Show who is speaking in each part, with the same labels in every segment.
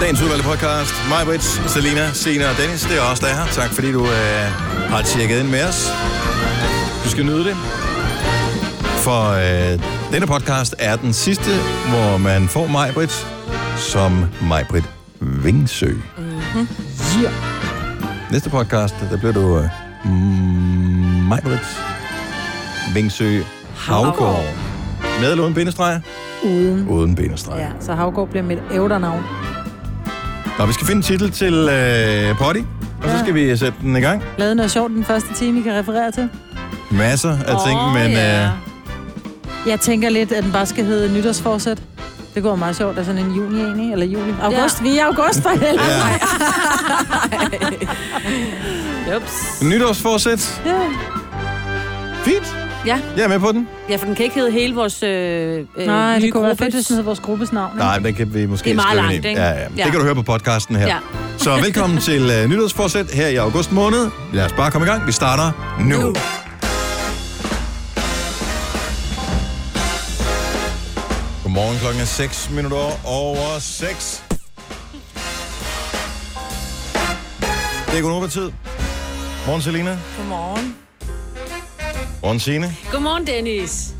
Speaker 1: Dagens udvalgte podcast. Mig, Brits, Selina, Sina og Dennis. Det er os, der er her. Tak fordi du øh, har tjekket ind med os. Du skal nyde det. For øh, denne podcast er den sidste, hvor man får mig, Brits, som mig, Brit Vingsø. Mm-hmm. Yeah. Næste podcast, der bliver du øh, mig, Brits Vingsø Havgård. Med eller uden bindestreg?
Speaker 2: Uden.
Speaker 1: Uden bindestreg. Ja.
Speaker 2: Ja, så Havgård bliver mit ævdernavn.
Speaker 1: Nå, vi skal finde en titel til øh, potty, og så
Speaker 2: Ja.
Speaker 1: skal vi sætte den i gang.
Speaker 2: Lavede noget sjovt den første time, I kan referere til.
Speaker 1: Masser af oh, ting, men yeah. øh,
Speaker 2: Jeg tænker lidt, at den bare skal hedde nytårsforsæt. Det går meget sjovt, der er sådan en juni egentlig, eller juli. August, ja. vi er i august for helvede.
Speaker 1: Ja.
Speaker 3: Ups.
Speaker 1: nytårsforsæt.
Speaker 2: Ja.
Speaker 1: Fint.
Speaker 3: Ja.
Speaker 1: Jeg er med på den.
Speaker 3: Ja, for den kan ikke hedde hele vores øh, øh,
Speaker 2: Nej,
Speaker 3: nye
Speaker 2: det kunne være
Speaker 3: gruppe.
Speaker 2: fedt, hvis den hedder vores gruppes navn. ikke?
Speaker 1: Nej, men den kan vi måske
Speaker 3: Det er meget
Speaker 1: skrive
Speaker 3: langt,
Speaker 1: ind i.
Speaker 3: ikke?
Speaker 1: Ja, ja. Det
Speaker 3: Ja.
Speaker 1: kan du høre på podcasten her.
Speaker 3: Ja.
Speaker 1: Så velkommen til uh, nytårsforsæt her i august måned. Lad os bare komme i gang. Vi starter nu. nu.
Speaker 3: Nu.
Speaker 1: Godmorgen klokken er 6 minutter over 6. Det er god tid. Morgen, Selina.
Speaker 3: Godmorgen.
Speaker 1: Morgen, Signe.
Speaker 3: Godmorgen, Dennis.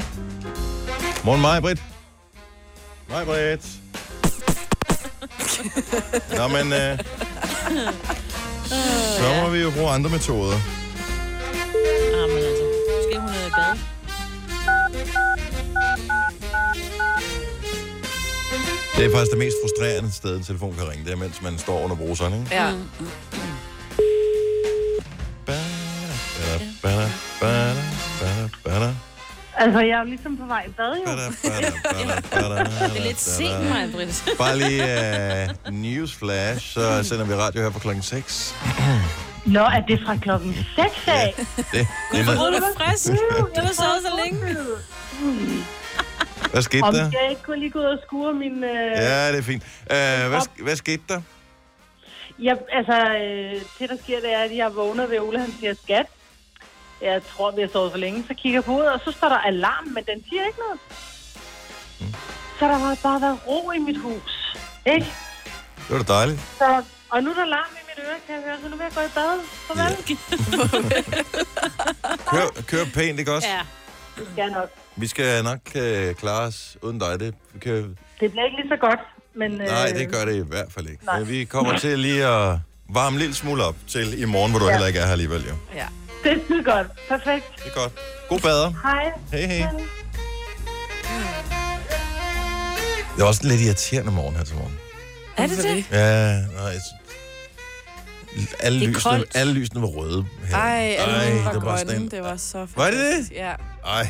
Speaker 1: Morgen, mig, Britt. Mig, Britt. Nå, men... Øh, så må vi jo bruge andre metoder.
Speaker 3: Øh, Ah, men altså, skal hun øh, bade?
Speaker 1: Det er faktisk det mest frustrerende sted, en telefon kan ringe. Det er, mens man står under bruseren, ikke?
Speaker 3: Ja.
Speaker 1: Bada, bada, bada, bada, bada, bada,
Speaker 4: Altså, jeg er jo ligesom på vej i bad, jo.
Speaker 1: bada, bada, bada, bada,
Speaker 3: Det er lidt sent, mig, Britt.
Speaker 1: Bare lige uh, newsflash, så sender vi radio her på klokken 6.
Speaker 4: Nå, er det fra klokken 6 af?
Speaker 1: Det, det er
Speaker 3: Hvor
Speaker 1: noget.
Speaker 3: er du frisk? Du har sovet så længe.
Speaker 1: Hvad skete
Speaker 4: Om
Speaker 1: der?
Speaker 4: jeg ikke kunne lige gå ud og skure min... Øh... Ja.
Speaker 1: Ja, det er fint. Uh, hvad, sk- hvad skete der?
Speaker 4: Jeg, altså, øh, det der sker, det er, at jeg vågner ved Ole, han siger skat. Jeg tror, vi har sovet for længe, så kigger jeg på hovedet, og så står der alarm, men den siger ikke noget. Så der har bare været ro i mit hus, ikke?
Speaker 1: Det var da dejligt.
Speaker 4: Så, og nu er der larm i mit øre, kan jeg høre, så nu vil jeg gå i bad. Farvel.
Speaker 1: Ja. Kør, kør pænt, ikke også?
Speaker 3: Ja.
Speaker 4: Det skal jeg nok.
Speaker 1: Vi skal nok øh, klare os uden dig. Det kan...
Speaker 4: Det bliver ikke lige så godt, men... Øh,
Speaker 1: Nej, det gør det i hvert fald ikke. Nej. Vi kommer til lige at varme en lille smule op til i morgen, hvor du ja. heller ikke er her alligevel. Jo.
Speaker 3: ja.
Speaker 4: Det er skide godt. Perfekt.
Speaker 1: Det er godt. God bader.
Speaker 4: Hej.
Speaker 1: Hej, hej. Det er også en lidt irriterende morgen her til morgen.
Speaker 3: Er det det?
Speaker 1: Ja, nej. Jeg... synes- Alle,
Speaker 3: Det er
Speaker 1: lysene,
Speaker 3: koldt.
Speaker 1: alle lysene var røde. Her.
Speaker 5: Ej, alle
Speaker 1: Ej,
Speaker 5: mine
Speaker 1: det
Speaker 5: var
Speaker 1: var bare
Speaker 5: grønne.
Speaker 1: sådan en-
Speaker 5: Det var så fantastisk.
Speaker 1: Var det det?
Speaker 5: Ja,
Speaker 1: Ej.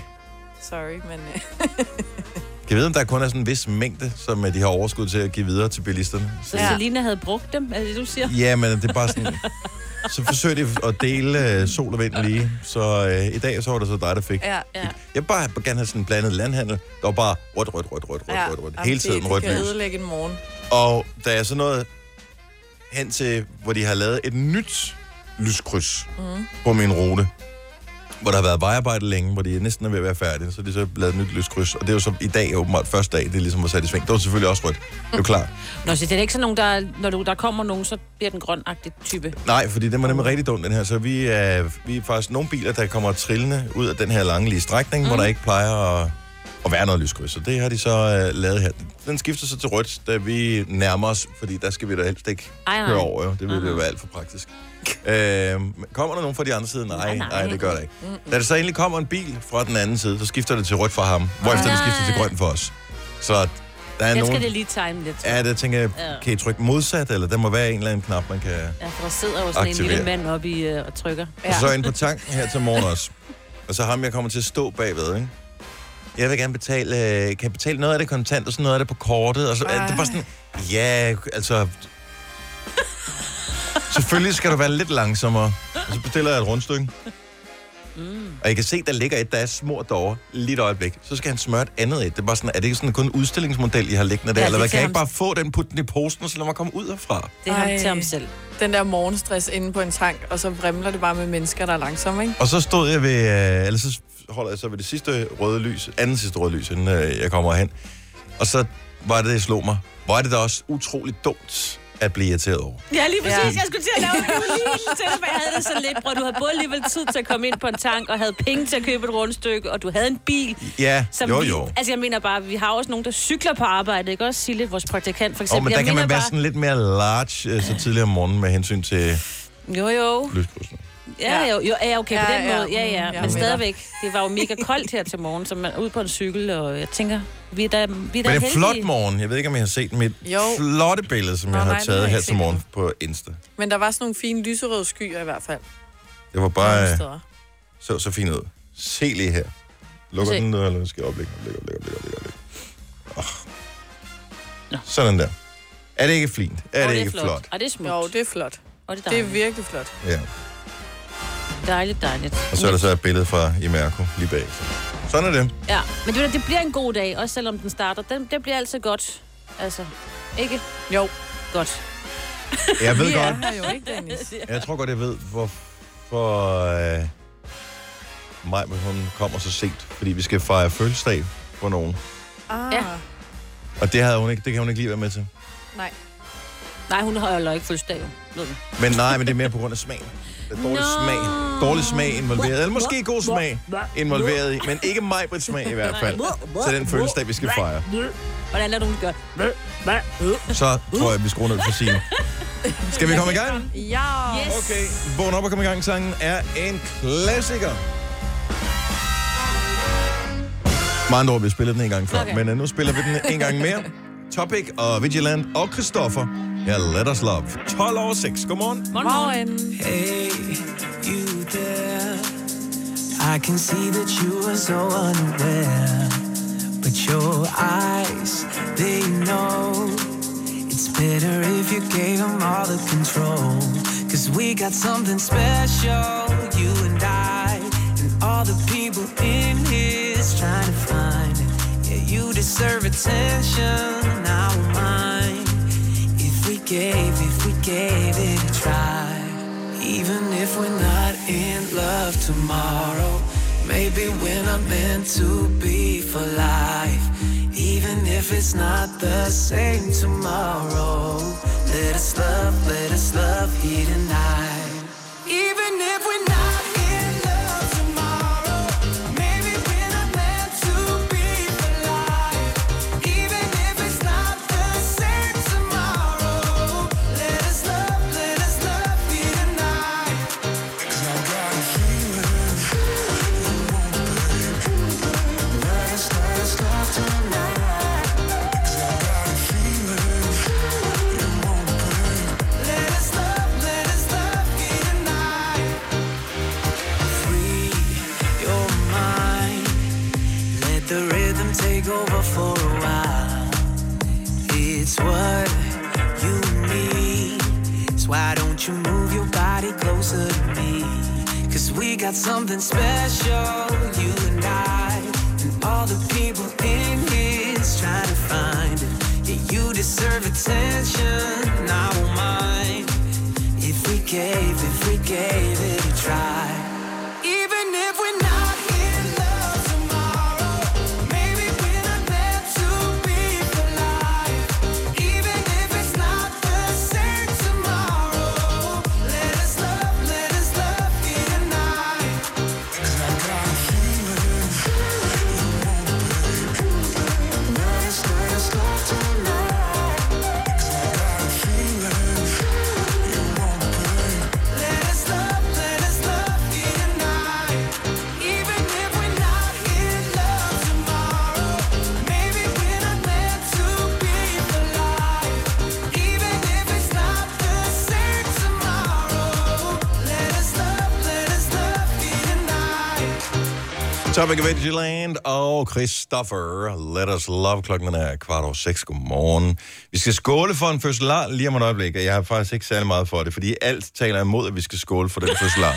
Speaker 5: sorry, men... øh,
Speaker 1: Kan jeg vide, om der kun er sådan en vis mængde, som øh, de har overskud til at give videre til bilisterne? Så...
Speaker 3: Så
Speaker 5: Ja.
Speaker 3: Selina havde brugt dem, er det det, du siger?
Speaker 1: Ja, men det er bare sådan... Så forsøg de at dele øh, sol og vind lige. Så øh, i dag så var det så dig, der fik.
Speaker 5: Ja,
Speaker 3: Ja.
Speaker 1: Jeg vil bare gerne have sådan en blandet landhandel. Der var bare rødt, rødt, rødt, rødt, rødt,
Speaker 5: ja.
Speaker 1: rødt, rødt.
Speaker 5: Jamen,
Speaker 1: Hele
Speaker 5: det-
Speaker 1: tiden rødt
Speaker 5: Det kan
Speaker 1: lys.
Speaker 5: ødelægge en morgen.
Speaker 1: Og der er sådan noget hen til, hvor de har lavet et nyt lyskryds
Speaker 5: Mhm.
Speaker 1: mm. på min rute. Hvor der har været vejarbejde længe, hvor de næsten er ved at være færdige. Så har de så lavet et nyt lyskryds. Og det er jo så i dag åbenbart første dag, det ligesom var sat i sving. Det var selvfølgelig også rødt. Det er jo klart.
Speaker 3: Nå, så det er ikke sådan nogen, der, når du, der kommer nogen, så bliver den grønagtig type.
Speaker 1: Nej, fordi den var nemlig rigtig dum, den her. Så vi er, vi er faktisk nogle biler, der kommer trillende ud af den her lange lige strækning, mm. hvor der ikke plejer at, at være noget lyskryds. Så det har de så øh, lavet her. Den skifter så til rødt, da vi nærmer os, fordi der skal vi da helst ikke
Speaker 3: Ej, nej.
Speaker 1: køre over. Jo. Det ville jo være alt for praktisk. Øh, kommer der nogen fra de andre side? Nej, nej,
Speaker 3: nej.
Speaker 1: nej, det gør der ikke. Da der så endelig kommer en bil fra den anden side, så skifter det til rødt for ham, hvorefter det skifter til grønt for os. Så der er
Speaker 3: Den
Speaker 1: nogen...
Speaker 3: skal det lige time lidt.
Speaker 1: Ja, der tænker jeg,
Speaker 3: Ja.
Speaker 1: kan I trykke modsat, eller der må være en eller anden knap, man kan...
Speaker 3: Ja, for der sidder jo sådan
Speaker 1: Aktiver.
Speaker 3: en lille mand oppe i, øh, og trykker.
Speaker 1: Ja. Og så ind på tanken her til morgen også. Og så ham, jeg kommer til at stå bagved, ikke? Jeg vil gerne betale, øh, kan jeg betale noget af det kontant, og så noget af det på kortet, og så, øh, det var sådan, ja, altså, selvfølgelig skal du være lidt langsommere. Og så bestiller jeg et rundstykke. Mm. Og I kan se, der ligger et, der er smurt derovre, lige et øjeblik. Så skal han smøre et andet et. Det er bare sådan, er det ikke sådan kun en udstillingsmodel, I har liggende der?
Speaker 3: Ja,
Speaker 1: Ja, eller
Speaker 3: det
Speaker 1: hvad?
Speaker 3: er
Speaker 1: Kan jeg
Speaker 3: til
Speaker 1: ikke bare få den, putte den i posten, og så lad mig komme ud herfra?
Speaker 3: Det er ham
Speaker 5: Ej.
Speaker 3: til ham selv.
Speaker 5: Den der morgenstress inde på en tank, og så vrimler det bare med mennesker, der er langsomme, ikke?
Speaker 1: Og så stod jeg ved, øh, eller så holder jeg så ved det sidste røde lys, anden sidste røde lys, inden øh, jeg kommer hen. Og så var det, det slog mig. Hvor er det da også utroligt dumt at blive irriteret over.
Speaker 3: Ja, lige præcis. Ja. Jeg skulle til at lave en udligning til dig, for jeg havde det så lidt. Bror, du havde både alligevel tid til at komme ind på en tank, og havde penge til at købe et rundstykke, og du havde en bil.
Speaker 1: Ja, jo, jo.
Speaker 3: Vi, altså, jeg mener bare, vi har også nogen, der cykler på arbejde, ikke også? Sille, vores praktikant, for
Speaker 1: Åh,
Speaker 3: eksempel.
Speaker 1: oh, men
Speaker 3: jeg
Speaker 1: der kan
Speaker 3: mener
Speaker 1: man være
Speaker 3: bare-
Speaker 1: sådan lidt mere large øh, så tidligere om morgenen med hensyn til
Speaker 3: Jo, jo.
Speaker 1: lyskrydsen.
Speaker 3: Ja, jo, jo, ja, okay, på
Speaker 5: Ja,
Speaker 3: den
Speaker 5: ja,
Speaker 3: måde. Ja,
Speaker 5: mm, jeg
Speaker 3: ja,
Speaker 5: er
Speaker 3: men
Speaker 5: med dig.
Speaker 3: stadigvæk. Det var jo mega koldt her til morgen, så man er ude på en cykel, og jeg tænker, vi er da, vi er da
Speaker 1: Men en
Speaker 3: heldige.
Speaker 1: flot morgen. Jeg ved ikke, om I har set mit
Speaker 5: Jo.
Speaker 1: flotte billede, som
Speaker 5: Nå,
Speaker 1: jeg har
Speaker 5: nej, det har
Speaker 1: taget
Speaker 5: jeg
Speaker 1: her
Speaker 5: ikke
Speaker 1: til
Speaker 5: set
Speaker 1: morgen
Speaker 5: endnu.
Speaker 1: på Insta.
Speaker 5: Men der var sådan nogle fine lyserøde skyer i hvert fald.
Speaker 1: Det var
Speaker 5: Nogle
Speaker 1: bare... Øh,
Speaker 5: steder.
Speaker 1: så så fint ud. Se lige her. Lukker
Speaker 3: Se.
Speaker 1: den ned, eller nu skal jeg oplægge, oplægge, oplægge, oplægge, oplægge. Oh. Sådan der. Er det ikke flint? Er
Speaker 3: Og
Speaker 1: det ikke flot? flot?
Speaker 3: Og det er smukt.
Speaker 5: Jo, det er flot.
Speaker 3: og det er
Speaker 5: Det er
Speaker 3: dejligt.
Speaker 5: virkelig flot.
Speaker 1: Ja.
Speaker 3: dejligt, dejligt.
Speaker 1: Og så er der så et billede fra Imerco lige bag. Sådan er det.
Speaker 3: Ja, men det, det bliver en god dag, også selvom den starter. Den, det bliver altid godt. Altså, ikke
Speaker 5: Jo,
Speaker 3: godt.
Speaker 1: Jeg ved
Speaker 5: vi er
Speaker 1: godt,
Speaker 5: her jo ikke, Dennis.
Speaker 1: Jeg tror godt, jeg ved, hvorfor øh, Maj, hun kommer så sent. Fordi vi skal fejre fødselsdag for nogen.
Speaker 5: Ah,
Speaker 3: Ja.
Speaker 1: Og det, havde hun ikke, det kan hun ikke lige være med til.
Speaker 5: nej.
Speaker 3: Nej, hun holder ikke fødselsdag, jo. Ved du.
Speaker 1: Men nej, men det er mere på grund af smagen. Det er dårlig
Speaker 3: Nå.
Speaker 1: smag. Dårlig smag involveret. Eller måske god smag involveret i. Men ikke mig på smag i hvert fald. Så den fødselsdag, vi skal fejre.
Speaker 3: Hvordan lader du hun gøre?
Speaker 1: Så tror jeg, vi skruer ned for sine. Skal vi komme i gang?
Speaker 5: Ja.
Speaker 3: Yes.
Speaker 1: Okay, vågn op og kom i gang. Sangen er en klassiker. Med andre ord, vi spillede den en gang før, okay.
Speaker 3: Okay.
Speaker 1: men uh, nu spiller vi den en gang mere. Topic og Vigilant og Christoffer. Ja, let us love. 12 over 6. Godmorgen.
Speaker 3: Morgen.
Speaker 5: Morgen.
Speaker 6: Hey, you there? I can see that you are so unaware. But your eyes, they know. It's better if you gave them all the control. Cause we got something special, you and I. And all the people in here's trying to find. it. Yeah, you deserve attention, I will mine. If we gave, if we gave it a try, even if we're not in love tomorrow, maybe we're not meant to be for life. Even if it's not the same tomorrow, let us love, let us love here tonight. Even if we're not in love tomorrow, maybe we're not meant to be for life. Even if it's not the same tomorrow, let us love, let us love here tonight. 'Cause I got a feeling you won't break. Let us, let us love tonight. 'Cause I got a feeling you won't break. Let us love, let us love here tonight. Free your mind. Let the rhythm take over for a while. It's what you need. So why don't you move your body closer to me? Cause we got something special, you and I. And all the people in here's trying to find it. Yeah, you deserve attention, I won't mind. If we gave, if we gave it a try. Even if we're not in love tomorrow, maybe we're not meant to be for life. Even if it's not the same tomorrow, let us love, let us love here tonight. 'Cause I got a feeling you won't break. Let us, let us love tonight. 'Cause I got a feeling you won't break. Let us love, let us love here tonight. Even if we're not in love tomorrow, maybe we're not meant to be for life. Even if it's not the same tomorrow, let us love, let us love here tonight.
Speaker 1: Topic of Vigilant og Christoffer. Let us love. Klokken er kvart over seks. Godmorgen. Vi skal skåle for en fødselar lige om et øjeblik, og jeg har faktisk ikke særlig meget for det, fordi alt taler imod, at vi skal skåle for den fødselar.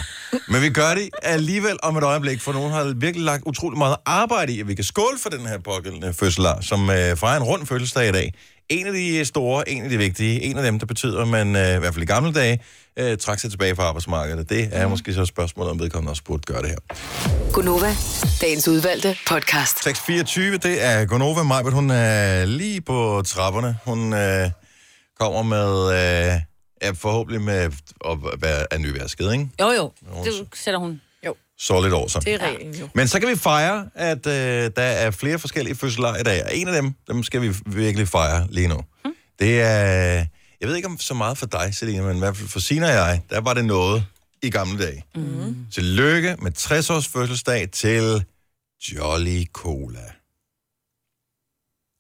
Speaker 1: Men vi gør det alligevel om et øjeblik, for nogen har virkelig lagt utrolig meget arbejde i, at vi kan skåle for den her pågældende fødselar, som øh, fejrer en rund fødselsdag i dag. En af de store, en af de vigtige, en af dem, der betyder, at man øh, i hvert fald i gamle dage øh, trak sig tilbage fra arbejdsmarkedet. Det er måske så et spørgsmål, om vedkommende også burde gøre det her.
Speaker 7: Gunova, dagens udvalgte podcast.
Speaker 1: 6.24, det er Gonova Majbert. Hun er lige på trapperne. Hun øh, kommer med, øh, ja, forhåbentlig med at være af nyværsket, ikke?
Speaker 3: Jo, jo. Det sætter hun.
Speaker 1: Så lidt over sig.
Speaker 5: Det er reglen jo.
Speaker 1: Men så kan vi fejre, at øh, der er flere forskellige fødselar i dag. Og en af dem, dem skal vi virkelig fejre lige nu. Mm. Det er, jeg ved ikke om så meget for dig, Selina, men i hvert fald for Sina og jeg, der var det noget i gamle dage. Mm. Tillykke med 60 års fødselsdag til Jolly Cola. Det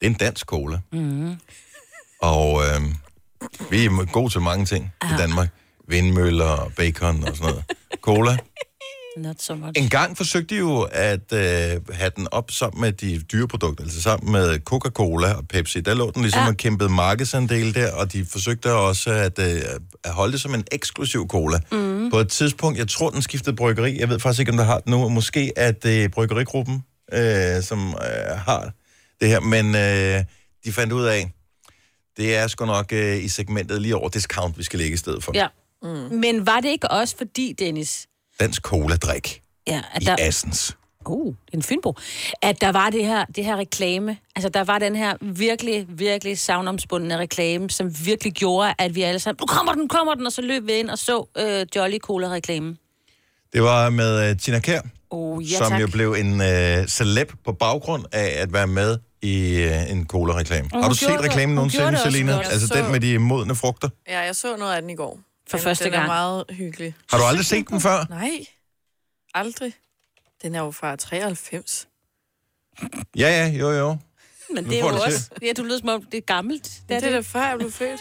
Speaker 1: er en dansk cola. Mm. Og øh, vi er gode til mange ting i Danmark. Vindmøller og bacon og sådan noget. Cola.
Speaker 3: Not so much.
Speaker 1: En gang forsøgte de jo at øh, have den op sammen med de dyre produkter, altså sammen med Coca-Cola og Pepsi. Der lå den ligesom ja. og kæmpede markedsandel der, og de forsøgte også at, øh, at holde det som en eksklusiv cola. Mm. På et tidspunkt, jeg tror, den skiftede bryggeri. Jeg ved faktisk ikke, om der har den nu. Måske at øh, bryggerigruppen, øh, som øh, har det her. Men øh, de fandt ud af, det er sgu nok øh, i segmentet lige over discount, vi skal ligge i stedet for.
Speaker 3: Ja. Mm. Men var det ikke også fordi, Dennis,
Speaker 1: Dansk cola-drik
Speaker 3: ja, at
Speaker 1: i
Speaker 3: der,
Speaker 1: Assens.
Speaker 3: uh, en fynbo, at der var det her, det her reklame, altså der var den her virkelig, virkelig savnomspundende reklame, som virkelig gjorde, at vi alle sammen, nu kommer den, nu kommer den, og så løb vi ind og så øh, Jolly Cola-reklamen.
Speaker 1: Det var med øh, Tina Kær.
Speaker 3: Oh, ja,
Speaker 1: som
Speaker 3: tak.
Speaker 1: jo blev en øh, celeb på baggrund af at være med i øh, en cola-reklame. Har du set
Speaker 3: gjorde det-
Speaker 1: reklamen
Speaker 3: hun gjorde
Speaker 1: nogensinde,
Speaker 3: det også
Speaker 1: Selina?
Speaker 3: godt.
Speaker 1: Altså
Speaker 5: Så-
Speaker 1: den med de modne frugter.
Speaker 5: Ja, jeg så noget af den i går.
Speaker 3: For
Speaker 5: Men
Speaker 3: første
Speaker 5: den
Speaker 3: gang.
Speaker 5: er meget hyggelig.
Speaker 1: Har du aldrig set den før?
Speaker 5: Nej, aldrig. Den er jo fra 93.
Speaker 1: Ja, ja, jo, jo.
Speaker 3: Men
Speaker 1: Nu
Speaker 3: det er
Speaker 1: får
Speaker 3: jo
Speaker 1: du det
Speaker 3: også, ja, du lyder som om, det er gammelt.
Speaker 5: Det er det,
Speaker 3: det.
Speaker 5: der før jeg blev født.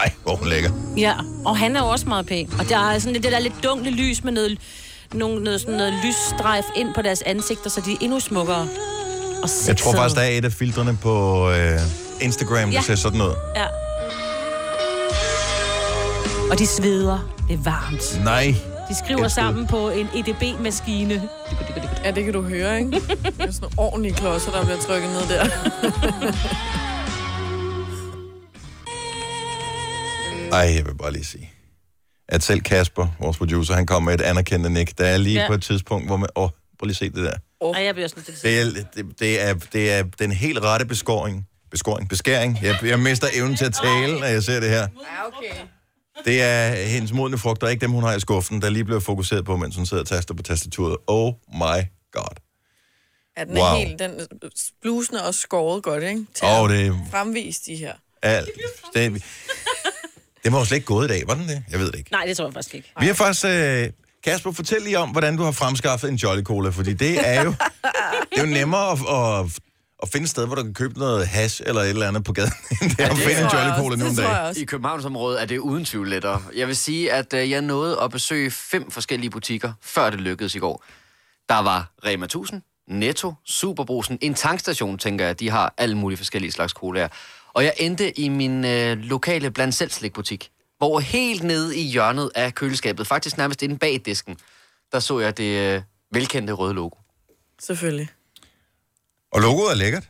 Speaker 1: Ej, hvor er hun lækker.
Speaker 3: Ja, og han er jo også meget pæn. Og der er sådan lidt- det der lidt dunkle lys med noget, nogle, noget, sådan noget lysstrejf ind på deres ansigter, så de er endnu smukkere. Og
Speaker 1: Jeg tror faktisk, der er et af filtrene på øh, Instagram, der
Speaker 3: Ja.
Speaker 1: ser sådan ud.
Speaker 3: Ja. Og de sveder. Det er varmt.
Speaker 1: Nej.
Speaker 3: De skriver
Speaker 1: Elsker
Speaker 3: sammen på en E EDB-maskine.
Speaker 5: Ja, det kan du høre, ikke? Det er sådan nogle ordentlige klodser, der bliver trykket ned der.
Speaker 1: Ej, jeg vil bare lige sige, at selv Kasper, vores producer, han kom med et anerkendende nik. Der er lige ja.
Speaker 3: Ja.
Speaker 1: på et tidspunkt, hvor man... Åh, prøv lige at se det der.
Speaker 3: Ej, jeg bliver også nødt til
Speaker 1: Det er, det, det, er, det er den helt rette beskåring. Beskåring? Beskæring? Jeg, jeg mister evnen til at tale, når jeg ser det her.
Speaker 5: okay.
Speaker 1: Det er hendes modne frugter, ikke dem, hun har i skuffen, der lige blev fokuseret på, mens hun sidder og taster på tastaturet. Oh my god.
Speaker 5: Ja, den er
Speaker 1: Wow.
Speaker 5: wow. helt, den blusen er også skåret godt, ikke? Til
Speaker 1: Åh,
Speaker 5: oh.
Speaker 1: oh, det er
Speaker 5: fremvise de her.
Speaker 1: alt. Det, det var jo slet ikke gået i dag, var den det? Jeg ved det ikke.
Speaker 3: Nej, det tror jeg faktisk ikke.
Speaker 1: Vi har faktisk... Øh, Kasper, fortæl lige om, hvordan du har fremskaffet en Jolly Cola, fordi det er jo, det er jo nemmere at, at, at finde et sted, hvor du kan købe noget hash eller et eller andet på gaden, end det er at finde en
Speaker 5: tror jeg
Speaker 1: Jolly
Speaker 5: også.
Speaker 1: Cola
Speaker 5: Det
Speaker 1: nogle
Speaker 5: tror jeg
Speaker 1: dage.
Speaker 5: også.
Speaker 8: I Københavnsområdet er det uden tvivl lettere. Jeg vil sige, at øh, jeg nåede at besøge fem forskellige butikker, før det lykkedes i går. Der var Rema 1000, Netto, Superbrusen, en tankstation, tænker jeg. De har alle mulige forskellige slags colaer. Og jeg endte i min øh, lokale blandt selv slikbutik, hvor helt nede i hjørnet af køleskabet, faktisk nærmest inde bag disken, der så jeg det øh, velkendte røde logo.
Speaker 5: Selvfølgelig.
Speaker 1: Og logoet er lækkert.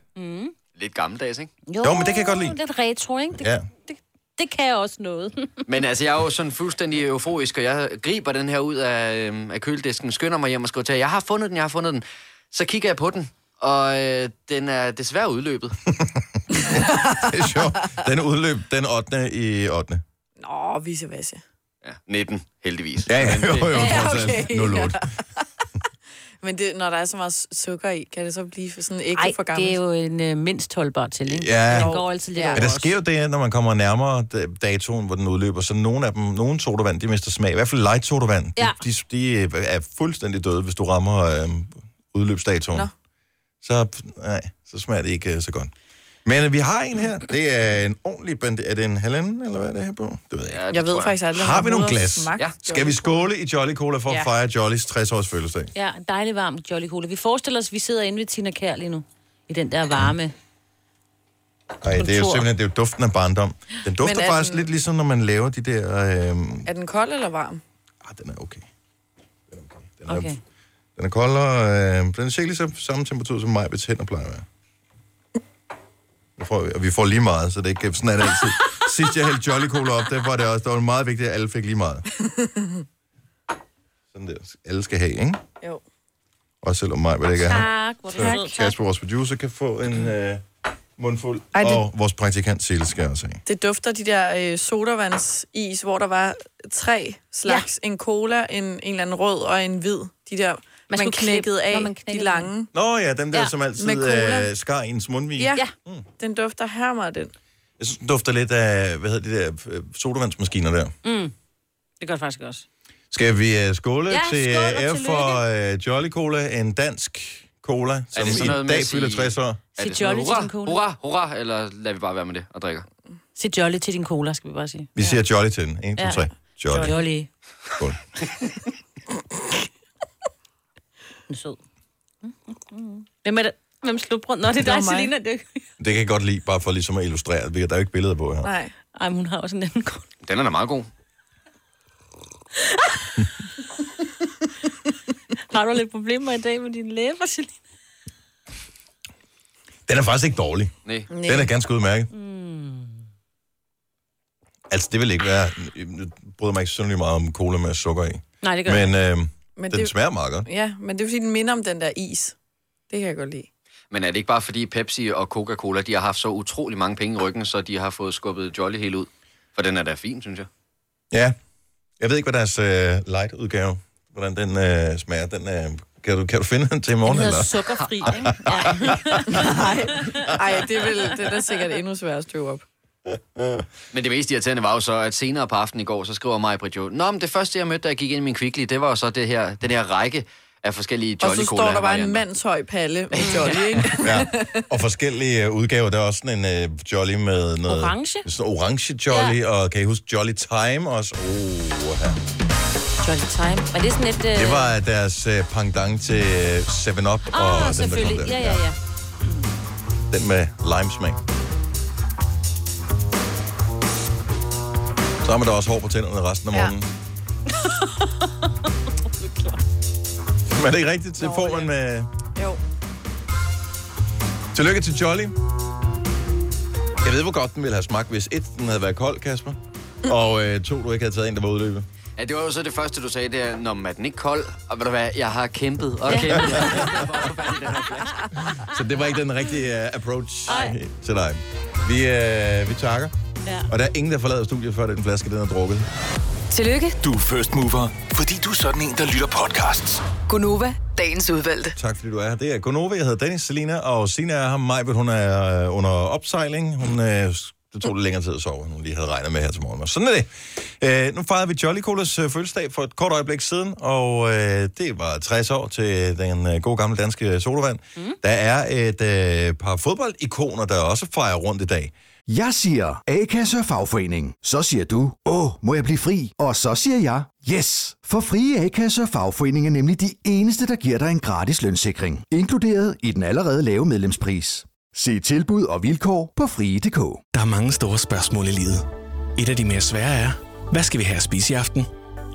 Speaker 8: Lidt gammeldags, ikke?
Speaker 1: Jo, men det kan jeg godt lide.
Speaker 3: Mm. Lidt retro, ikke? Det,
Speaker 1: Ja.
Speaker 3: det, det kan jeg også noget.
Speaker 8: Men altså, jeg er jo sådan fuldstændig euforisk, og jeg griber den her ud af, øhm, af køledisken, skynder mig hjem og skriver til, jer, jeg har fundet den, jeg har fundet den. Så kigger jeg på den, og øh, den er desværre udløbet.
Speaker 1: Det er sjovt. Den udløb den 8. i 8.
Speaker 5: Nå, vice versa.
Speaker 8: Ja, 19, heldigvis.
Speaker 1: Ja, ja, jo, jo,
Speaker 5: Ja,
Speaker 1: trods alt.
Speaker 5: okay.
Speaker 1: 08.
Speaker 5: Men det, når der er så meget su- sukker i, kan det så blive for sådan ægte
Speaker 3: Nej,
Speaker 5: for gammelt?
Speaker 3: det er jo en øh, mindst holdbar til, ikke?
Speaker 1: Ja.
Speaker 3: Den går altid lidt
Speaker 5: Ja.
Speaker 3: over
Speaker 1: Men der
Speaker 3: os.
Speaker 1: sker jo det, når man kommer nærmere d- datoen, hvor den udløber, så nogle af dem, nogle sodavand, de mister smag. I hvert fald light sodavand.
Speaker 3: Ja.
Speaker 1: De, de, de øh, er fuldstændig døde, hvis du rammer øh, udløbsdatoen.
Speaker 5: Nå.
Speaker 1: Så, nej, så smager det ikke øh, så godt. Men øh, vi har en her. Det er en ordentlig bandit. Er det en halvanden, eller hvad er det her på? Det ved jeg ikke.
Speaker 8: Ja, det
Speaker 5: Jeg ved
Speaker 8: tror
Speaker 5: faktisk aldrig, om
Speaker 1: Har
Speaker 5: jeg
Speaker 1: vi nogle
Speaker 5: overhovedet
Speaker 1: glas?
Speaker 5: smagt
Speaker 8: Ja.
Speaker 1: Skal vi skåle i Jolly Cola for ja. at
Speaker 5: Ja.
Speaker 1: fejre Jollys 60-års fødselsdag?
Speaker 3: Ja, en dejlig varm Jolly Cola. Vi forestiller os, at vi sidder inde ved Tina Kær lige nu. I den der varme.
Speaker 1: Nej, det er jo
Speaker 3: Kontor.
Speaker 1: simpelthen det er jo duften af barndom. Den dufter
Speaker 5: Men øhm, er
Speaker 1: faktisk
Speaker 5: den-
Speaker 1: lidt ligesom, når man laver de der... Øh,
Speaker 5: Er den kold eller varm?
Speaker 1: Ah, den er okay. Den er okay. Den er,
Speaker 3: Okay.
Speaker 1: den er koldere. Øh, den er cirka så samme temperatur som mig, hvis hænder plejer at være. Nu får vi, og vi får lige meget, så det er ikke sådan er det altid. Sidst jeg hældte Jolly Cola op, der var det også der var det meget vigtigt, at alle fik lige meget. Sådan der. Alle skal have, ikke?
Speaker 5: Jo.
Speaker 1: Også selvom mig, hvad det ikke er her.
Speaker 3: Tak, hvor er du sød.
Speaker 1: Kasper, vores producer, kan få en, øh, mundfuld.
Speaker 5: Ej, det-
Speaker 1: Og vores praktikant Sille skal også af.
Speaker 5: Det dufter de der øh, sodavandsis, hvor der var tre slags. Ja. En cola, en, en eller anden rød og en hvid. De der, man, man
Speaker 3: skulle
Speaker 5: knækkede
Speaker 3: klippe,
Speaker 5: af,
Speaker 3: når
Speaker 5: man
Speaker 3: man
Speaker 5: knækkede de
Speaker 3: knækkede
Speaker 5: lange.
Speaker 1: Nå ja, dem der, ja,
Speaker 3: Ja,
Speaker 1: som altid
Speaker 5: med cola.
Speaker 1: øh, skar ens mundvin.
Speaker 5: Ja,
Speaker 3: Ja.
Speaker 5: Mm. den dufter her meget, den.
Speaker 1: Jeg synes, den dufter lidt af, hvad hedder de der, øh, sodavandsmaskiner der.
Speaker 3: Mm. Det gør det faktisk også.
Speaker 1: Skal vi uh, skåle
Speaker 3: Ja,
Speaker 1: til
Speaker 3: skål og
Speaker 1: uh, F for uh, Jolly Cola, en dansk cola, som
Speaker 8: det sådan
Speaker 1: i
Speaker 8: noget med
Speaker 1: dag
Speaker 8: at sige-
Speaker 1: fylder 60 år?
Speaker 8: Er det
Speaker 3: Sig
Speaker 8: sådan
Speaker 3: jolly
Speaker 8: noget,
Speaker 3: til din
Speaker 8: hurra,
Speaker 3: kone.
Speaker 8: hurra, hurra, eller lader vi bare være med det og drikker?
Speaker 3: Sig jolly til din cola, skal vi bare sige.
Speaker 1: Vi siger Jolly til den. 1, 2,
Speaker 3: Ja.
Speaker 1: 3. Jolly. Jolly.
Speaker 3: Jolly.
Speaker 1: Skål.
Speaker 3: Den er sød. Mm, mm, mm. Hvem er det? Hvem slutbrød? Nå, det er
Speaker 5: var
Speaker 3: dig,
Speaker 5: mig.
Speaker 3: Selina. Det er ikke-
Speaker 1: Det kan jeg godt lide, bare for ligesom at illustrere. det. Der er jo ikke billeder på her.
Speaker 5: Nej.
Speaker 3: Ej, men hun har også en anden grund.
Speaker 8: Den er da meget god.
Speaker 3: Har du lidt problemer i dag med dine læber, Selina?
Speaker 1: Den er faktisk ikke dårlig.
Speaker 8: Nej.
Speaker 5: Nej.
Speaker 1: Den er ganske udmærket. Mm. Altså, det vil ikke være... Jeg bryder mig ikke synderligt meget om cola med sukker i.
Speaker 3: Nej, det gør
Speaker 1: Men, øh,
Speaker 5: Men
Speaker 1: den
Speaker 5: det,
Speaker 1: smager meget godt.
Speaker 5: ja, men det er fordi, den minder om den der is. Det kan jeg godt lide.
Speaker 8: Men er det ikke bare fordi Pepsi og Coca-Cola, de har haft så utrolig mange penge i ryggen, så de har fået skubbet Jolly helt ud? For den er da fin, synes jeg.
Speaker 1: Ja. Jeg ved ikke, hvad deres øh, light-udgave, hvordan den øh, smager. Den, øh, kan, du, kan du finde den til i morgen?
Speaker 3: Den hedder
Speaker 1: Eller?
Speaker 3: sukkerfri, ikke? Ja.
Speaker 5: Nej, Ej, det vil, det er da sikkert endnu sværere at støve op.
Speaker 8: Men det mest irriterende var jo så, at senere på aftenen i går, så skriver mig Britt jo, Nå, men det første, jeg mødte, da jeg gik ind i min Kvickly, det var jo så det her, den her række af forskellige
Speaker 5: Og
Speaker 8: Jolly
Speaker 5: så
Speaker 8: Cola
Speaker 5: står der bare en mandshøj palle med Jolly, ikke?
Speaker 1: Ja, og forskellige øh, udgaver. Der er også sådan en øh, Jolly med noget...
Speaker 3: Orange.
Speaker 1: Sådan orange Jolly, ja. og kan I huske Jolly Time også? Oh, ja.
Speaker 3: Jolly Time. Var det sådan lidt... Øh...
Speaker 1: Det var deres øh, pendant til øh, 7-Up
Speaker 3: Ah,
Speaker 1: og den, der kom
Speaker 3: selvfølgelig.
Speaker 1: der.
Speaker 3: Ja, ja, ja.
Speaker 1: Den med limesmag. Så har man da også hår på tænderne resten af
Speaker 5: Ja.
Speaker 1: morgenen. Men er det ikke rigtigt? Det får man med...
Speaker 5: Jo.
Speaker 1: Tillykke til Jolly. Jeg ved, hvor godt den ville have smagt, hvis et, den havde været kold, Kasper. Og øh, to, du ikke havde taget en, der var udløbet.
Speaker 8: Ja, det var jo så det første, du sagde, det er, Nå, men er den ikke kold? Og ved du hvad, jeg har kæmpet og kæmpet.
Speaker 1: Så det var ikke den rigtige uh, approach Ej. til dig. Vi, uh, vi takker.
Speaker 3: Ja.
Speaker 1: Og der er ingen, der forlader studiet, før den flaske, den er drukket.
Speaker 7: Tillykke,
Speaker 9: Du er first mover, fordi du er sådan en, der lytter podcasts.
Speaker 7: Gunova, dagens udvalgte.
Speaker 1: Tak fordi du er her. Det er Gunova, jeg hedder Dennis Selina, og Sina er her. Majbet, hun er øh, under opsejling. Hun, øh, det tog lidt længere tid at sove, end hun lige havde regnet med her til morgen. Men Sådan er det. Øh, nu fejrede vi Jolly Colas øh, fødselsdag for et kort øjeblik siden, og øh, det var 60 år til den øh, gode gamle danske sodavand. Mm. Der er et øh, par fodboldikoner, der også fejrer rundt i dag.
Speaker 10: Jeg siger A-kasse og fagforening. Så siger du, åh, må jeg blive fri? Og så siger jeg, yes! For frie A-kasse og fagforening er nemlig de eneste, der giver dig en gratis lønssikring. Inkluderet i den allerede lave medlemspris. Se tilbud og vilkår på frie.dk.
Speaker 9: Der er mange store spørgsmål i livet. Et af de mere svære er, hvad skal vi have at spise i aften?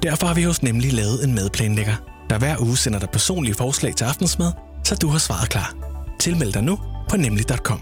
Speaker 9: Derfor har vi hos Nemlig lavet en madplanlægger, der hver uge sender dig personlige forslag til aftensmad, så du har svaret klar. Tilmeld dig nu på nemlig.com.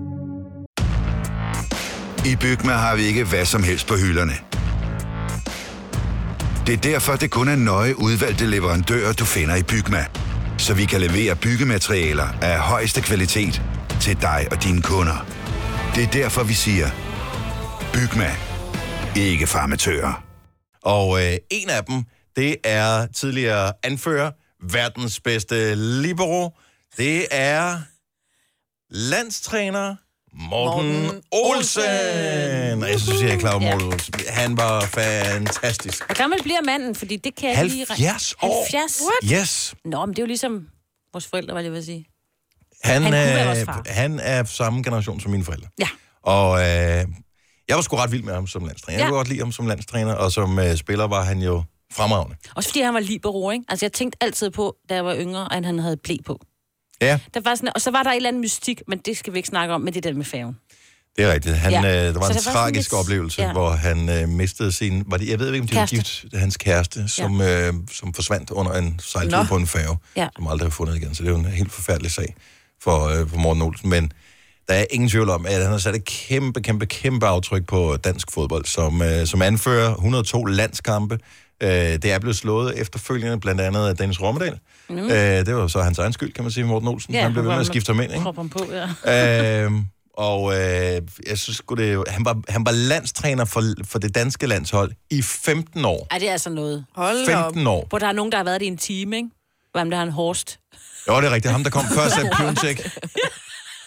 Speaker 10: I Bygma har vi ikke hvad som helst på hylderne. Det er derfor, det kun er nøje udvalgte leverandører, du finder i Bygma. Så vi kan levere byggematerialer af højeste kvalitet til dig og dine kunder. Det er derfor, vi siger, Bygma. Ikke farmatører.
Speaker 1: Og øh, en af dem, det er tidligere anfører, verdens bedste libero. Det er landstræner Morten, Morten
Speaker 5: Morten
Speaker 1: Olsen.
Speaker 5: Olsen.
Speaker 1: Olsen. Jeg synes, jeg er klar over Morten Olsen. Han var fantastisk.
Speaker 3: Hvor gammel bliver manden? Fordi det kan jeg ikke lige...
Speaker 1: 70 år.
Speaker 3: 70?
Speaker 1: Yes.
Speaker 3: Nå, men det er jo ligesom vores forældre, hvad jeg vil sige.
Speaker 1: Han,
Speaker 3: Han kunne være
Speaker 1: han,
Speaker 3: vores
Speaker 1: øh,
Speaker 3: far.
Speaker 1: han er samme generation som mine forældre.
Speaker 3: Ja.
Speaker 1: Og øh, jeg var sgu ret vild med ham som landstræner. Ja. Jeg
Speaker 3: Ja.
Speaker 1: kunne godt lide ham som landstræner, og som øh, spiller var han jo fremragende.
Speaker 3: Også fordi han var libero, ikke? Altså, jeg tænkte altid på, da jeg var yngre, at han havde blæ på.
Speaker 1: Ja.
Speaker 3: Der var sådan, og så var der et eller andet mystik, men det skal vi ikke snakke om, men det er den med færgen.
Speaker 1: Det er rigtigt. Han,
Speaker 3: Ja.
Speaker 1: ja. øh, der var
Speaker 3: Så det
Speaker 1: en
Speaker 3: var sådan
Speaker 1: tragisk
Speaker 3: lidt-
Speaker 1: oplevelse,
Speaker 3: ja.
Speaker 1: ja. hvor han øh, mistede sin... Var det, jeg ved ikke, om det var
Speaker 3: Kæreste.
Speaker 1: gift, hans kæreste, som, ja. øh, som forsvandt under en sejltur
Speaker 3: Nå.
Speaker 1: på en færge,
Speaker 3: Ja.
Speaker 1: som aldrig er fundet igen. Så det er jo en helt forfærdelig sag for, øh, for Morten Olsen. Men der er ingen tvivl om, at han har sat et kæmpe, kæmpe, kæmpe aftryk på dansk fodbold, som, øh, som anfører 102 landskampe. Øh, det er blevet slået efterfølgende, blandt andet af Dennis Rommedal. Mm. Øh, det var jo så hans egen skyld, kan man sige, Morten Olsen. Ja, han blev ved med at skifte ham ind, ikke?
Speaker 3: Kroppen på, ja.
Speaker 1: øh, og øh, jeg synes sgu det... Han var, han var landstræner for, for det danske landshold i 15 år.
Speaker 3: Ej, det er altså noget.
Speaker 1: Hold da op. 15 år.
Speaker 3: Hvor der er nogen, der har været det i en time, ikke? Hvem der har en horst.
Speaker 1: Jo, det er rigtigt. Ham, der kom først af Piontek.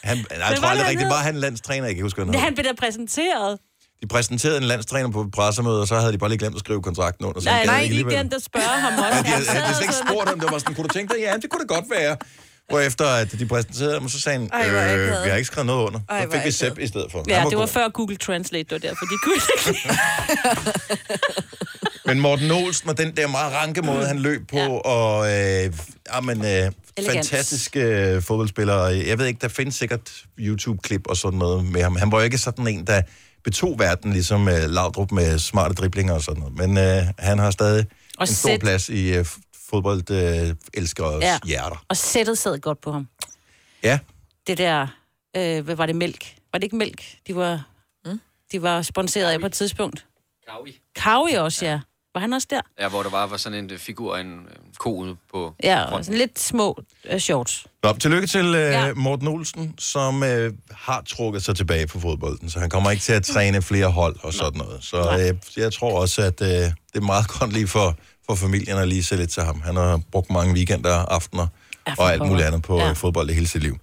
Speaker 1: Han, nej, jeg
Speaker 3: hvad var
Speaker 1: tror
Speaker 3: det,
Speaker 1: aldrig
Speaker 3: han
Speaker 1: rigtigt,
Speaker 3: hed?
Speaker 1: var han landstræner? Jeg kan ikke huske, hvad han
Speaker 3: Det,
Speaker 1: hed.
Speaker 3: han blev da præsenteret.
Speaker 1: De præsenterede en landstræner på et pressemøde, og så havde de bare lige glemt at skrive kontrakten under. Så han
Speaker 3: Nej,
Speaker 1: gad
Speaker 3: nej,
Speaker 1: ikke
Speaker 3: lige
Speaker 1: alligevel.
Speaker 3: den, der spørger ham også.
Speaker 1: Ja, de havde, havde slet ikke spurgt ham, det var sådan, kunne du tænke dig? Ja, det kunne det godt være. Hvorefter at de præsenterede ham, og så sagde han,
Speaker 3: Ej, hvor
Speaker 1: øh,
Speaker 3: akavet.
Speaker 1: vi har ikke skrevet noget under.
Speaker 3: Ej,
Speaker 1: så
Speaker 3: hvor
Speaker 1: fik vi
Speaker 3: akavet.
Speaker 1: Sepp i stedet for. Han
Speaker 3: Ja, det var
Speaker 1: god.
Speaker 3: før Google Translate, det var derfor, de kunne ikke
Speaker 1: Men Morten Olsen og den der meget ranke måde, han løb på, ja. og øh, jamen, øh, fantastisk øh, fodboldspiller. Jeg ved ikke, der findes sikkert YouTube-klip og sådan noget med ham. Han var jo ikke sådan en, der betog verden, ligesom øh, Laudrup med smarte driblinger og sådan noget. Men øh, han har stadig
Speaker 3: Og
Speaker 1: en stor
Speaker 3: sæt.
Speaker 1: plads i øh, fodboldelskers øh, ja.
Speaker 3: Ja.
Speaker 1: hjerter.
Speaker 3: Og sættet sad godt på ham.
Speaker 1: Ja,
Speaker 3: Det der, øh, hvad var det, mælk? Var det ikke mælk, de var, mm? de var sponsoreret af på et tidspunkt?
Speaker 8: Kaui.
Speaker 3: Kaui også, ja. Var han også der?
Speaker 8: Ja, hvor der bare var sådan en øh, figur af en øh, ko ude på...
Speaker 3: Ja, og sådan lidt små øh, shorts.
Speaker 1: Nå, tillykke til øh, ja. Morten Olsen, som øh, har trukket sig tilbage på fodbolden, så han kommer ikke til at træne flere hold og sådan noget. Så øh, jeg tror også, at øh, det er meget godt lige for, for familien at lige se lidt til ham. Han har brugt mange weekender, aftener og alt muligt andet på ja. fodbold i hele sit liv.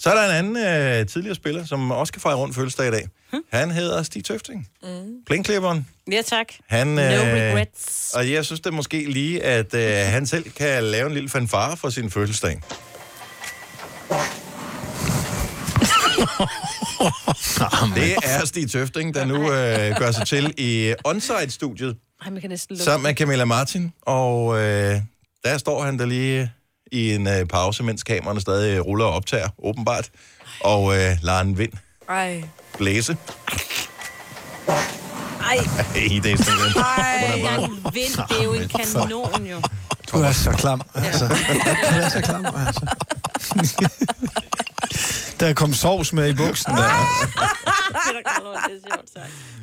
Speaker 1: Så er der en anden øh, tidligere spiller, som også kan fejre rundt fødselsdag i dag. Han hedder Stig Tøfting,
Speaker 3: Mm.
Speaker 1: plænklipperen.
Speaker 3: Ja, tak.
Speaker 1: Han,
Speaker 3: no
Speaker 1: øh,
Speaker 3: regrets.
Speaker 1: Og jeg synes det måske lige, at øh, han selv kan lave en lille fanfare for sin fødselsdag. det er Stig Tøfting, der nu øh, gør sig til i Onsite-studiet
Speaker 3: Ej, man kan næsten lukke.
Speaker 1: sammen med Camilla Martin. Og øh, der står han der lige i en øh, pause, mens kameraerne stadig ruller og optager, åbenbart. Og øh, lader en vind
Speaker 5: Ej.
Speaker 1: blæse.
Speaker 3: Ej.
Speaker 1: Ej, det er sådan lidt.
Speaker 3: Ej, engang vind, det er jo en kanon, jo.
Speaker 11: Du er så klam, altså. Du er så klam, altså. Der kom sovs med i buksen der.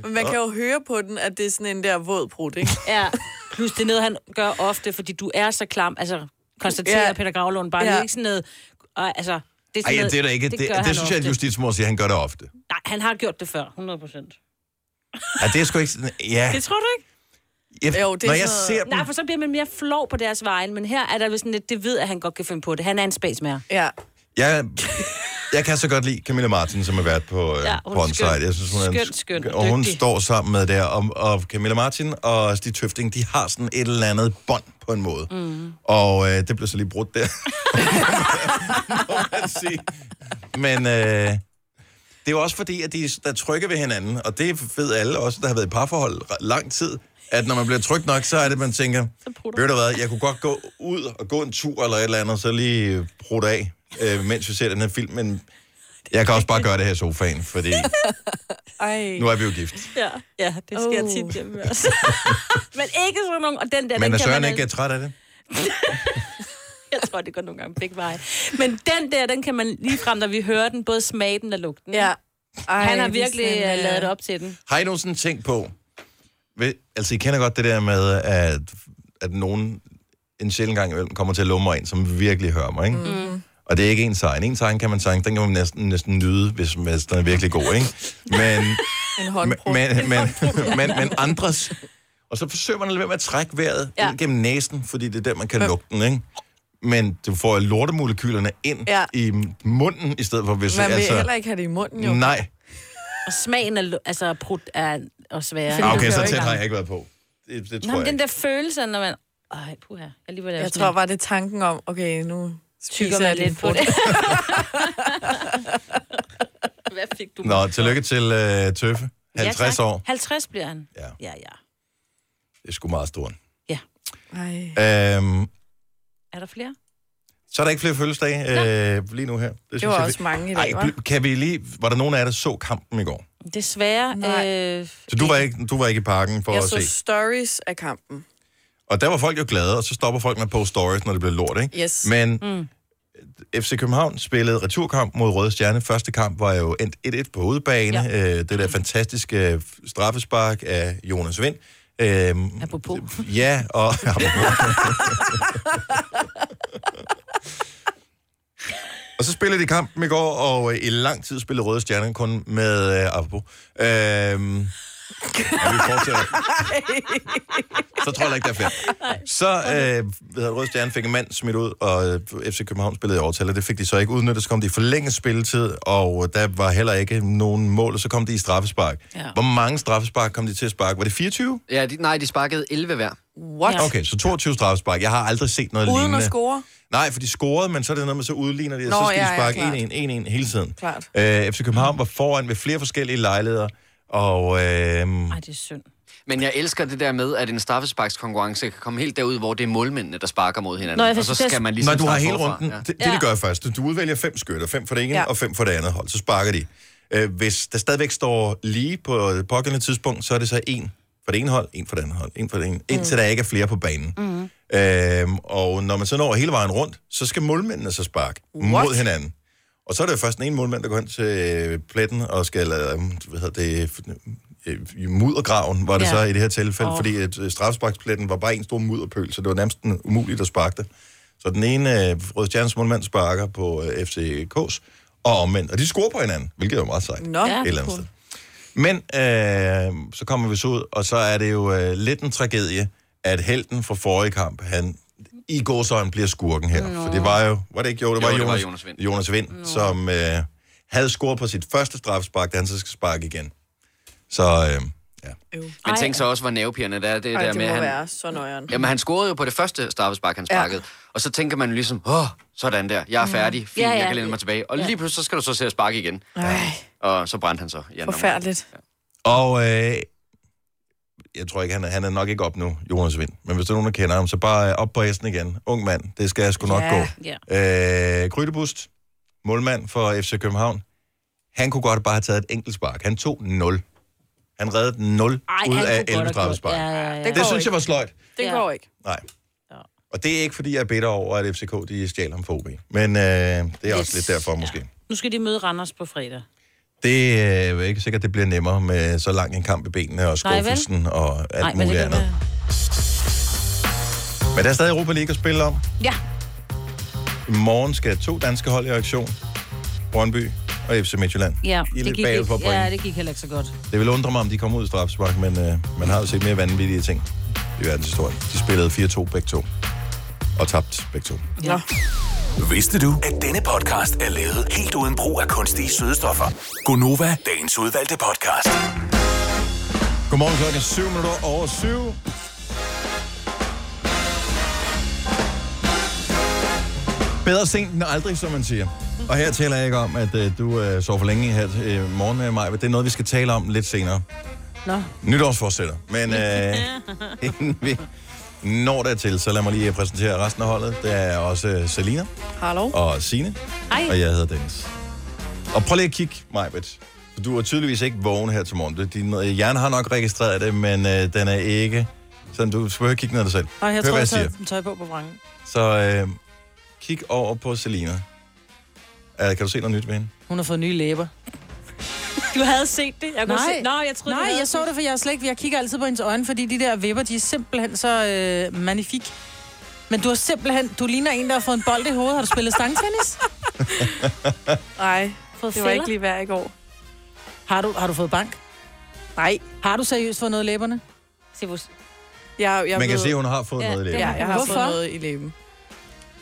Speaker 5: Men man kan jo høre på den, at det er sådan en der våd brud, ikke?
Speaker 3: Ja, plus det er noget, han gør ofte, fordi du er så klam. Altså, konstaterer
Speaker 5: Ja.
Speaker 3: ja. Peter Gravlund bare. Ja. Det er ikke sådan noget... Og, altså, det er sådan
Speaker 1: Ej, ja,
Speaker 3: noget,
Speaker 1: det er da ikke. Det, det,
Speaker 3: gør
Speaker 1: det,
Speaker 3: han
Speaker 1: det synes jeg, at
Speaker 3: ofte.
Speaker 1: justitsmor siger, at han gør det ofte.
Speaker 3: Nej, han har gjort det før, 100 procent.
Speaker 1: Ja, det er sgu ikke sådan... Ja.
Speaker 3: Det tror du ikke?
Speaker 1: Jeg, når jeg ser dem...
Speaker 3: Nej, for så bliver man mere flov på deres vejen, men her er der vist sådan lidt, det ved, at han godt kan finde på det. Han er en spasmager.
Speaker 5: Ja.
Speaker 1: Jeg, jeg kan så godt lide Camilla Martin, som er vært på, ja,
Speaker 3: Ja,
Speaker 1: på
Speaker 3: hun er
Speaker 1: Onsite.
Speaker 3: skøn.
Speaker 1: Jeg synes, hun er en-
Speaker 3: Skøn, skøn og
Speaker 1: Og hun
Speaker 3: dygtig.
Speaker 1: står sammen med der, og, og Camilla Martin og Stig Tøfting, de har sådan et eller andet bånd på en måde. Mm. Og øh, det blev så lige brudt der. Må man sige. Men øh, det er jo også fordi, at de der trykker ved hinanden, og det ved alle også, der har været i parforhold re- lang tid, at når man bliver trygt nok, så er det, man tænker, ved du hvad, jeg kunne godt gå ud og gå en tur eller et eller andet, så lige brudt af, øh, mens vi ser den her film, men jeg kan også bare gøre det her i sofaen, fordi
Speaker 5: Ej.
Speaker 1: nu er vi jo gift.
Speaker 3: Ja, ja det sker oh. tit hjemme også. men ikke sådan nogen, og den der,
Speaker 1: Men
Speaker 3: den
Speaker 1: er
Speaker 3: kan
Speaker 1: Søren
Speaker 3: man
Speaker 1: ikke
Speaker 3: al-
Speaker 1: træt af det?
Speaker 3: Jeg tror, det går nogle gange begge veje. Men den der, den kan man lige frem, når vi hører den, både smage den og lugte den. Ja.
Speaker 5: Ej,
Speaker 3: Ej, han har
Speaker 5: det er
Speaker 3: virkelig
Speaker 5: sådan,
Speaker 3: øh,
Speaker 5: øh,
Speaker 3: lavet det op til den.
Speaker 1: Har I nogensinde tænkt på, ved, altså I kender godt det der med, at, at nogen en sjældent gang imellem kommer til at lumre en, som virkelig hører mig, ikke? Mm. Og det er ikke ens egen. Ens egen kan man sange, den kan man næsten, næsten nyde, hvis, hvis den er virkelig god, ikke? Men,
Speaker 5: En
Speaker 1: men,
Speaker 5: håndbrud.
Speaker 1: men, men, men, men andres. Og så forsøger man at lade være med at trække vejret ja.
Speaker 5: Ja.
Speaker 1: ind gennem næsen, fordi det er der, man kan lugte den, ikke? Men du får lortemolekylerne ind ja.
Speaker 5: Ja.
Speaker 1: i munden, i stedet for hvis... altså-
Speaker 5: Man vil heller ikke have det i munden, jo.
Speaker 1: Nej.
Speaker 3: Og smagen af, lu- altså, prut er og sværere.
Speaker 1: Ah, okay, så tæt har jeg ikke været på. Det, det
Speaker 3: Nå,
Speaker 1: tror jeg
Speaker 3: men den
Speaker 1: ikke.
Speaker 3: der følelse, når man... Ej, puha. Jeg, lige var
Speaker 5: Jeg tror bare, det er tanken om, okay, nu
Speaker 3: Tykker
Speaker 5: spiser
Speaker 3: man
Speaker 5: jeg
Speaker 3: lidt
Speaker 5: lidt
Speaker 3: på
Speaker 5: på det.
Speaker 3: Hvad fik du?
Speaker 1: Nå, tillykke til uh, Tøffe. 50
Speaker 3: ja,
Speaker 1: ja,
Speaker 3: tak.
Speaker 1: år.
Speaker 3: 50 bliver han.
Speaker 1: Ja.
Speaker 3: Ja, ja.
Speaker 1: Det er sgu meget stort.
Speaker 3: ja.
Speaker 5: Ej.
Speaker 1: Øhm,
Speaker 3: Er der flere?
Speaker 1: Så er der ikke flere fødselsdage øh, lige nu her. Det,
Speaker 3: var
Speaker 1: jeg,
Speaker 3: også
Speaker 1: vi-
Speaker 3: mange i dag,
Speaker 1: Ej,
Speaker 3: hva'?
Speaker 1: bl- kan vi lige... Var der nogen af jer, der så kampen i går?
Speaker 3: Desværre. Øh,
Speaker 1: Så du var ikke, du var ikke i parken for
Speaker 5: jeg
Speaker 1: at
Speaker 5: så
Speaker 1: se?
Speaker 5: stories af kampen.
Speaker 1: Og der var folk jo glade, og så stopper folk med at poste stories, når det bliver lort, ikke?
Speaker 5: Yes.
Speaker 1: Men
Speaker 5: Mm.
Speaker 1: FC København spillede returkamp mod Røde Stjerne. Første kamp var jo endt 1-1 på udebane. Ja. Øh, det der fantastiske øh, straffespark af Jonas Vind. Øhm,
Speaker 3: Apropos.
Speaker 1: ja, og... og så spillede de kampen i går, og øh, i lang tid spillede Røde Stjerne kun med... Øh, apropos. Øhm, og vi fortsætter. Så tror jeg ikke, der er flere. Så øh, ved jeg, Røde Stjerne fik en mand smidt ud, og øh, FC København spillede i overtal, og det fik de så ikke udnyttet. Så kom de i forlænget spilletid, og øh, der var heller ikke nogen mål, og så kom de i straffespark. Ja. Hvor mange straffespark kom de til at sparke? Var det 24?
Speaker 8: Ja, de, nej, de sparkede 11 hver.
Speaker 5: What?
Speaker 1: Okay, så 22 straffespark. Jeg har aldrig set noget
Speaker 5: Uden
Speaker 1: lignende.
Speaker 5: at score?
Speaker 1: Nej, for de scorede, men så er det noget med, så udligner de, og
Speaker 5: Nå,
Speaker 1: så skal
Speaker 5: ja,
Speaker 1: de
Speaker 5: ja, klart.
Speaker 1: sparke 1-1, 1-1 hele tiden.
Speaker 5: Klart.
Speaker 1: Øh, FC København var foran ved flere forskellige lejligheder, og... Øh,
Speaker 3: det er synd.
Speaker 8: Men jeg elsker det der med, at en straffesparkskonkurrence kan komme helt derud, hvor det er målmændene, der sparker mod hinanden.
Speaker 3: Nå, jeg
Speaker 8: og så
Speaker 3: synes, det er-
Speaker 8: skal man ligesom
Speaker 1: Når du har
Speaker 8: starte
Speaker 1: hele
Speaker 8: forfra.
Speaker 1: runden, ja. det, det
Speaker 3: Ja.
Speaker 1: de gør først, du udvælger fem skytter, fem for det ene
Speaker 3: Ja.
Speaker 1: ja. og fem for det andet hold, så sparker de. Øh, hvis der stadigvæk står lige på det pågældende tidspunkt, så er det så en for det ene hold, en for det andet hold, en for det ene, mm. indtil der ikke er flere på banen.
Speaker 12: Mm.
Speaker 1: Øhm, og når man så når hele vejen rundt, så skal målmændene så sparke What? mod hinanden. Og så er det jo først den ene målmand, der går hen til øh, pletten og skal, øh, hvad hedder det, øh, i muddergraven var det
Speaker 12: Ja.
Speaker 1: ja. så i det her tilfælde,
Speaker 12: Åh.
Speaker 1: oh. fordi at øh, strafsparkspletten var bare en stor mudderpøl, så det var nærmest en- umuligt at sparke det. Så den ene øh, Røde Stjernes målmand sparker på øh, FCK's, og omvendt. Og de scorer på hinanden, hvilket er jo meget sejt.
Speaker 5: Nå.
Speaker 1: et eller andet sted. Men øh, så kommer vi så ud, og så er det jo øh, lidt en tragedie, at helten fra forrige kamp, han i gåsøjne bliver skurken her.
Speaker 12: Nå.
Speaker 1: For det var jo, var det ikke? Jo, det
Speaker 8: Jo,
Speaker 1: var,
Speaker 8: det var
Speaker 1: Jonas,
Speaker 8: Jonas Vind.
Speaker 1: Jonas Vind som øh, havde scoret på sit første strafspark, da han så skal sparke igen. Så øh,
Speaker 8: Men tænk så også, hvor nervepirrende det er, det
Speaker 5: Ej,
Speaker 8: der
Speaker 5: det
Speaker 8: med,
Speaker 5: må
Speaker 8: at han,
Speaker 5: være så nøjeren.
Speaker 8: Jamen, han scorede jo på det første straffespark, han
Speaker 5: Ja.
Speaker 8: sparkede. Ja. Og så tænker man jo ligesom, åh, sådan der, jeg er
Speaker 5: Mm.
Speaker 8: færdig, fint,
Speaker 5: Ja,
Speaker 8: ja,
Speaker 5: ja.
Speaker 8: ja. jeg kan læne mig tilbage. Og
Speaker 5: Ja.
Speaker 8: lige pludselig, så skal du så se at sparke igen.
Speaker 5: Ej,
Speaker 8: Og så brændte han så. i anden omgang.
Speaker 5: forfærdeligt.
Speaker 1: Og øh, jeg tror ikke, han er, han er nok ikke op nu, Jonas Vind. Men hvis der er nogen, der kender ham, så bare øh, op på hesten igen. Ung mand, det skal jeg sgu nok
Speaker 12: Ja,
Speaker 1: gå. Øh, Krydebust, målmand for FC København. Han kunne godt bare have taget et enkelt spark. Han tog 0. Han reddede 0
Speaker 12: han
Speaker 1: ud
Speaker 12: kunne
Speaker 1: af
Speaker 12: godt
Speaker 1: 11
Speaker 12: have
Speaker 1: straffespark.
Speaker 12: gjort- ja, ja, ja. Det
Speaker 1: Det,
Speaker 12: går
Speaker 1: det synes
Speaker 12: ikke.
Speaker 1: jeg var sløjt.
Speaker 5: Det går ikke.
Speaker 1: Nej. Og det er ikke, fordi jeg er bitter over, at FCK de stjal ham for OB. Men øh, det er også lidt derfor, måske.
Speaker 3: Nu skal de møde Randers på fredag.
Speaker 1: Det øh, er jo ikke sikkert, det bliver nemmere med så lang en kamp i benene og
Speaker 3: Nej, vel?
Speaker 1: skuffelsen og alt
Speaker 3: Nej,
Speaker 1: Nej,
Speaker 3: men det
Speaker 1: muligt
Speaker 3: kan
Speaker 1: andet. Men der er stadig Europa League at spille om.
Speaker 3: Ja.
Speaker 1: I morgen skal to danske hold i aktion. Brøndby og FC Midtjylland.
Speaker 3: Ja,
Speaker 1: I er lidt bagud på point.
Speaker 3: ja, det gik heller ikke så godt.
Speaker 1: Det vil undre mig, om de kommer ud i strafspark, men øh, man har jo set mere vanvittige ting i verdenshistorien. De spillede 4-2 begge to. Og tabt begge to.
Speaker 5: Ja.
Speaker 13: Vidste du, at denne podcast er lavet helt uden brug af kunstige sødestoffer? Gonova, dagens udvalgte podcast.
Speaker 1: Godmorgen klokken er 7 minutter over 7. Bedre sent end aldrig, som man siger. Og her taler jeg ikke om, at øh, du øh, sover for længe her øh, morgen med mig. Det er noget, vi skal tale om lidt senere.
Speaker 2: Nå.
Speaker 1: Nytårsforsætter. Men øh, inden vi når dertil, så lad mig lige øh, præsentere resten af holdet. Der er også øh, Selina
Speaker 5: Hallo.
Speaker 1: og Sine.
Speaker 5: Hej.
Speaker 1: Og jeg hedder Dennis. Og prøv lige at kigge, Majbet. Du er tydeligvis ikke vågen her til morgen. Du- Din øh, hjerne har nok registreret det, men øh, den er ikke... Sådan, du skal ikke kigge ned af dig selv.
Speaker 2: Og jeg
Speaker 1: Hør,
Speaker 2: tror, jeg
Speaker 1: hvad jeg siger.
Speaker 2: tager tøj på på vrangen.
Speaker 1: Så øh, kig over på Selina. Uh, kan du se noget nyt ved hende?
Speaker 2: Hun har fået nye læber.
Speaker 3: Du havde set det? Jeg kunne Se... Nå, jeg troede,
Speaker 2: Nej,
Speaker 3: du havde
Speaker 2: jeg så det, for jeg, er slet ikke, jeg kigger altid på hendes øjne, fordi de der vipper, de er simpelthen så øh, magnifik. Men du har simpelthen, du ligner en, der har fået en bold i hovedet. Har du spillet stangtennis?
Speaker 5: Nej,
Speaker 2: Fået
Speaker 5: det var
Speaker 2: fælder?
Speaker 5: ikke lige værd i går.
Speaker 2: Har du, har du fået bank?
Speaker 5: Nej.
Speaker 2: Har du seriøst fået noget i læberne?
Speaker 3: Se, hvor...
Speaker 5: Jeg, jeg
Speaker 1: Man kan
Speaker 5: ved-
Speaker 1: se, hun har fået noget i læben.
Speaker 5: Ja, jeg har
Speaker 2: Hvorfor?
Speaker 5: fået noget i læben.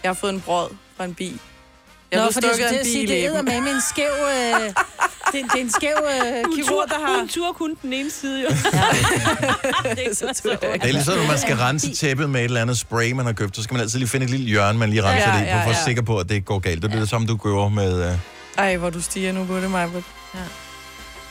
Speaker 5: Jeg har fået en brød fra en bi. Jeg
Speaker 2: Jeg Nå,
Speaker 5: blev
Speaker 2: for det,
Speaker 5: stukket af en
Speaker 2: det,
Speaker 5: bi
Speaker 2: sige,
Speaker 5: i
Speaker 2: det
Speaker 5: læben.
Speaker 2: æder med en skæv... Øh, det, det, er en skæv øh,
Speaker 3: Hun
Speaker 2: kirurg,
Speaker 3: tur-
Speaker 2: der har...
Speaker 3: hun
Speaker 2: tur kun den ene side, jo.
Speaker 1: Det er ligesom, når man skal rense tæppet med et eller andet spray, man har købt. Så skal man altid lige finde et lille hjørne, man lige renser
Speaker 5: Ja,
Speaker 1: det i, for
Speaker 5: ja,
Speaker 1: at
Speaker 5: ja.
Speaker 1: være sikker på, at det ikke går galt. Det er det samme, du gør med... Øh,
Speaker 5: Ej, hvor du stiger nu på det, Majbert. Ja.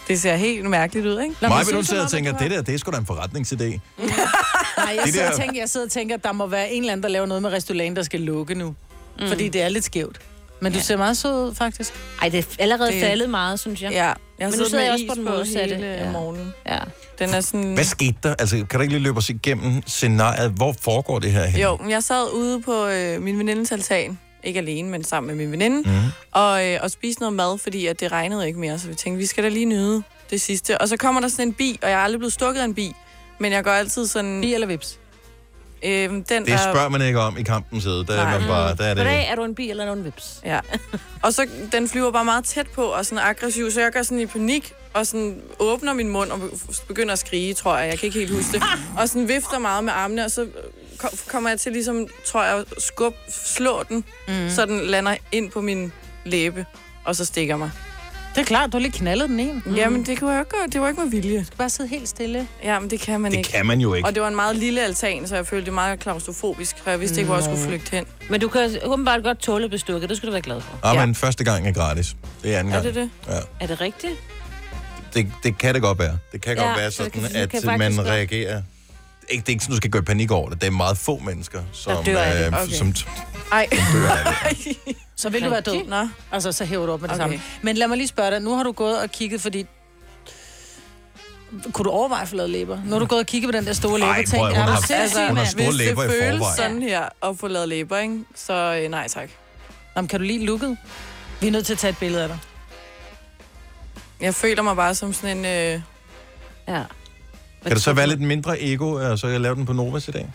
Speaker 5: Det ser helt mærkeligt ud, ikke?
Speaker 1: Mig vil du sidde og tænker, det der, det er sgu da en forretningsidé.
Speaker 2: Nej, jeg
Speaker 1: Det
Speaker 2: sidder,
Speaker 1: der-
Speaker 2: og tænker, jeg sidder og tænker, at der må være en eller anden, der laver noget med Restylane, der skal lukke nu. Mm. Fordi det er lidt skævt. Men du ser meget sød ud, faktisk.
Speaker 3: Ej, det er allerede faldet meget, synes jeg.
Speaker 5: Ja, jeg har
Speaker 3: Men nu
Speaker 5: siddet
Speaker 3: sidder
Speaker 5: med
Speaker 3: jeg også
Speaker 5: is
Speaker 3: på den
Speaker 5: på
Speaker 3: modsatte.
Speaker 5: hele
Speaker 3: Ja.
Speaker 5: morgenen.
Speaker 3: Ja.
Speaker 5: Den er sådan...
Speaker 1: Hvad skete der? Altså, kan du ikke lige løbe os igennem scenariet? Hvor foregår det her hen?
Speaker 5: Jo, men jeg sad ude på øh, min venindes altan. Ikke alene, men sammen med min veninde.
Speaker 1: Mhm.
Speaker 5: Og, øh, og spiste noget mad, fordi at det regnede ikke mere. Så vi tænkte, vi skal da lige nyde det sidste. Og så kommer der sådan en bi, og jeg er aldrig blevet stukket af en bi. Men jeg går altid sådan...
Speaker 2: Bi eller vips?
Speaker 5: Øhm, den,
Speaker 1: Det
Speaker 5: der...
Speaker 1: spørger man ikke om i kampens side. Der er man Øh, bare, der er det.
Speaker 5: Goddag,
Speaker 3: er du en bi eller en vips?
Speaker 5: Ja. Og så den flyver bare meget tæt på og sådan aggressiv, så jeg gør sådan i panik og sådan åbner min mund og begynder at skrige, tror jeg. Jeg kan ikke helt huske det. Og sådan vifter meget med armene, og så kom- kommer jeg til ligesom, tror jeg, at skub, slå den,
Speaker 2: Mhm.
Speaker 5: mm. så den lander ind på min læbe, og så stikker mig.
Speaker 2: Det er klart, du har lige knaldet den en.
Speaker 5: Mm. Jamen, det kunne jeg jo ikke gøre. Det var ikke med vilje. Du
Speaker 2: skal bare sidde helt stille.
Speaker 5: Jamen, det kan man
Speaker 1: Det
Speaker 5: ikke.
Speaker 1: kan man jo ikke.
Speaker 5: Og det var en meget lille altan, så jeg følte det meget klaustrofobisk, og jeg vidste ikke, hvor jeg skulle
Speaker 3: Nå.
Speaker 5: flygte hen.
Speaker 3: Mm. Men du kan åbenbart godt tåle bestukket, det skal du være glad for.
Speaker 1: Ah, men første gang er gratis. Det er anden
Speaker 3: Er
Speaker 1: gang.
Speaker 3: det det?
Speaker 1: Ja.
Speaker 3: Er det rigtigt?
Speaker 1: Det, det kan det godt være. Det kan
Speaker 3: Ja,
Speaker 1: godt være
Speaker 3: så det kan-
Speaker 1: sådan,
Speaker 3: det
Speaker 1: at
Speaker 3: kan faktisk
Speaker 1: man
Speaker 3: godt-
Speaker 1: reagerer. Ikke, det er ikke sådan, du skal gå i panik over det. Det er meget få mennesker, som... øh,
Speaker 2: dør af det. Okay.
Speaker 1: som
Speaker 5: Ej.
Speaker 2: så vil du være død. Nå. Altså, så hæver du op med det okay.
Speaker 5: Okay.
Speaker 2: samme. Men lad mig lige spørge dig. Nu har du gået og kigget, fordi... Kunne du overveje flade læber? Nu har du gået og kigget på den der store læber.
Speaker 1: Ej, prøv at- hun
Speaker 2: er
Speaker 1: har-
Speaker 2: du sindssyg,
Speaker 1: hun har
Speaker 2: mand?
Speaker 1: store læber i
Speaker 5: Hvis det føles
Speaker 1: forvejen.
Speaker 5: sådan her at få lavet læber, ikke? så øh, nej tak.
Speaker 2: Jamen, kan du lige lukket? Vi er nødt til at tage et billede af dig.
Speaker 5: Jeg føler mig bare som sådan en... Øh...
Speaker 3: Ja.
Speaker 1: Kan det så være lidt mindre ego, og så kan jeg lave den på Novas i dag?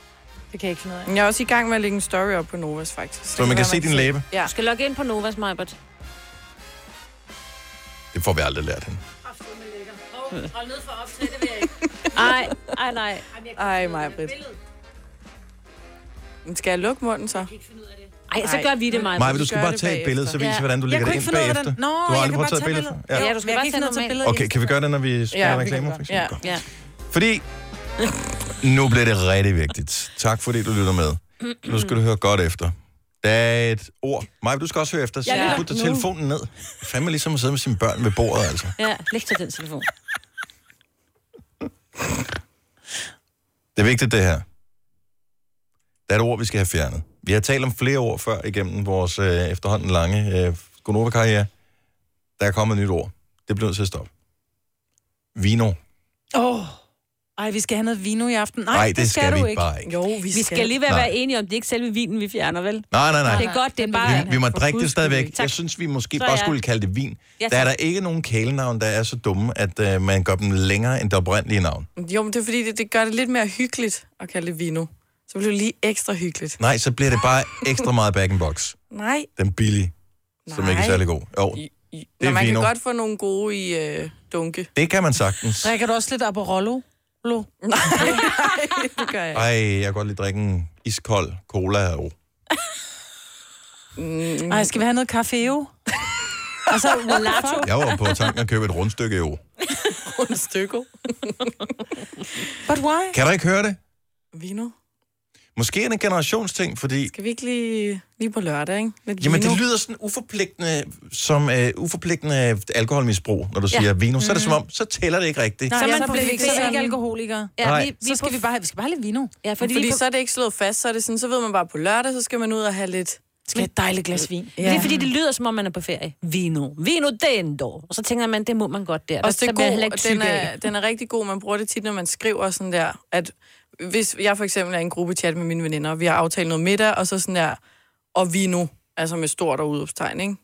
Speaker 2: Det kan jeg ikke finde ud
Speaker 5: Jeg er også i gang med at lægge en story op på Novas, faktisk.
Speaker 1: Så
Speaker 5: Det
Speaker 1: man kan
Speaker 5: være,
Speaker 1: se din læbe?
Speaker 5: Ja.
Speaker 3: Du skal logge ind på Novas, Majbert.
Speaker 1: Det får vi aldrig lært hende.
Speaker 3: Hold ned for opslag, det vil jeg ikke. Ej, ej, nej.
Speaker 5: Ej, mig, Britt. Skal jeg lukke munden så?
Speaker 3: Ej, så gør vi det, Maja.
Speaker 1: Maja, du skal bare tage et billede, så viser vi, hvordan du lægger det ind bagefter.
Speaker 2: den. Nå,
Speaker 1: du
Speaker 2: jeg
Speaker 1: har aldrig
Speaker 2: kan
Speaker 1: prøvet
Speaker 2: bare
Speaker 1: at tage
Speaker 2: tage
Speaker 1: et billede?
Speaker 2: billedet. Jo,
Speaker 3: Ja, du skal
Speaker 2: men jeg kan
Speaker 3: bare
Speaker 2: ikke
Speaker 3: tage
Speaker 2: finde ud af at tage
Speaker 3: normalt.
Speaker 2: billeder.
Speaker 1: Okay, kan vi gøre det, når vi spiller
Speaker 2: Ja, vi
Speaker 1: reklamer, for
Speaker 2: Ja.
Speaker 1: eksempel?
Speaker 2: ja.
Speaker 1: Fordi nu bliver det rigtig vigtigt. Tak fordi du lytter med. Nu skal du høre godt efter. Der er et ord. Maja, du skal også høre efter, så
Speaker 3: Jeg
Speaker 1: ja.
Speaker 3: lytter
Speaker 1: putte
Speaker 3: nu.
Speaker 1: telefonen ned. Fandme ligesom at sidde med sine børn ved bordet, altså.
Speaker 3: Ja, læg til den telefon.
Speaker 1: Det er vigtigt, det her. Der er et ord, vi skal have fjernet. Vi har talt om flere ord før igennem vores øh, efterhånden lange øh, Gonova-karriere. Der er kommet et nyt ord. Det bliver nødt til at stoppe. Vino.
Speaker 2: Åh. Oh. Ej, vi skal have noget vino i aften. Nej,
Speaker 1: Nej,
Speaker 2: det,
Speaker 1: det skal
Speaker 2: du
Speaker 1: vi
Speaker 2: ikke.
Speaker 1: bare ikke.
Speaker 2: Jo, vi,
Speaker 3: Vi skal lige være,
Speaker 1: Nej.
Speaker 3: være enige om, det er ikke selve vinen, vi fjerner, vel?
Speaker 1: Nej, nej, nej.
Speaker 3: Det er godt, det er bare...
Speaker 1: Vi, vi må
Speaker 3: For
Speaker 1: drikke
Speaker 3: guds skyld.
Speaker 1: det stadigvæk.
Speaker 3: Tak.
Speaker 1: Jeg synes, vi måske
Speaker 3: Så
Speaker 1: bare
Speaker 3: ja.
Speaker 1: skulle kalde det vin.
Speaker 3: Ja,
Speaker 1: Der er
Speaker 3: tak.
Speaker 1: der ikke nogen kælenavn, der er så dumme, at øh, man gør dem længere end det oprindelige navn.
Speaker 5: Jo, men det er fordi, det, det gør det lidt mere hyggeligt at kalde det vino. Så bliver det lige ekstra hyggeligt.
Speaker 1: Nej, så bliver det bare ekstra meget back in box.
Speaker 5: Nej.
Speaker 1: Den billige, som ikke er
Speaker 5: Nej.
Speaker 1: særlig god. Jo, det
Speaker 5: Nå,
Speaker 1: er
Speaker 5: man
Speaker 1: vino.
Speaker 5: kan godt få nogle gode i øh, dunke.
Speaker 1: Det kan man sagtens.
Speaker 2: Drikker du også lidt Aperolo? Lo?
Speaker 5: Nej, det gør jeg ikke.
Speaker 1: Ej, jeg kan godt lige drikke en iskold cola. Jo.
Speaker 5: Mm.
Speaker 2: Ej, skal vi have noget kaffe? Og så Lato.
Speaker 1: Jeg var på tanken at købe et rundstykke. Jo.
Speaker 5: Rundt stykke.
Speaker 2: But why?
Speaker 1: Kan du ikke høre det?
Speaker 5: Vino.
Speaker 1: Måske er det en generationsting, fordi
Speaker 5: Skal vi ikke lige, lige på lørdag, ikke? Lidt
Speaker 1: Jamen,
Speaker 5: vino.
Speaker 1: det lyder sådan uforpligtende, som øh, uforpligtende alkoholmisbrug, når du
Speaker 2: Ja.
Speaker 1: siger vino. Så er det som
Speaker 2: Mhm.
Speaker 1: om, så tæller det ikke rigtigt.
Speaker 2: Nej, så, man
Speaker 5: Mm-hmm. så
Speaker 2: bliver
Speaker 5: bliver
Speaker 2: vi
Speaker 5: vi
Speaker 2: ikke,
Speaker 5: ikke
Speaker 2: så er vi ikke
Speaker 5: sådan-
Speaker 2: alkoholikere.
Speaker 1: Ja, Nej. vi-
Speaker 2: så skal vi bare have, vi skal bare have lidt vino.
Speaker 3: Ja,
Speaker 5: Fordi, fordi så er det ikke slået fast, så er det sådan, så ved man bare på lørdag, så skal man ud og have lidt...
Speaker 2: Skal et dejligt glas vin.
Speaker 3: Ja. Det er fordi, det lyder, som om man er på ferie. Vino. Vino den dog. Og så tænker man, det må man godt der.
Speaker 5: Også
Speaker 3: Der-
Speaker 5: det
Speaker 3: der
Speaker 5: er
Speaker 3: bliver jeg heller
Speaker 5: god,
Speaker 3: ikke
Speaker 5: den,
Speaker 3: tyk af.
Speaker 5: er, den er rigtig god. Man bruger det tit, når man skriver sådan der, at hvis jeg for eksempel er i en gruppechat med mine veninder, og vi har aftalt noget middag, og så sådan der, og vino, altså med stort og udopstegn, ikke?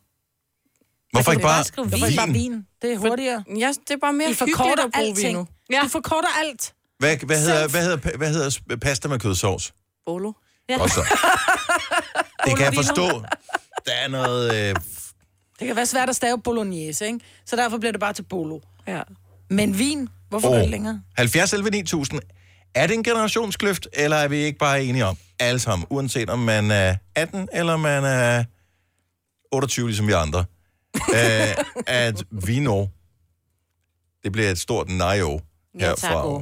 Speaker 1: Hvorfor ikke bare,
Speaker 2: Hvorfor ikke bare vin? Det er hurtigere.
Speaker 5: Ja, det er bare mere
Speaker 2: I
Speaker 5: hyggeligt
Speaker 2: forkorter
Speaker 5: at bruge
Speaker 2: alting.
Speaker 5: vino.
Speaker 2: Ja. Du forkorter alt.
Speaker 1: Hvad, hvad, hedder, hvad, hedder, hvad hedder sp- pasta med kødsovs?
Speaker 5: Bolo.
Speaker 2: Ja.
Speaker 1: Godt så. Det kan jeg
Speaker 2: Bolovino.
Speaker 1: forstå. Der er noget... Øh,
Speaker 2: Det kan være svært at stave bolognese, ikke? Så derfor bliver det bare til bolo.
Speaker 5: Ja.
Speaker 2: Men vin, hvorfor oh.
Speaker 1: åh,
Speaker 2: det længere?
Speaker 1: 70 11 9000. Er det en generationskløft, eller er vi ikke bare enige om? Alle sammen, uanset om man er 18, eller man er 28, ligesom vi andre. øh, at vino, det bliver et stort nejo
Speaker 3: Ja, tak,
Speaker 1: herfra.
Speaker 3: åh.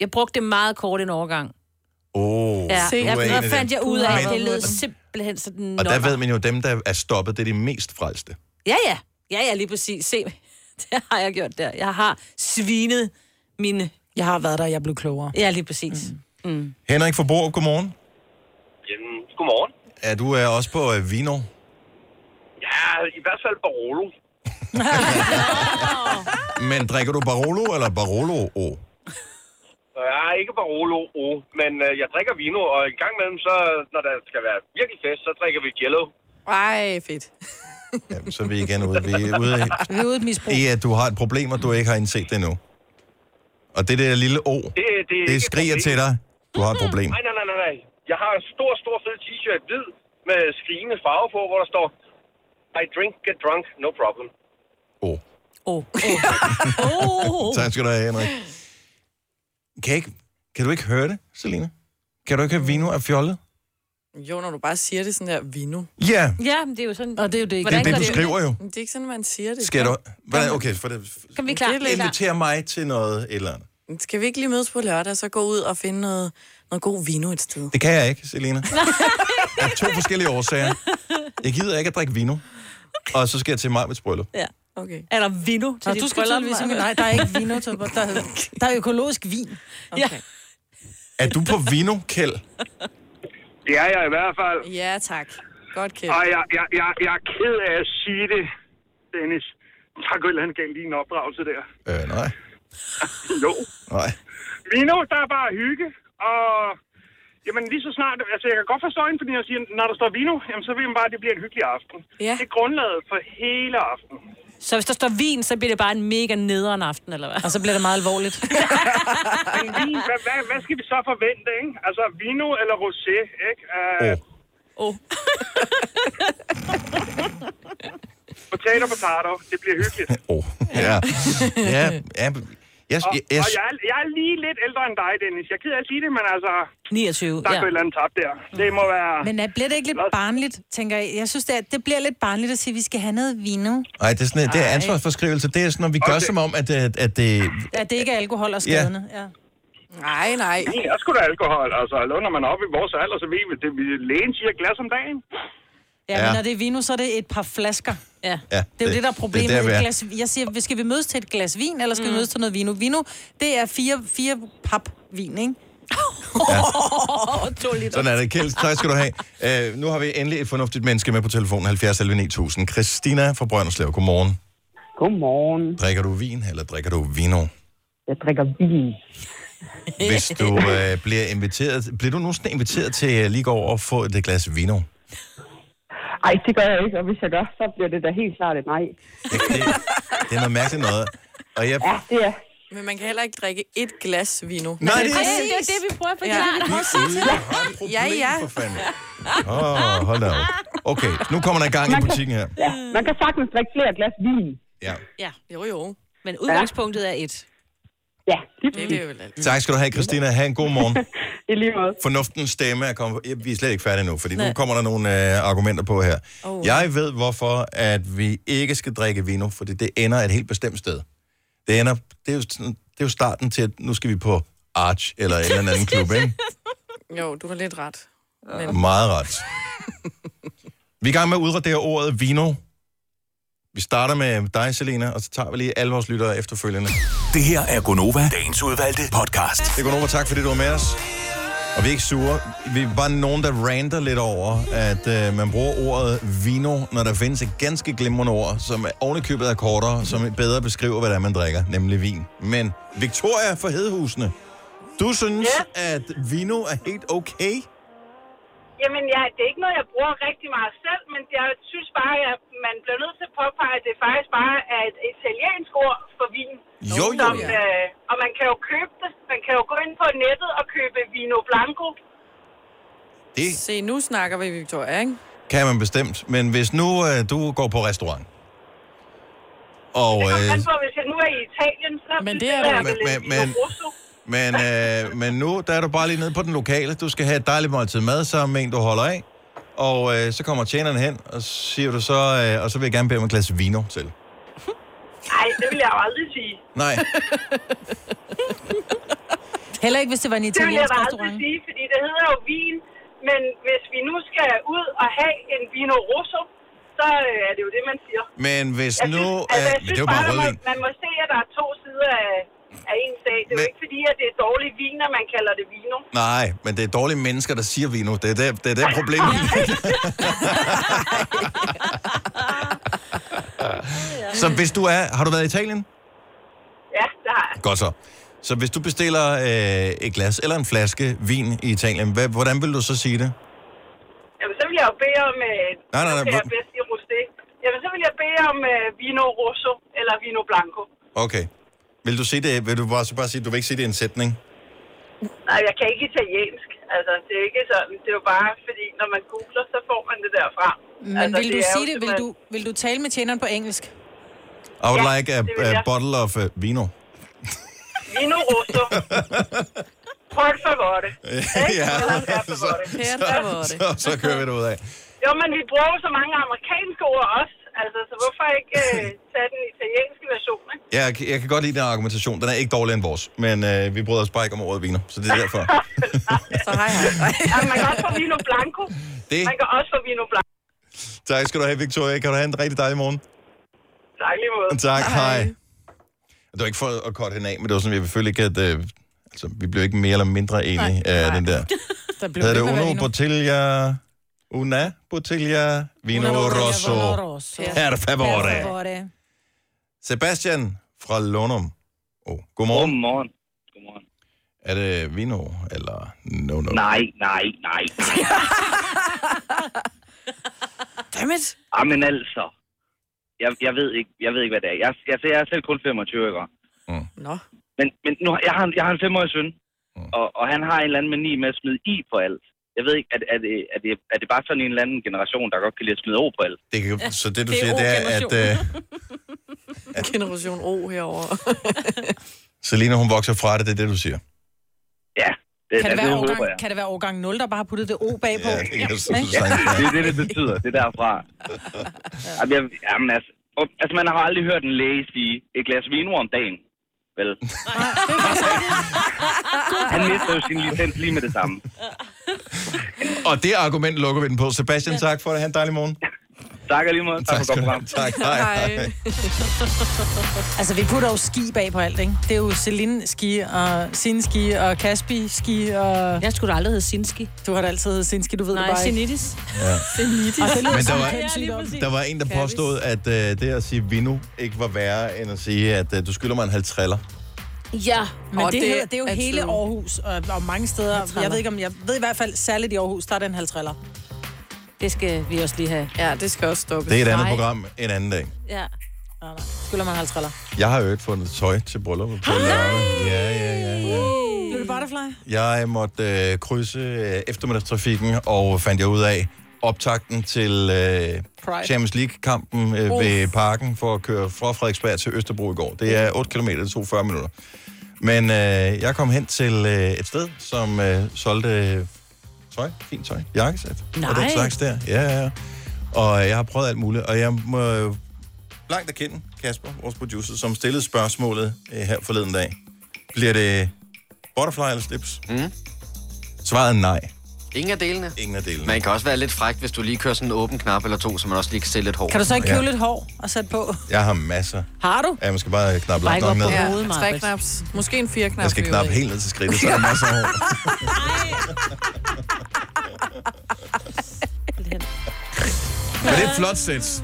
Speaker 3: Jeg brugte det meget kort en overgang.
Speaker 1: Åh,
Speaker 3: Ja,
Speaker 1: du er
Speaker 3: jeg,
Speaker 1: en af
Speaker 3: der
Speaker 1: dem.
Speaker 3: fandt jeg ud af, at det
Speaker 1: Men-
Speaker 3: lød simpelthen sådan...
Speaker 1: Og der
Speaker 3: nummer.
Speaker 1: ved man jo, dem, der er stoppet, det er de mest frelste.
Speaker 3: Ja, ja. Ja, ja, lige præcis. Se, det har jeg gjort der. Jeg har svinet mine...
Speaker 2: Jeg har været der, jeg blev klogere.
Speaker 3: Ja, lige præcis. Mm. Mm.
Speaker 1: Henrik fra Borup, godmorgen.
Speaker 12: Jamen, godmorgen.
Speaker 1: er du øh, også på øh, Vino?
Speaker 12: Ja, i hvert fald Barolo.
Speaker 1: Men drikker du Barolo eller Barolo O?
Speaker 12: Jeg er Øh, ikke Barolo, oh, men øh, jeg drikker vino, og en gang imellem, så, når der skal være virkelig fest, så drikker vi Jello.
Speaker 5: Ej, fedt.
Speaker 1: Så er vi igen ude. Vi er ude i,
Speaker 2: Vi er ude i et misbrug.
Speaker 1: i, at du har et problem, og du ikke har indset det endnu. Og det der lille O, det,
Speaker 12: det,
Speaker 1: det skriger til dig. Du har et problem.
Speaker 12: Mm. Nej, nej, nej, nej, nej. Jeg har en stor, stor fed t-shirt, hvid, med skrigende farve på, hvor der står, I drink, get drunk, no problem.
Speaker 3: Oh.
Speaker 1: Oh. tak skal du have, Henrik. Kan, jeg ikke, kan du ikke høre det, Selina? Kan du ikke høre, Vino er fjollet?
Speaker 5: Jo, når du bare siger det sådan der, vino.
Speaker 1: Ja,
Speaker 3: Ja, men det er jo sådan...
Speaker 2: Og det er jo det,
Speaker 1: Hvordan Det er det, gør du det? skriver jo.
Speaker 5: Det er ikke sådan, man siger det.
Speaker 1: skal du... Hvordan, okay, for det,
Speaker 3: Kan vi
Speaker 5: klare det? er lidt-
Speaker 1: inviter mig til noget et eller andet.
Speaker 5: Skal vi ikke lige mødes på lørdag, og så gå ud og finde noget, noget god vino et sted?
Speaker 1: Det kan jeg ikke, Selina. Af to forskellige årsager. Jeg gider ikke at drikke vino. Og så skal jeg til mig med bryllup.
Speaker 3: Ja.
Speaker 5: Okay.
Speaker 3: Er der vino til
Speaker 2: Nå,
Speaker 3: dit
Speaker 2: du skal
Speaker 3: bryllup,
Speaker 2: tydeligvis ikke...
Speaker 3: Maja?
Speaker 2: Nej, der er ikke vino til... Der er, der er økologisk vin. Okay. Ja.
Speaker 1: Er du på vino, Kjeld?
Speaker 12: Det er jeg i hvert fald.
Speaker 5: Ja, tak. Godt, Kjeld.
Speaker 12: Og jeg, jeg, jeg, jeg er ked af at sige det, Dennis. Tak, Øl, han gav lige en opdragelse der.
Speaker 1: Øh, nej.
Speaker 12: jo.
Speaker 1: Nej.
Speaker 12: Vino, der er bare hygge, og... Jamen lige så snart, altså jeg kan godt forstå hende, fordi jeg siger, når der står vino, jamen så ved man bare, at det bliver en hyggelig aften.
Speaker 5: Ja.
Speaker 12: Det er grundlaget for hele aftenen.
Speaker 3: Så hvis der står vin, så bliver det bare en mega nederen aften, eller hvad? Og så bliver det meget alvorligt.
Speaker 12: Men vin, hvad, hvad, hvad skal vi så forvente, ikke? Altså vino eller rosé, ikke? Uh,
Speaker 3: oh.
Speaker 12: potato, potato, det bliver hyggeligt.
Speaker 1: Ja. Ja, ja. Jeg,
Speaker 12: Og,
Speaker 1: jeg, jeg,
Speaker 12: og jeg, er, jeg er lige lidt ældre end dig, Dennis. Jeg er ked af at sige det, men altså... Der er
Speaker 3: 29,
Speaker 2: ja.
Speaker 12: et eller andet tab der. Det må være...
Speaker 2: Men er, bliver det ikke lidt barnligt, tænker jeg? Jeg synes, det, er, det bliver lidt barnligt at sige, at vi skal have noget vino.
Speaker 1: ej, det er, sådan, det er ansvarsforskrivelse. Det er sådan, når vi gør som om, at, at, at øh, det...
Speaker 2: Ja, det ikke er alkohol og skadende. Ja.
Speaker 5: Nej, nej.
Speaker 12: Det er sgu da alkohol. Altså, når man er oppe i vores alder, så ved vi, det, vi- lægen siger et glas om dagen.
Speaker 2: Ja,
Speaker 1: Ja.
Speaker 2: men når det er vino, så er det et par flasker. Ja.
Speaker 1: Ja,
Speaker 2: Det er jo det, der er problemet.
Speaker 1: det er der, vi er.
Speaker 2: et glas, jeg siger, skal vi mødes til et glas vin, eller skal mm. vi mødes til noget vino? Vino, det er fire, fire pap vin, ikke?
Speaker 1: Ja.
Speaker 3: to liter.
Speaker 1: Sådan er det. Kjeld, tak skal du have. Øh, nu har vi endelig et fornuftigt menneske med på telefonen 70 11 9000. Christina fra Brønderslev, godmorgen.
Speaker 14: Godmorgen.
Speaker 1: Drikker du vin, eller drikker du vino?
Speaker 14: Jeg drikker vin.
Speaker 1: Hvis du øh, bliver inviteret... Bliver du nogensinde inviteret til øh, lige gå over og få et glas vino?
Speaker 14: Ej, det gør jeg ikke, og hvis jeg gør, så bliver det da helt klart et nej.
Speaker 1: Det er noget mærkeligt noget. Og jeg,
Speaker 14: Det er.
Speaker 5: Men man kan heller ikke drikke et glas vino.
Speaker 1: Nej, det er-
Speaker 5: Præcis.
Speaker 3: Det er det, vi prøver at forklare.
Speaker 5: Ja.
Speaker 3: Vi
Speaker 5: Ja, ja.
Speaker 1: Åh, oh, hold da op. Okay, nu kommer der gang i butikken her.
Speaker 14: Ja, man kan sagtens drikke flere glas vin.
Speaker 3: Ja, jo jo. Men udgangspunktet er et.
Speaker 14: Ja,
Speaker 5: det vil vel altid.
Speaker 1: Tak skal du have, Christina. Ha' en god morgen.
Speaker 14: I lige måde.
Speaker 1: Fornuftens stemme er kommet... Ja, Vi er slet ikke færdige nu, fordi Nej.
Speaker 14: Nej.
Speaker 1: nu kommer der nogle øh, argumenter på her.
Speaker 14: Oh.
Speaker 1: Oh. Jeg ved, hvorfor at vi ikke skal drikke vino, fordi det ender et helt bestemt sted. Det, ender, det, er, jo, sådan- det er jo starten til, at nu skal vi på Arch eller en eller anden klub, ikke?
Speaker 5: Jo, du har lidt ret. Men...
Speaker 1: Meget ret. Vi er i gang med at udradere ordet vino. Vi starter med dig, Selena, og så tager vi lige alle vores lyttere efterfølgende.
Speaker 13: Det her er Gonova, dagens udvalgte podcast.
Speaker 1: Det er Gunova, tak fordi du var med os. Og vi er ikke sure. Vi er bare nogen, der rander lidt over, at øh, man bruger ordet vino, når der findes et ganske glimrende ord, som ovenikøbet er kortere, som bedre beskriver, hvad det er, man drikker, nemlig vin. Men Victoria fra Hedehusene, du synes, ja. at vino er helt okay?
Speaker 15: Jamen, ja, det er ikke noget, jeg bruger rigtig meget selv, men jeg synes bare, at man bliver nødt til at påpege, at det faktisk bare er et italiensk ord for vin.
Speaker 1: Jo, jo,
Speaker 15: som,
Speaker 1: ja.
Speaker 15: øh, og man kan jo købe det. Man kan jo gå ind på nettet og købe Vino Blanco.
Speaker 1: Det
Speaker 5: Se, nu snakker vi, Victoria, ikke?
Speaker 1: kan man bestemt. Men hvis nu øh, du går på restaurant, og... Øh,
Speaker 15: Men så hvis jeg nu er i Italien, så men det er
Speaker 1: du
Speaker 15: jeg
Speaker 1: ikke.
Speaker 15: vel
Speaker 1: Men-
Speaker 15: men, men,
Speaker 1: men-
Speaker 15: Rosso.
Speaker 1: Men, øh, men nu der er du bare lige nede på den lokale. Du skal have et dejligt måltid mad sammen med en, du holder af. Og øh, så kommer tjeneren hen, og så siger du så, øh, og så vil jeg gerne bede om et glas vino til.
Speaker 15: Nej, det vil jeg jo aldrig sige.
Speaker 1: Nej,
Speaker 2: Heller ikke, hvis det var en
Speaker 15: Det vil jeg
Speaker 2: italiensk
Speaker 15: da aldrig
Speaker 2: restaurant.
Speaker 15: sige, fordi det hedder jo vin. Men hvis vi nu skal ud og have en Vino Rosso, så øh, er det jo det, man siger.
Speaker 1: men hvis
Speaker 15: Jeg
Speaker 1: nu...
Speaker 15: synes,
Speaker 1: Øh,
Speaker 15: altså, jeg
Speaker 1: men
Speaker 15: synes
Speaker 1: det er jo
Speaker 15: bare,
Speaker 1: bare
Speaker 15: man,
Speaker 1: rødvin.
Speaker 15: må, man må se, at der er to sider af, af en sag. Det er jo ikke fordi, at det er dårlige viner, man kalder det vino.
Speaker 1: Nej, men det er dårlige mennesker, der siger vi nu. Det er der, det, er der problemet. så hvis du er... Har du været i Italien?
Speaker 15: Ja, det har jeg.
Speaker 1: Godt så. Så hvis du bestiller øh, et glas eller en flaske vin i Italien, hvad, hvordan vil du så sige det?
Speaker 15: Jamen, så vil jeg jo bede om... Øh,
Speaker 1: Nej, nej, nej,
Speaker 15: Det er
Speaker 1: hvor-
Speaker 15: bedst i rosé. Jamen, så vil jeg bede om øh, vino rosso eller vino blanco.
Speaker 1: Okay. Vil du sige det? Vil du bare, så bare sige, du vil ikke sige det i en sætning?
Speaker 15: Nej, jeg kan ikke italiensk. Altså, det er ikke sådan. Det er jo bare, fordi når man googler, så får man det derfra.
Speaker 2: Men
Speaker 15: altså,
Speaker 2: altså, vil du
Speaker 15: er jo
Speaker 2: sige det? Vil
Speaker 15: simpelthen-
Speaker 2: du, vil du tale med tjeneren på engelsk?
Speaker 1: I would
Speaker 2: Ja,
Speaker 1: like a,
Speaker 2: det vil
Speaker 1: a
Speaker 2: jeg.
Speaker 1: bottle of uh, vino.
Speaker 15: Vino rosso. Por favore.
Speaker 1: ja, så,
Speaker 15: Per
Speaker 1: så, så, så kører vi det ud af.
Speaker 15: Jo, men vi bruger jo så mange amerikanske ord også. Altså, så hvorfor ikke øh, tage den italienske version, ikke?
Speaker 1: Jeg, jeg kan godt lide den her argumentation. Den er ikke dårligere end vores, men øh, vi bryder os bare ikke om ordet vino, så det er derfor.
Speaker 15: altså. Ja, man kan også få vino blanco.
Speaker 1: Det-
Speaker 15: Man kan også få vino blanco.
Speaker 1: tak skal du have, Victoria. Kan du have en rigtig dejlig morgen?
Speaker 15: Tak lige måde.
Speaker 1: Tak, hej. Det var ikke for at korte hende af, men det var sådan, at vi selvfølgelig ikke, at øh, altså, vi blev ikke mere eller mindre enige af den der.
Speaker 2: Der
Speaker 1: Hedder det Uno Bottiglia... Una Bottiglia Vino Rosso. Per favore. Sebastian fra Lundum. Oh, godmorgen.
Speaker 16: Godmorgen.
Speaker 1: Er det vino, eller no, no?
Speaker 16: Nej, nej, nej.
Speaker 5: Dammit.
Speaker 16: Jamen altså. Jeg, jeg, ved ikke, jeg ved ikke, hvad det er. Jeg, jeg, jeg er selv kun 25, ikke?
Speaker 1: Mm.
Speaker 5: Nå.
Speaker 16: Men, men nu, har- jeg, har, en- jeg har en femårig søn,
Speaker 1: Mm.
Speaker 16: og, og han har en eller anden mani med at smide i på alt. Jeg ved ikke, er, det- er, det, er, det, er det bare sådan en eller anden generation, der godt kan lide at smide O på alt?
Speaker 1: Det kan, så det, du Det er siger, det er, at, øh, O-generationen.
Speaker 5: Generation O herover.
Speaker 1: Selina, hun vokser fra det, det er det, du siger.
Speaker 16: Ja,
Speaker 2: Kan det, være årgang, kan det være årgang 0, der bare har puttet det O bagpå?
Speaker 1: Ja, det kan
Speaker 2: Ikke?
Speaker 16: Ja, det er det, det betyder. Det er derfra. Jamen, jeg, jamen altså, og- altså, man har aldrig hørt en læge sige et glas vino om dagen. Vel? Han mister jo sin licens lige med det samme.
Speaker 1: Og det argument lukker vi den på. Sebastian, tak for det. Ha' en dejlig morgen.
Speaker 16: Tak alligevel.
Speaker 1: Tak, tak for godt Tak, hej. hej.
Speaker 2: Altså, vi putter jo ski bag på alt, ikke? Det er jo Celine ski og Sinski og Kaspi ski og...
Speaker 3: Jeg skulle da aldrig hedde Sinski.
Speaker 2: Du har da altid heddet Sinski, du ved
Speaker 3: Nej,
Speaker 2: det bare
Speaker 3: Sinitis.
Speaker 1: Ja.
Speaker 2: Sinitis. Og det lyder
Speaker 1: Men der
Speaker 2: som
Speaker 1: var,
Speaker 2: en kendt sygdom.
Speaker 1: der var en, der påstod, at øh, det at sige vino ikke var værre, end at sige, at øh, du skylder mig en halv triller.
Speaker 2: Ja, men
Speaker 3: og
Speaker 2: det,
Speaker 3: det
Speaker 2: det, hedder, det er jo
Speaker 3: er
Speaker 2: hele
Speaker 3: true.
Speaker 2: Aarhus og, og mange steder. Jeg ved ikke om jeg ved i hvert fald særligt i Aarhus, der er den halvtriller.
Speaker 3: Det skal vi også lige have.
Speaker 5: Ja, det skal også stoppe.
Speaker 1: Det er et andet program en anden dag.
Speaker 3: Ja.
Speaker 2: Nej, nej. Skylder man halvtriller.
Speaker 1: Jeg har jo ikke fundet tøj til brylluppet på lørdag. Ja, ja, ja.
Speaker 2: Uh. Blev det butterfly?
Speaker 1: Jeg måtte øh, krydse øh, eftermiddagstrafikken, og fandt jeg ud af optakten til øh,
Speaker 2: Pride.
Speaker 1: Champions League-kampen øh,
Speaker 2: Uf.
Speaker 1: ved parken for at køre fra Frederiksberg til Østerbro i går. Det er 8 km, det tog 40 minutter. Men øh, jeg kom hen til øh, et sted, som øh, solgte øh, tøj, fint tøj, jakkesæt. Og
Speaker 13: Nej.
Speaker 1: den slags der. Ja, ja, ja. Og øh, jeg har prøvet alt muligt, og jeg må øh, blankt erkende Kasper, vores producer, som stillede spørgsmålet øh, her forleden dag. Bliver det butterfly eller slips? Mm. Svaret er nej.
Speaker 8: Ingen af delene.
Speaker 1: Ingen af delene.
Speaker 8: Man kan også være lidt fræk, hvis du lige kører sådan en åben knap eller to, så man også lige kan se lidt hår.
Speaker 2: Kan du så ikke købe
Speaker 8: Ja.
Speaker 2: lidt hår og sætte på?
Speaker 1: Jeg har masser.
Speaker 2: Har du?
Speaker 1: Ja, man skal bare knappe langt nok ned.
Speaker 5: tre knaps. Måske en fire knap.
Speaker 1: Jeg skal knappe helt ned til skridtet, så er der masser af hår. Men det er et flot sæt.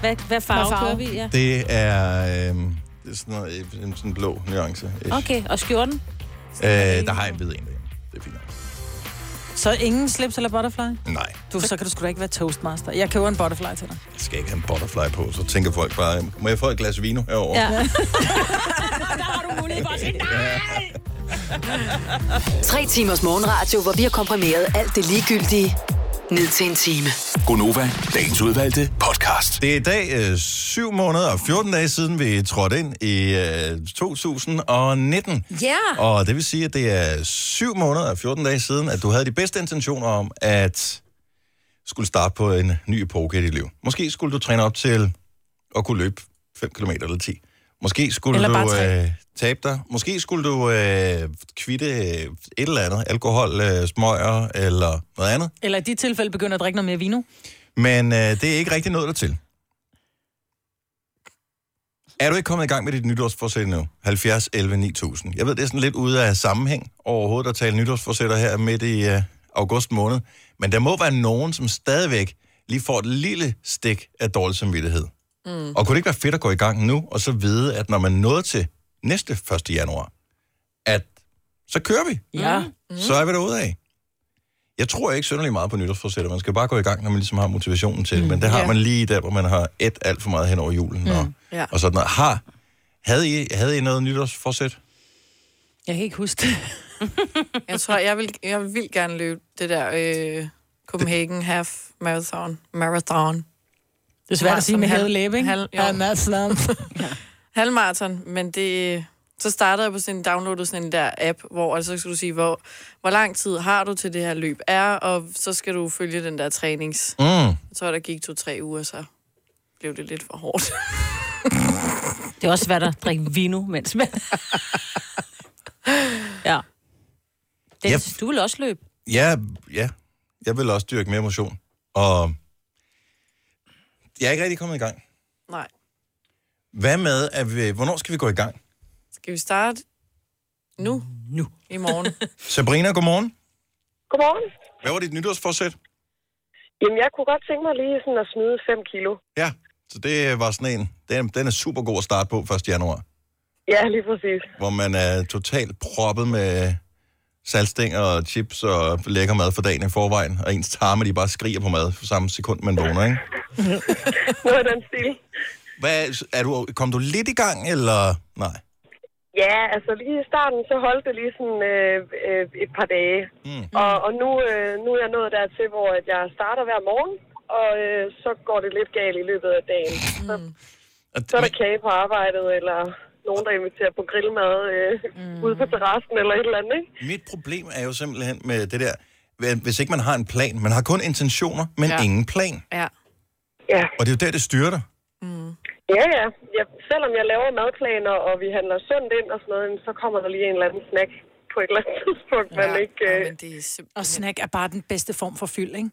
Speaker 3: Hvad, hvad farve,
Speaker 2: Hvad farve?
Speaker 3: kører vi? Ja.
Speaker 1: Det er, øh, det er sådan, noget, øh, sådan en blå nuance.
Speaker 3: Okay, og skjorten?
Speaker 1: Øh, der har jeg en hvid en.
Speaker 2: Så ingen slips eller butterfly?
Speaker 1: Nej,
Speaker 2: Du, så kan du sgu da ikke være toastmaster. Jeg køber en butterfly til dig.
Speaker 1: jeg skal ikke have en butterfly på. Så tænker folk bare, må jeg få et glas vino herovre?
Speaker 7: Tre timers morgenradio, hvor vi har komprimeret alt det ligegyldige ned til en time.
Speaker 13: Gonova, dagens udvalgte podcast.
Speaker 1: Det er i dag øh, 7 måneder og 14 dage siden, vi trådte ind i øh, 2019.
Speaker 3: Ja.
Speaker 1: Og det vil sige, at det er 7 måneder og 14 dage siden, at du havde de bedste intentioner om, at skulle starte på en ny epoke i dit liv. Måske skulle du træne op til at kunne løbe 5 km eller 10. Måske skulle
Speaker 13: Eller bare
Speaker 1: du
Speaker 13: tre.
Speaker 1: øh, tabe dig. Måske skulle du øh, kvitte øh, et eller andet. Alkohol, øh, smøger eller noget andet.
Speaker 2: Eller i dit tilfælde begynder at drikke noget mere vino.
Speaker 1: Men øh, det er ikke rigtig noget der til. Er du ikke kommet i gang med dit nytårsforsæt endnu? 70, 11, 9000. Jeg ved, det er sådan lidt ude af sammenhæng overhovedet at tale nytårsforsætter her midt i øh, august måned. Men der må være nogen, som stadigvæk lige får et lille stik af dårlig samvittighed.
Speaker 7: Mm.
Speaker 1: Og kunne det ikke være fedt at gå i gang nu, og så vide, at når man nåede til næste 1. januar, at så kører vi.
Speaker 2: Ja.
Speaker 1: Mm. Så er vi derude af. Jeg tror ikke synderlig meget på nytårsforsætter. Man skal bare gå i gang, når man ligesom har motivationen til det. Men det har
Speaker 7: Ja.
Speaker 1: man lige der, hvor man har et alt for meget hen over julen. Mm. Og,
Speaker 2: Ja.
Speaker 1: og sådan noget. Har, havde, I, havde I noget nytårsforsæt?
Speaker 2: Jeg kan ikke huske det.
Speaker 5: jeg tror, jeg vil, jeg vil vildt gerne løbe det der øh, Copenhagen Half Marathon. Marathon.
Speaker 2: Det er svært at sige med hævet læbe, ikke?
Speaker 5: Halv,
Speaker 2: Ja, marathon.
Speaker 5: Halvmarathon, men det... Så startede jeg på sådan en downloadet sådan en der app, hvor altså, så skal du sige, hvor, hvor lang tid har du til det her løb er, og så skal du følge den der trænings.
Speaker 1: Mm.
Speaker 5: Jeg tror, der gik to-tre uger, så blev det lidt for hårdt.
Speaker 3: Det er også svært at drikke vino, mens man... ja. Dennis, yep. du vil også løbe.
Speaker 1: Ja, ja. Jeg vil også dyrke mere motion. Og jeg er ikke rigtig kommet i gang.
Speaker 5: Nej.
Speaker 1: Hvad med, at vi, hvornår skal vi gå i gang?
Speaker 5: Skal vi starte nu?
Speaker 3: Nu.
Speaker 5: I morgen.
Speaker 1: Sabrina, godmorgen.
Speaker 17: Godmorgen.
Speaker 1: Hvad var dit nytårsforsæt?
Speaker 17: Jamen, jeg kunne godt tænke mig lige sådan at smide 5 kilo.
Speaker 1: Ja, så det var sådan en. Den, den er super god at starte på 1. januar.
Speaker 17: Ja, lige præcis.
Speaker 1: hvor man er totalt proppet med saltstænger og chips og lækker mad for dagen i forvejen, og ens tarme, de bare skriger på mad for samme sekund, man vågner, ikke?
Speaker 17: Noget af den stil.
Speaker 1: Hvad, er du, kom du lidt i gang, eller nej?
Speaker 17: Ja, altså lige i starten, så holdt det lige sådan øh, øh, et par dage.
Speaker 1: Mm.
Speaker 17: Og, og nu, øh, nu er jeg nået dertil, hvor at jeg starter hver morgen, og øh, så går det lidt galt i løbet af dagen. Så,
Speaker 1: så er
Speaker 17: der kage på arbejdet, eller nogen, der inviterer på grillmad øh, mm. ude på terrassen, eller et eller andet, ikke?
Speaker 1: Mit problem er jo simpelthen med det der, hvis ikke man har en plan, man har kun intentioner, men ja. ingen plan.
Speaker 5: Ja.
Speaker 17: Ja.
Speaker 1: Og det er jo der, det styrter.
Speaker 17: Mm. Ja, ja. Jeg, selvom jeg laver madplaner, og vi handler sundt ind og sådan noget, jamen, så kommer der lige en eller anden snack på et eller andet tidspunkt, ja. man ikke... Øh... Ja, men
Speaker 5: det er
Speaker 2: Og snack er bare den bedste form for fyld, ikke?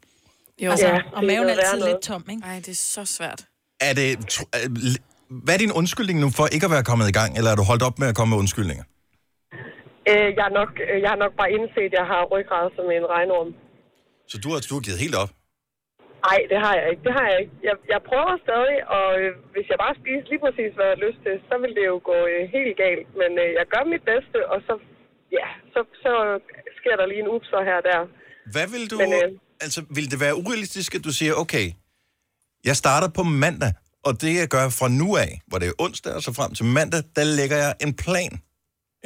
Speaker 5: Jo.
Speaker 2: Altså,
Speaker 5: Ja,
Speaker 2: og
Speaker 5: det
Speaker 2: maven er
Speaker 5: kan være
Speaker 2: altid
Speaker 5: noget.
Speaker 2: lidt tom, ikke?
Speaker 5: Nej, det er så svært.
Speaker 1: Er det, tr- er, l- hvad er din undskyldning nu for ikke at være kommet i gang, eller er du holdt op med at komme med undskyldninger?
Speaker 17: Øh, jeg, er nok, øh, jeg har nok bare indset, at jeg har ryggrad som en regnorm.
Speaker 1: Så du har, du har givet helt op?
Speaker 17: Nej, det har jeg ikke. Det har jeg ikke. Jeg, jeg prøver stadig, og øh, hvis jeg bare spiser lige præcis, hvad jeg har lyst til, så vil det jo gå øh, helt galt. Men øh, jeg gør mit bedste, og så, ja, så, så sker der lige en upser her og der.
Speaker 1: Hvad vil du...
Speaker 17: Men,
Speaker 1: Men,
Speaker 17: øh,
Speaker 1: øh... Altså, vil det være urealistisk, at du siger, okay, jeg starter på mandag, og det jeg gør fra nu af, hvor det er onsdag og så frem til mandag, der lægger jeg en plan.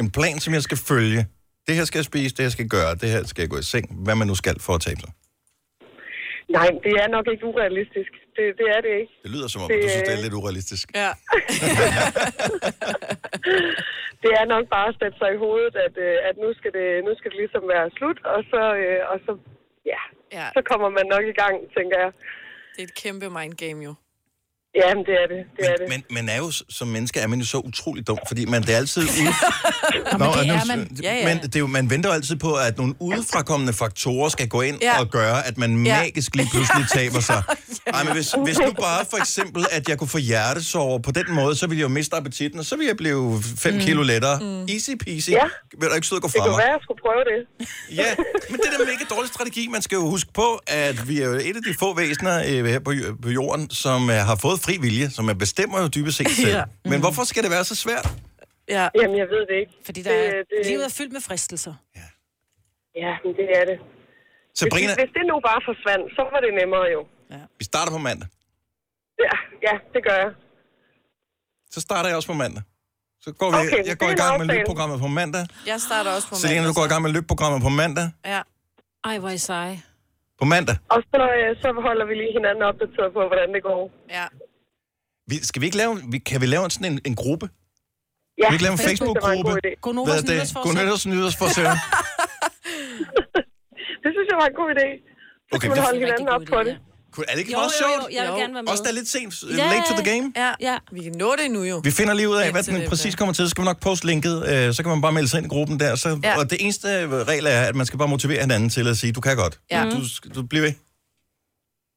Speaker 1: En plan, som jeg skal følge. Det her skal jeg spise, det her skal jeg gøre, det her skal jeg gå i seng, hvad man nu skal for at tabe sig.
Speaker 17: Nej, det er nok ikke urealistisk. Det, det er det ikke.
Speaker 1: Det lyder som om, det... du synes, det er lidt urealistisk.
Speaker 5: Ja.
Speaker 17: det er nok bare at sætte sig i hovedet, at, øh, at nu, skal det, nu skal det ligesom være slut, og så, øh, og så, ja,
Speaker 5: ja,
Speaker 17: så kommer man nok i gang, tænker jeg.
Speaker 5: Det er et kæmpe mind game jo.
Speaker 17: Jamen, det er det. det, er det.
Speaker 1: Men man er jo, s- som menneske er man jo så utrolig dum, fordi man det er altid ude... Nå,
Speaker 5: det
Speaker 1: og nu-
Speaker 5: er man. Ja, ja.
Speaker 1: Men det er jo, man venter jo altid på, at nogle udefrakommende faktorer skal gå ind
Speaker 5: Ja.
Speaker 1: ja. og gøre, at man
Speaker 5: Ja.
Speaker 1: magisk lige pludselig taber sig.
Speaker 5: Ja.
Speaker 1: Ej, men hvis, hvis nu bare for eksempel, at jeg kunne få hjertesover på den måde, så ville jeg jo miste appetitten, og så ville jeg blive 5
Speaker 17: Mm.
Speaker 1: mm. kilo lettere.
Speaker 17: Mm.
Speaker 1: Mm. Easy peasy.
Speaker 17: Ja.
Speaker 1: Ja. Vil du ikke sidde og gå
Speaker 17: Det
Speaker 1: fra
Speaker 17: kunne
Speaker 1: mig?
Speaker 17: være, at jeg skulle prøve det.
Speaker 1: Ja, men det er da ikke dårlig strategi. Man skal jo huske på, at vi er jo et af de få væsener øh, her på, jø- på jorden, som øh, har fået fri vilje, som man bestemmer jo dybest set selv.
Speaker 2: Ja.
Speaker 1: Ja.
Speaker 5: Mm.
Speaker 1: Men hvorfor skal det være så svært?
Speaker 5: Ja.
Speaker 17: Jamen, jeg ved det ikke.
Speaker 2: Fordi der
Speaker 17: det,
Speaker 2: er,
Speaker 17: det-
Speaker 2: livet er fyldt med fristelser.
Speaker 17: Ja, men det er det.
Speaker 1: Sabrina,
Speaker 17: Hvis, hvis det nu bare forsvandt, så var det nemmere jo.
Speaker 1: vi starter på mandag.
Speaker 17: Ja, ja det gør jeg.
Speaker 1: Så starter jeg også på mandag. Så går vi,
Speaker 5: Okay,
Speaker 1: okay,
Speaker 5: det
Speaker 1: jeg går
Speaker 5: er
Speaker 1: i
Speaker 5: en
Speaker 1: gang med
Speaker 5: aftale.
Speaker 1: løbprogrammet på mandag.
Speaker 5: Jeg starter også på
Speaker 1: Selina, du
Speaker 5: mandag.
Speaker 1: går i gang med løbprogrammet på mandag.
Speaker 5: Ja.
Speaker 3: Ej, hvor er I seje.
Speaker 1: På mandag.
Speaker 17: Og så, øh, så holder vi lige hinanden opdateret på, hvordan det går.
Speaker 5: Ja.
Speaker 1: Vi, skal vi ikke lave, vi, kan vi lave en sådan en, en gruppe?
Speaker 17: Ja,
Speaker 1: kan vi ikke lave en
Speaker 17: Facebook, det var en god
Speaker 1: Facebook-gruppe?
Speaker 17: idé. Gonovas
Speaker 1: Hvad er det?
Speaker 17: nytårsforsæt.
Speaker 1: Gonovas nytårsforsæt.
Speaker 17: Det synes jeg var en god idé. Så
Speaker 1: Okay,
Speaker 17: okay, kan man
Speaker 1: det-
Speaker 17: holde hinanden op på det.
Speaker 1: Kunne- Er det ikke
Speaker 5: Jo,
Speaker 1: meget
Speaker 5: jo, jo,
Speaker 1: sjovt?
Speaker 5: jeg vil gerne være med.
Speaker 1: Også der er lidt sent. Yeah. Late to the game.
Speaker 5: Ja. ja. Vi kan nå det nu jo.
Speaker 1: Vi finder lige ud af,
Speaker 5: Lidt
Speaker 1: hvad
Speaker 5: til
Speaker 1: den
Speaker 5: det,
Speaker 1: præcis kommer til. Så skal vi nok poste linket. øh, Så kan man bare melde sig ind i gruppen der. Så,
Speaker 5: Ja.
Speaker 1: ja. Og det eneste øh, regel er, at man skal bare motivere hinanden til at sige, du kan godt.
Speaker 5: Ja.
Speaker 1: Du, sk- du bliver ved.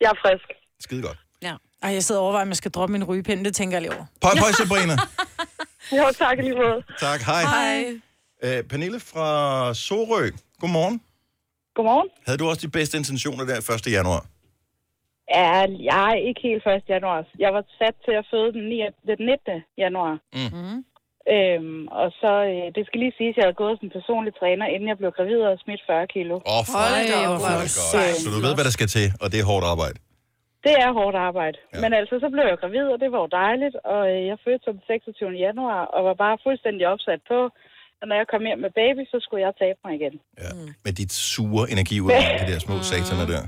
Speaker 17: Jeg er frisk.
Speaker 1: Skide godt.
Speaker 3: Ja.
Speaker 2: Ej, jeg sidder og overvejer, om jeg skal droppe min rygepind. Det tænker jeg lige over.
Speaker 1: Pøj, pøj, Sabrina.
Speaker 2: Jo, tak lige måde.
Speaker 1: Tak, hej.
Speaker 2: Hej.
Speaker 1: Øh, Pernille fra Sorø, godmorgen.
Speaker 18: Godmorgen.
Speaker 1: Havde du også de bedste intentioner der 1. januar?
Speaker 18: Ja, jeg er ikke helt 1. januar. Jeg var sat til at føde den, 9, den 19. januar.
Speaker 1: Mm.
Speaker 18: Øhm, og så, øh, det skal lige siges, at jeg har gået som personlig træner, inden jeg blev gravid og smidt 40 kilo.
Speaker 1: Åh, oh, for
Speaker 18: Hold da op,
Speaker 1: Godt. Så du ved, hvad der skal til, og det er hårdt arbejde.
Speaker 18: Det er hårdt arbejde. Ja. Men altså, så blev jeg gravid, og det var jo dejligt. Og øh, jeg fødte som 26. januar, og var bare fuldstændig opsat på, at når jeg kom hjem med baby, så skulle jeg tabe mig igen.
Speaker 1: Ja. Med dit sure energi ud af de der små sataner der.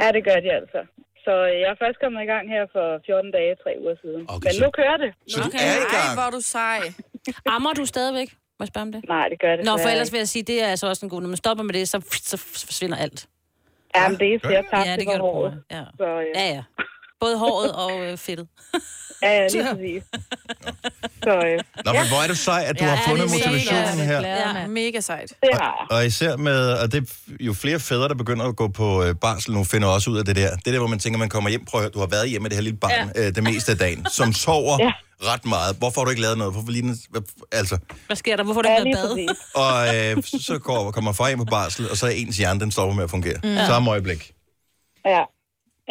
Speaker 18: Ja, det gør de altså. Så øh, jeg er først kommet i gang her for 14 dage, 3 uger siden.
Speaker 1: Okay,
Speaker 18: Men
Speaker 1: så-
Speaker 18: nu kører det.
Speaker 1: så du Okay. er i gang. Ej, hvor
Speaker 3: er du sej. Ammer du stadigvæk? Må jeg spørge om det?
Speaker 18: Nej, det gør det
Speaker 3: Nå, for
Speaker 18: desværre
Speaker 3: ellers
Speaker 18: ikke.
Speaker 3: vil jeg sige, det er altså også en god... Når man stopper med det, så, så forsvinder alt.
Speaker 18: Ja, men det er jeg tabte
Speaker 3: Ja, det
Speaker 18: var
Speaker 3: gør
Speaker 18: håret.
Speaker 3: du. Ja.
Speaker 18: Så, øh,
Speaker 3: ja, ja. Både håret og øh, fedtet.
Speaker 18: Ja, ja, lige præcis. Så, øh,
Speaker 1: Nå, men hvor er du sej, at du har fundet motivationen her.
Speaker 5: Ja, mega sejt.
Speaker 18: Det har jeg.
Speaker 1: Og især med, og det er jo flere fædre, der begynder at gå på øh, barsel nu, finder også ud af det der. Det der, hvor man tænker, man kommer hjem, prøv at høre, du har været hjemme med det her lille barn ja. øh, det meste af dagen, som sover ja. ret meget. Hvorfor har du ikke lavet noget? Hvorfor lige den, hvad- altså,
Speaker 3: Hvad sker der? Hvorfor har du ikke været i bad?
Speaker 1: og øh, så går, kommer far hjem på barsel, og så er ens hjerne, den stopper med at fungere.
Speaker 18: Mm.
Speaker 1: Ja.
Speaker 18: Ja.
Speaker 1: Samme øjeblik.
Speaker 18: Ja.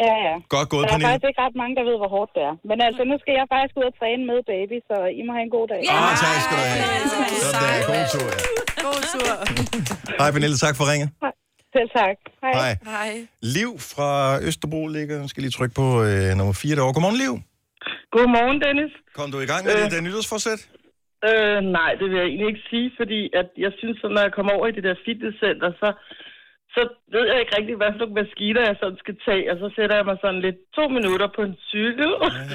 Speaker 18: Ja, ja.
Speaker 1: Godt gået,
Speaker 18: der er
Speaker 1: Pernille.
Speaker 18: faktisk ikke ret mange, der ved, hvor hårdt det er. Men altså, nu skal jeg faktisk ud og træne med baby, så I må have en god dag.
Speaker 1: Ja, ah, tak skal du have. Sådan der, god tur. Ja.
Speaker 5: God tur.
Speaker 1: Hej Pernille, tak for ringet.
Speaker 18: Selv tak. Hej.
Speaker 1: Hej.
Speaker 5: Hej.
Speaker 1: Liv fra Østerbro ligger, jeg skal lige trykke på øh, nummer 4 derovre. Godmorgen, Liv.
Speaker 19: Godmorgen, Dennis.
Speaker 1: Kom du i gang med
Speaker 19: Øh.
Speaker 1: øh. det, der nytårsforsæt?
Speaker 19: Øh, nej, det vil jeg egentlig ikke sige, fordi at jeg synes, at når jeg kommer over i det der fitnesscenter, så, så ved jeg ikke rigtig, hvad for nogle maskiner jeg sådan skal tage, og så sætter jeg mig sådan lidt to minutter på en cykel,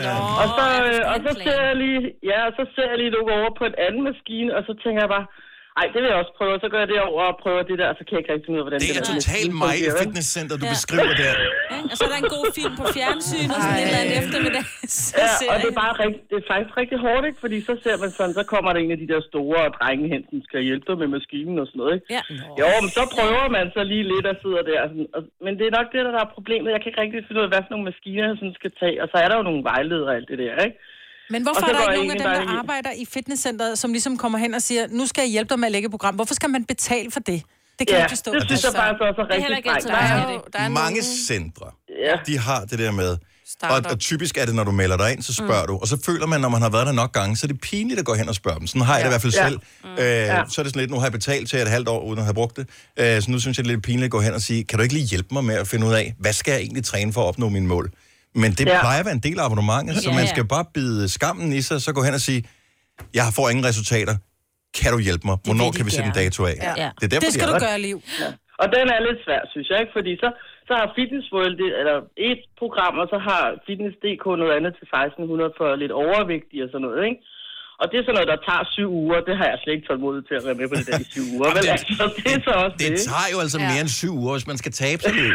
Speaker 19: ja. og, så, øh, og så ser jeg lige, ja, og så ser jeg lige nogle over på en anden maskine, og så tænker jeg bare, ej, det vil jeg også prøve, og så gør jeg det over og prøver det der, og så kan jeg ikke rigtig finde ud af, hvordan det,
Speaker 1: Det er
Speaker 19: der
Speaker 1: totalt mig i fitnesscenteret, du ja. beskriver der.
Speaker 3: Og så er der en god film på fjernsynet, sådan et eller andet eftermiddag. Så
Speaker 19: Ja,
Speaker 3: ser
Speaker 19: og
Speaker 3: jeg-
Speaker 19: det er, bare rigt, det er faktisk rigtig hårdt, ikke? Fordi så ser man sådan, så kommer der en af de der store drenge hen, som skal hjælpe dig med maskinen og sådan noget, ikke?
Speaker 3: Ja.
Speaker 19: Jo, men så prøver man så lige lidt og sidder der. og Sådan, og, men det er nok det, der er problemet. Jeg kan ikke rigtig finde ud af, hvad for nogle maskiner, jeg sådan skal tage. Og så er der jo nogle vejledere og alt det der, ikke?
Speaker 2: Men
Speaker 19: Og
Speaker 2: hvorfor
Speaker 19: så
Speaker 2: er der
Speaker 19: går
Speaker 2: ikke
Speaker 19: jeg
Speaker 2: nogen af
Speaker 19: egentlig
Speaker 2: dem, der
Speaker 19: bare i-
Speaker 2: arbejder i fitnesscenteret, som ligesom kommer hen og siger, nu skal jeg hjælpe dig med at lægge et program. Hvorfor skal man betale for det? Det
Speaker 19: Ja,
Speaker 2: kan jeg ikke forstå. Altså,
Speaker 19: det synes jeg bare så er så
Speaker 2: Det er heller ikke
Speaker 19: rigtig
Speaker 2: altid,
Speaker 19: strengt.
Speaker 2: der er
Speaker 19: Der er
Speaker 2: det.
Speaker 19: jo-
Speaker 1: Altså, Mange centre,
Speaker 19: ja.
Speaker 1: de har det der med. Og, og typisk er det, når du melder dig ind, så spørger mm. du. Og så føler man, når man har været der nok gange, så er det pinligt at gå hen og spørge dem. Sådan har jeg det i hvert fald
Speaker 19: Ja.
Speaker 1: selv.
Speaker 19: Mm.
Speaker 1: Øh,
Speaker 19: Ja.
Speaker 1: Så er det sådan lidt, nu har jeg betalt til et halvt år, uden at have brugt det. Øh, så nu synes jeg, det er lidt pinligt at gå hen og sige, kan du ikke lige hjælpe mig med at finde ud af, hvad skal jeg egentlig træne for at opnå mine mål? Men det
Speaker 19: Ja.
Speaker 1: ja. plejer at være en del af abonnementet, så
Speaker 19: Ja,
Speaker 1: man
Speaker 19: ja.
Speaker 1: skal bare bide skammen i sig, og så gå hen og sige, jeg får ingen resultater. Kan du hjælpe mig? Hvornår
Speaker 19: de
Speaker 1: kan vi sætte en
Speaker 19: gerne.
Speaker 1: dato af?
Speaker 19: Ja.
Speaker 1: Det
Speaker 19: Ja.
Speaker 1: er derfor,
Speaker 19: Det skal
Speaker 1: de er
Speaker 19: du
Speaker 1: der.
Speaker 19: gøre,
Speaker 2: Liv.
Speaker 19: Ja. Og den er lidt svær, synes jeg, ikke? Fordi så, så har Fitness World det, eller et program, og så har Fitness.dk noget andet til 1600 for lidt overvægtige og sådan noget, ikke? Og det er sådan noget, der tager syv uger. Det har jeg slet ikke tålmodighed til at være med på det der i syv uger. Vel,
Speaker 1: det-
Speaker 19: altså, det er så også det.
Speaker 1: Det tager jo altså mere end syv uger, hvis man skal tabe sig. Liv.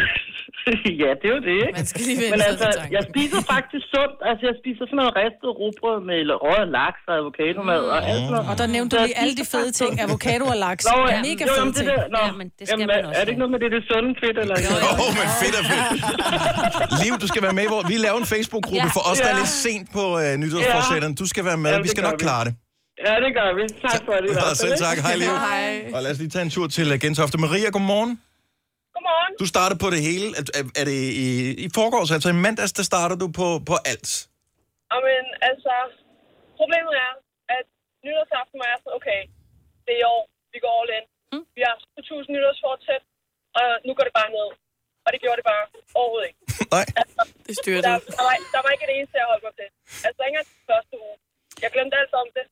Speaker 19: ja, det er jo det, ikke? Man skal
Speaker 1: lige vende
Speaker 19: Men
Speaker 1: sig
Speaker 19: altså,
Speaker 1: til tanken.
Speaker 19: jeg spiser faktisk sundt. Altså, jeg spiser sådan noget ristet rugbrød med røget laks og avocadomad og alt sådan noget.
Speaker 2: Og der nævnte du
Speaker 19: Så jeg
Speaker 2: lige alle de
Speaker 19: spiser
Speaker 2: fede ting. Avocado og laks.
Speaker 19: Nå, ja.
Speaker 2: Mega
Speaker 19: Jo,
Speaker 2: fede
Speaker 19: jamen, det
Speaker 2: ting.
Speaker 19: der- nå.
Speaker 2: Jamen, det skal
Speaker 19: Jamen,
Speaker 2: man
Speaker 19: er-
Speaker 2: også.
Speaker 19: Er det ikke noget med det, det sunde fedt, eller? Jo,
Speaker 1: jo, men fedt og fedt. Liv, du skal være med. i Hvor vi laver en Facebook-gruppe
Speaker 19: Ja.
Speaker 1: for os, der er
Speaker 19: Ja.
Speaker 1: lidt sent på øh, nytårsforsætterne. Du skal være
Speaker 19: Ja,
Speaker 1: med. Vi
Speaker 19: det
Speaker 1: skal
Speaker 19: gør
Speaker 1: nok
Speaker 19: vi.
Speaker 1: klare det.
Speaker 19: Ja, det gør vi. Tak for det. i hvert
Speaker 1: Og
Speaker 19: fald,
Speaker 1: selv
Speaker 19: ikke?
Speaker 1: tak. Hej, Liv. Og lad os lige tage en tur til øh, Gentofte. Maria, godmorgen.
Speaker 17: Godmorgen.
Speaker 1: Du startede på det hele. Er, er- er det i, i forgårs, altså i mandags, der starter du på, på alt.
Speaker 17: Og men altså, problemet er, at nytårsaften var jeg sådan, okay, det er i år, vi går all in.
Speaker 2: Hmm?
Speaker 17: Mm. Vi har 1000 nytårsfortsæt, og nu går det bare ned. Og det gjorde det bare overhovedet ikke.
Speaker 1: Nej.
Speaker 17: Altså,
Speaker 5: Det styrer
Speaker 17: der,
Speaker 5: dig.
Speaker 17: der, var, der var ikke det eneste, jeg holdt mig til. Altså, ikke engang den første uge. Jeg glemte alt om det.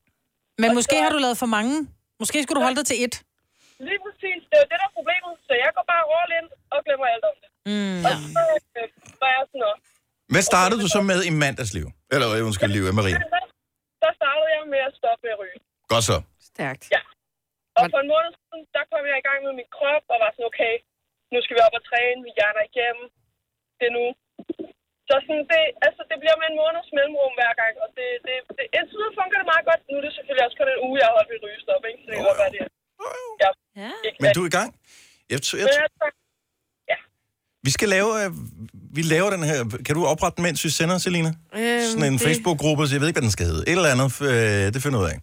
Speaker 2: Men måske har du lavet for mange. Måske skulle du holde dig til et.
Speaker 17: Lige præcis, det er jo det, der er problemet. Så jeg går bare all in og glemmer alt om det.
Speaker 2: Mm.
Speaker 17: Og så øh, var jeg sådan, "Nå,
Speaker 1: Hvad startede du så med i mandags, Liv? Eller øh, undskyld, Liv og Maria.
Speaker 17: så startede jeg med at stoppe med at ryge.
Speaker 1: Godt så.
Speaker 5: Stærkt.
Speaker 17: Ja. Og for en måned siden, der kom jeg i gang med min krop, og var sådan, okay, nu skal vi op og træne, vi hjerner igennem, det er nu. Så sådan, det, altså, det bliver med en måneds mellemrum hver gang, og det, det, det, indtil videre fungerer det meget godt. Nu er det selvfølgelig også kun en uge, jeg har holdt mit rygestop, ikke? Så det kan godt være det. Ja.
Speaker 3: ja.
Speaker 1: Men du er i gang. Øh, Jeg, tror- jeg, tror-
Speaker 17: Men altså,
Speaker 1: vi skal lave... Øh, vi laver den her... Kan du oprette den, mens vi sender, Selina?
Speaker 5: Øhm,
Speaker 1: Sådan en
Speaker 5: det-
Speaker 1: Facebook-gruppe, så jeg ved ikke, hvad den skal hedde. Et eller andet, øh, det finder jeg ud af.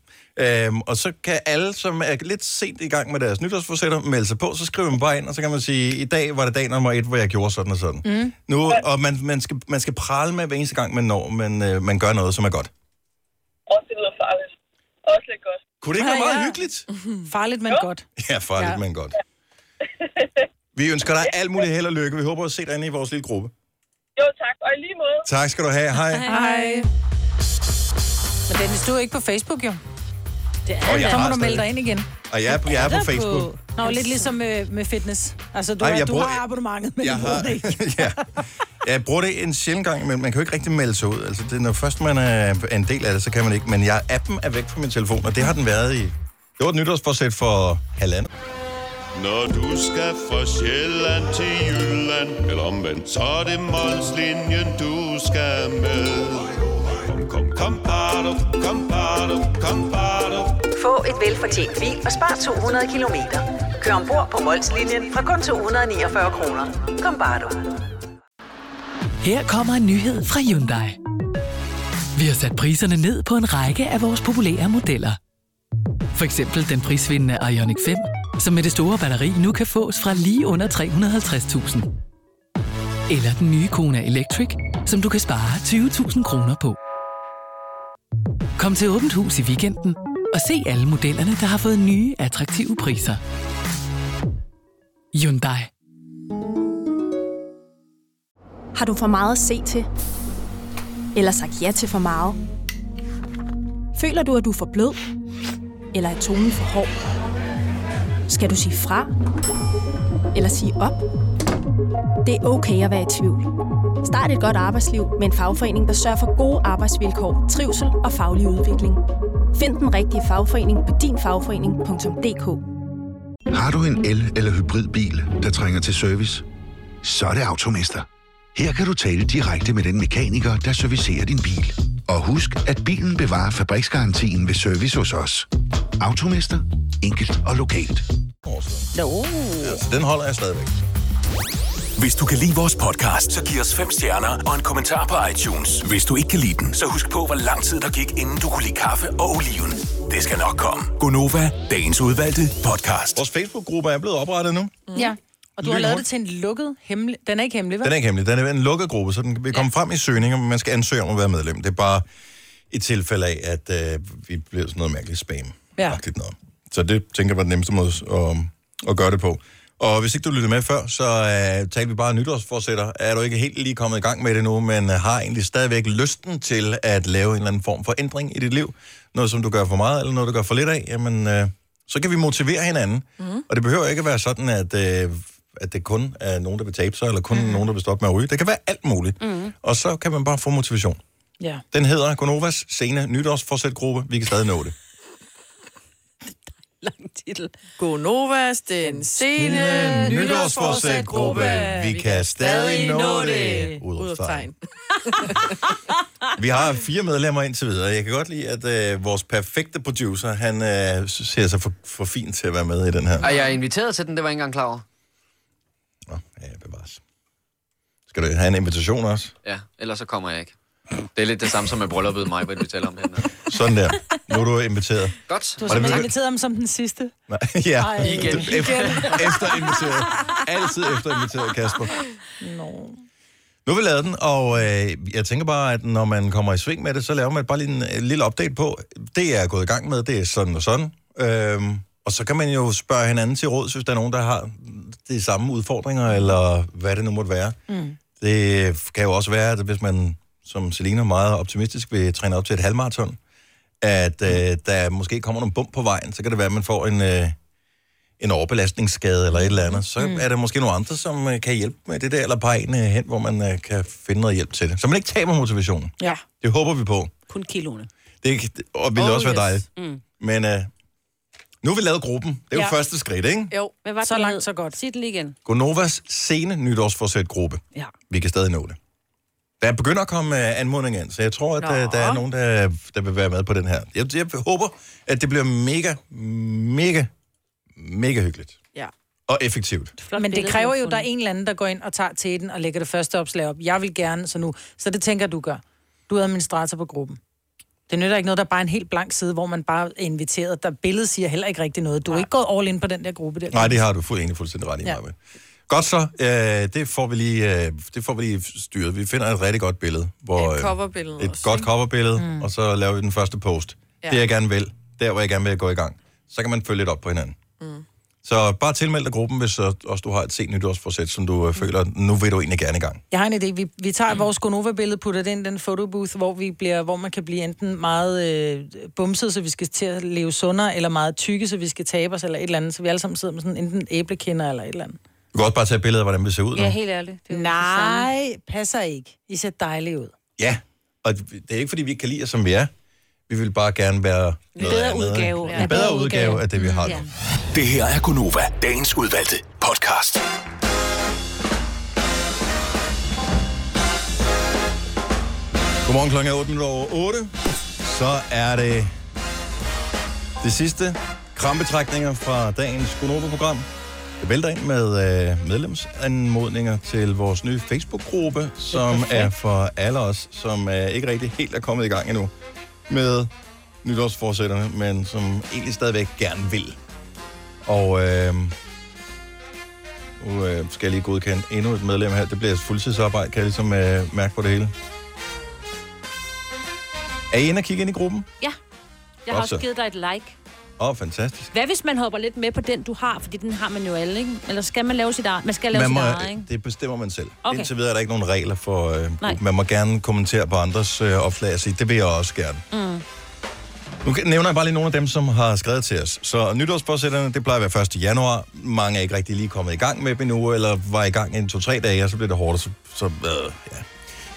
Speaker 1: Øhm, og så kan alle, som er lidt sent i gang med deres nytårsforsætter, melde sig på, så skriver man bare ind, og så kan man sige, i dag var det dag nummer et, hvor jeg gjorde sådan og sådan.
Speaker 4: Mm.
Speaker 1: Nu, og man, man, skal, man skal prale med hver eneste gang, man når, men øh, man gør noget, som er godt.
Speaker 17: Også det lyder farligt. Også lidt godt.
Speaker 1: Kunne det ikke være meget hyggeligt?
Speaker 2: Farligt, men godt.
Speaker 1: Ja, farligt,
Speaker 2: Ja.
Speaker 1: ja. men godt. Vi ønsker dig alt muligt held og lykke. Vi håber at se dig inde i vores lille gruppe.
Speaker 17: Jo, tak. Og i lige måde.
Speaker 1: Tak skal du have. Hej.
Speaker 2: Hej. Men Dennis, du er ikke på Facebook, jo. Det
Speaker 1: er jeg.
Speaker 2: Så må
Speaker 1: er
Speaker 2: du melde dig
Speaker 1: stadig.
Speaker 2: ind igen.
Speaker 1: Og jeg er, jeg er på Facebook.
Speaker 2: Nå, lidt ligesom med, med fitness. Altså, du,
Speaker 1: Nej,
Speaker 2: Ej,
Speaker 1: jeg
Speaker 2: du
Speaker 1: bruger-
Speaker 2: har abonnementet, men
Speaker 1: jeg
Speaker 2: jeg du bruger
Speaker 1: har-
Speaker 2: det ikke.
Speaker 1: Jeg bruger det en sjældent gang, men man kan jo ikke rigtig melde sig ud. Altså, det, når først man er er en del af det, så kan man ikke. Men jeg, appen er væk fra min telefon, og det har den været i... Det var et nytårsforsæt for halvandet.
Speaker 20: Når du skal fra Sjælland til Jylland Eller omvendt, så er det Molslinjen, du skal med Kom, kom, kom, bado, kom, bado, kom, bado.
Speaker 7: Få et velfortjent bil og spar 200 kilometer. Kør ombord på Molslinjen fra kun 249 kroner. Kom bare du.
Speaker 21: Her kommer en nyhed fra Hyundai. Vi har sat priserne ned på en række af vores populære modeller. For eksempel den prisvindende Ioniq 5, som med det store batteri nu kan fås fra lige under 350.000. Eller den nye Kona Electric, som du kan spare 20.000 kroner på. Kom til Åbent Hus i weekenden og se alle modellerne, der har fået nye, attraktive priser. Hyundai.
Speaker 22: Har du for meget at se til? Eller sagt ja til for meget? Føler du, at du er for blød? Eller er tonen for hård? Skal du sige fra? Eller sige op? Det er okay at være i tvivl. Start et godt arbejdsliv med en fagforening, der sørger for gode arbejdsvilkår, trivsel og faglig udvikling. Find den rigtige fagforening på dinfagforening.dk.
Speaker 23: Har du en el- eller hybridbil, der trænger til service? Så er det Automester. Her kan du tale direkte med den mekaniker, der servicerer din bil. Og husk, at bilen bevarer fabriksgarantien ved service hos os. Automester. Enkelt og lokalt.
Speaker 21: Nå.
Speaker 1: Altså, den holder jeg stadigvæk.
Speaker 13: Hvis du kan lide vores podcast, så giv os fem stjerner og en kommentar på iTunes. Hvis du ikke kan lide den, så husk på, hvor lang tid der gik, inden du kunne lide kaffe og oliven. Det skal nok komme.
Speaker 1: Gonova, dagens udvalgte podcast. Vores Facebook-gruppe er blevet oprettet nu.
Speaker 2: Mm. Ja. Og du har
Speaker 1: Lyn
Speaker 2: lavet
Speaker 1: rundt.
Speaker 2: det til en lukket hemmelig... Den er ikke hemmelig, vel?
Speaker 1: Den er ikke hemmelig. Den er en lukket gruppe, så den vil komme frem i søgninger, men man skal ansøge om at være medlem. Det er bare i tilfælde af, at øh, vi bliver sådan noget mærkeligt spam.
Speaker 2: Ja.
Speaker 1: Noget. Så det tænker jeg var den nemmeste måde at, at gøre det på. Og hvis ikke du lyttede med før, så øh, talte vi bare nytårsforsætter. Er du ikke helt lige kommet i gang med det nu, men øh, har egentlig stadigvæk lysten til at lave en eller anden form for ændring i dit liv? Noget, som du gør for meget, eller noget, du gør for lidt af? Jamen, øh, så kan vi motivere hinanden. Mm. Og det behøver ikke at være sådan, at, øh, at det kun er nogen, der vil tabe sig, eller kun mm. nogen, der vil stoppe med at ryge. Det kan være alt muligt. Mm. Og så kan man bare få motivation.
Speaker 2: Ja.
Speaker 1: Den hedder Gonovas Sene Nytårsforsætgruppe. Vi kan stadig nå det.
Speaker 5: Titel. Gonovas, den sene
Speaker 1: nytårsforsætgruppe.
Speaker 5: nytårsforsætgruppe.
Speaker 1: Vi kan stadig nå det. Udopstegn. Vi har fire medlemmer indtil videre. Jeg kan godt lide, at øh, vores perfekte producer, han øh, ser sig for, for fint til at være med i den her.
Speaker 8: Og jeg er inviteret til den, det var jeg ikke engang klar over.
Speaker 1: Skal du have en invitation også?
Speaker 8: Ja, ellers så kommer jeg ikke. Det er lidt det samme som med brylluppet mig, hvad vi taler om her.
Speaker 1: Sådan der. Nu er du inviteret.
Speaker 8: Godt.
Speaker 2: Du har
Speaker 1: Og det
Speaker 2: simpelthen
Speaker 1: begy-
Speaker 2: inviteret ham som den sidste.
Speaker 1: Nej, ja.
Speaker 2: Ej. Igen.
Speaker 1: Efter, inviteret. Altid efter inviteret, Kasper.
Speaker 2: Nå.
Speaker 1: Nu har vi lavet den, og øh, jeg tænker bare, at når man kommer i sving med det, så laver man bare lige en øh, lille update på, det jeg er gået i gang med, det er sådan og sådan. Øhm, og så kan man jo spørge hinanden til råd, hvis der er nogen, der har de samme udfordringer, eller hvad det nu måtte være.
Speaker 4: Mm.
Speaker 1: Det kan jo også være, at hvis man, som Selina, er meget optimistisk vil træne op til et halvmarathon, at øh, der måske kommer nogle bump på vejen, så kan det være, at man får en, øh, en overbelastningsskade eller et eller andet. Så
Speaker 4: Mm.
Speaker 1: mm. er der måske nogle andre, som øh, kan hjælpe med det der, eller pege en øh, hen, hvor man øh, kan finde noget hjælp til det. Så man ikke taber motivationen.
Speaker 2: Ja.
Speaker 1: Det håber vi på.
Speaker 3: Kun kiloene.
Speaker 1: Det kan- og ville oh, også være yes. dejligt.
Speaker 3: Mm.
Speaker 1: Men øh, nu har vi lavet gruppen. Det er jo
Speaker 3: Ja.
Speaker 1: ja. første skridt, ikke?
Speaker 3: Jo, Hvad var så langt, så godt. Sig det lige igen.
Speaker 1: Gonovas sene nytårsforsæt-gruppe.
Speaker 3: Ja.
Speaker 1: Vi kan stadig nå det. Der begynder at komme uh, anmodninger ind, så jeg tror, at uh, der er nogen, der, der vil være med på den her. Jeg, jeg håber, at det bliver mega, mega, mega hyggeligt.
Speaker 5: Ja.
Speaker 1: og effektivt.
Speaker 2: Men det
Speaker 3: billede,
Speaker 2: kræver
Speaker 3: du har
Speaker 2: jo, at der er
Speaker 3: fundet.
Speaker 2: en eller anden, der går ind og tager til den og lægger det første opslag op. Jeg vil gerne, så nu. Så det tænker jeg, du gør. Du er administrator på gruppen. Det nytter ikke noget, der er bare en helt blank side, hvor man bare er inviteret. Der billedet siger heller ikke rigtig noget. Du er ikke gået all in på den der gruppe der.
Speaker 1: Nej, det har du fuld, egentlig fuldstændig ret i, ja.
Speaker 2: Ja.
Speaker 1: Godt så. Øh, det, får vi lige, øh, det får vi lige styret. Vi finder et rigtig godt billede. Hvor, øh,
Speaker 5: Et coverbillede
Speaker 1: Et
Speaker 5: også,
Speaker 1: godt
Speaker 5: ikke?
Speaker 1: coverbillede, mm.
Speaker 5: Mm.
Speaker 1: og så laver vi den første post. Ja.
Speaker 5: Ja.
Speaker 1: Det jeg gerne vil, der hvor jeg gerne vil gå i gang. Så kan man følge lidt op på hinanden.
Speaker 5: Mm.
Speaker 1: Så bare tilmeld dig gruppen, hvis øh, også du har et sent nytårsforsæt, som du
Speaker 5: Mm.
Speaker 1: øh, føler, nu vil du egentlig gerne i gang.
Speaker 2: Jeg har en idé. Vi, vi
Speaker 3: Mm.
Speaker 2: tager vores Gonova-billede, putter det ind i den photobooth, hvor, vi bliver, hvor man kan blive enten meget øh, bumset, så vi skal til at leve sundere, eller meget tykke, så vi skal tabe os, eller et eller andet. Så vi alle sammen sidder med sådan enten æblekinder eller et eller andet.
Speaker 1: Du kan også bare tage et billede af, hvordan vi ser ud. nu.
Speaker 2: helt ærligt. Nej, passer ikke. I ser dejlige ud.
Speaker 1: Ja, og det er ikke, fordi vi ikke kan lide os, som vi er. Vi vil bare gerne være
Speaker 2: En
Speaker 1: noget
Speaker 2: bedre
Speaker 1: andet, ikke?
Speaker 2: udgave.
Speaker 1: En bedre udgave af det, vi har nu.
Speaker 13: Det her er Gunova, dagens udvalgte podcast.
Speaker 1: Godmorgen klokken er 8 minutter over 8. Så er det det sidste krampetrækninger fra dagens Gunova-program. Det vælter ind med øh, medlemsanmodninger til vores nye Facebook-gruppe, som er for alle os, som øh, ikke rigtig helt er kommet i gang endnu med nytårsforsætterne, men som egentlig stadigvæk gerne vil. Og øh, nu øh, skal jeg lige godkende endnu et medlem her. Det bliver et fuldtidsarbejde, kan jeg ligesom øh, mærke på det hele. Er I inde og kigge ind i gruppen?
Speaker 3: Ja. Jeg har
Speaker 1: Godt så.
Speaker 3: også givet dig et like.
Speaker 1: Åh, oh, fantastisk.
Speaker 3: Hvad hvis man hopper lidt med på den, du har? Fordi den har man jo alle, ikke? Eller skal man lave sit eget? Man skal lave
Speaker 1: Man
Speaker 3: sit
Speaker 1: må,
Speaker 3: eget, ikke?
Speaker 1: det bestemmer man selv. Okay.
Speaker 3: Okay.
Speaker 1: Indtil videre er der ikke nogen regler for... Øh,
Speaker 3: Nej.
Speaker 1: gruppen. man må gerne kommentere på andres øh, opslag og sige, det vil jeg også gerne.
Speaker 3: Mm.
Speaker 1: Nu kan- nævner jeg bare lige nogle af dem, som har skrevet til os. Så nytårsforsætterne, det plejer at være 1. januar. Mange er ikke rigtig lige kommet i gang med dem endnu, eller var i gang en to-tre dage, og så bliver det hårdt, og så... så øh, ja.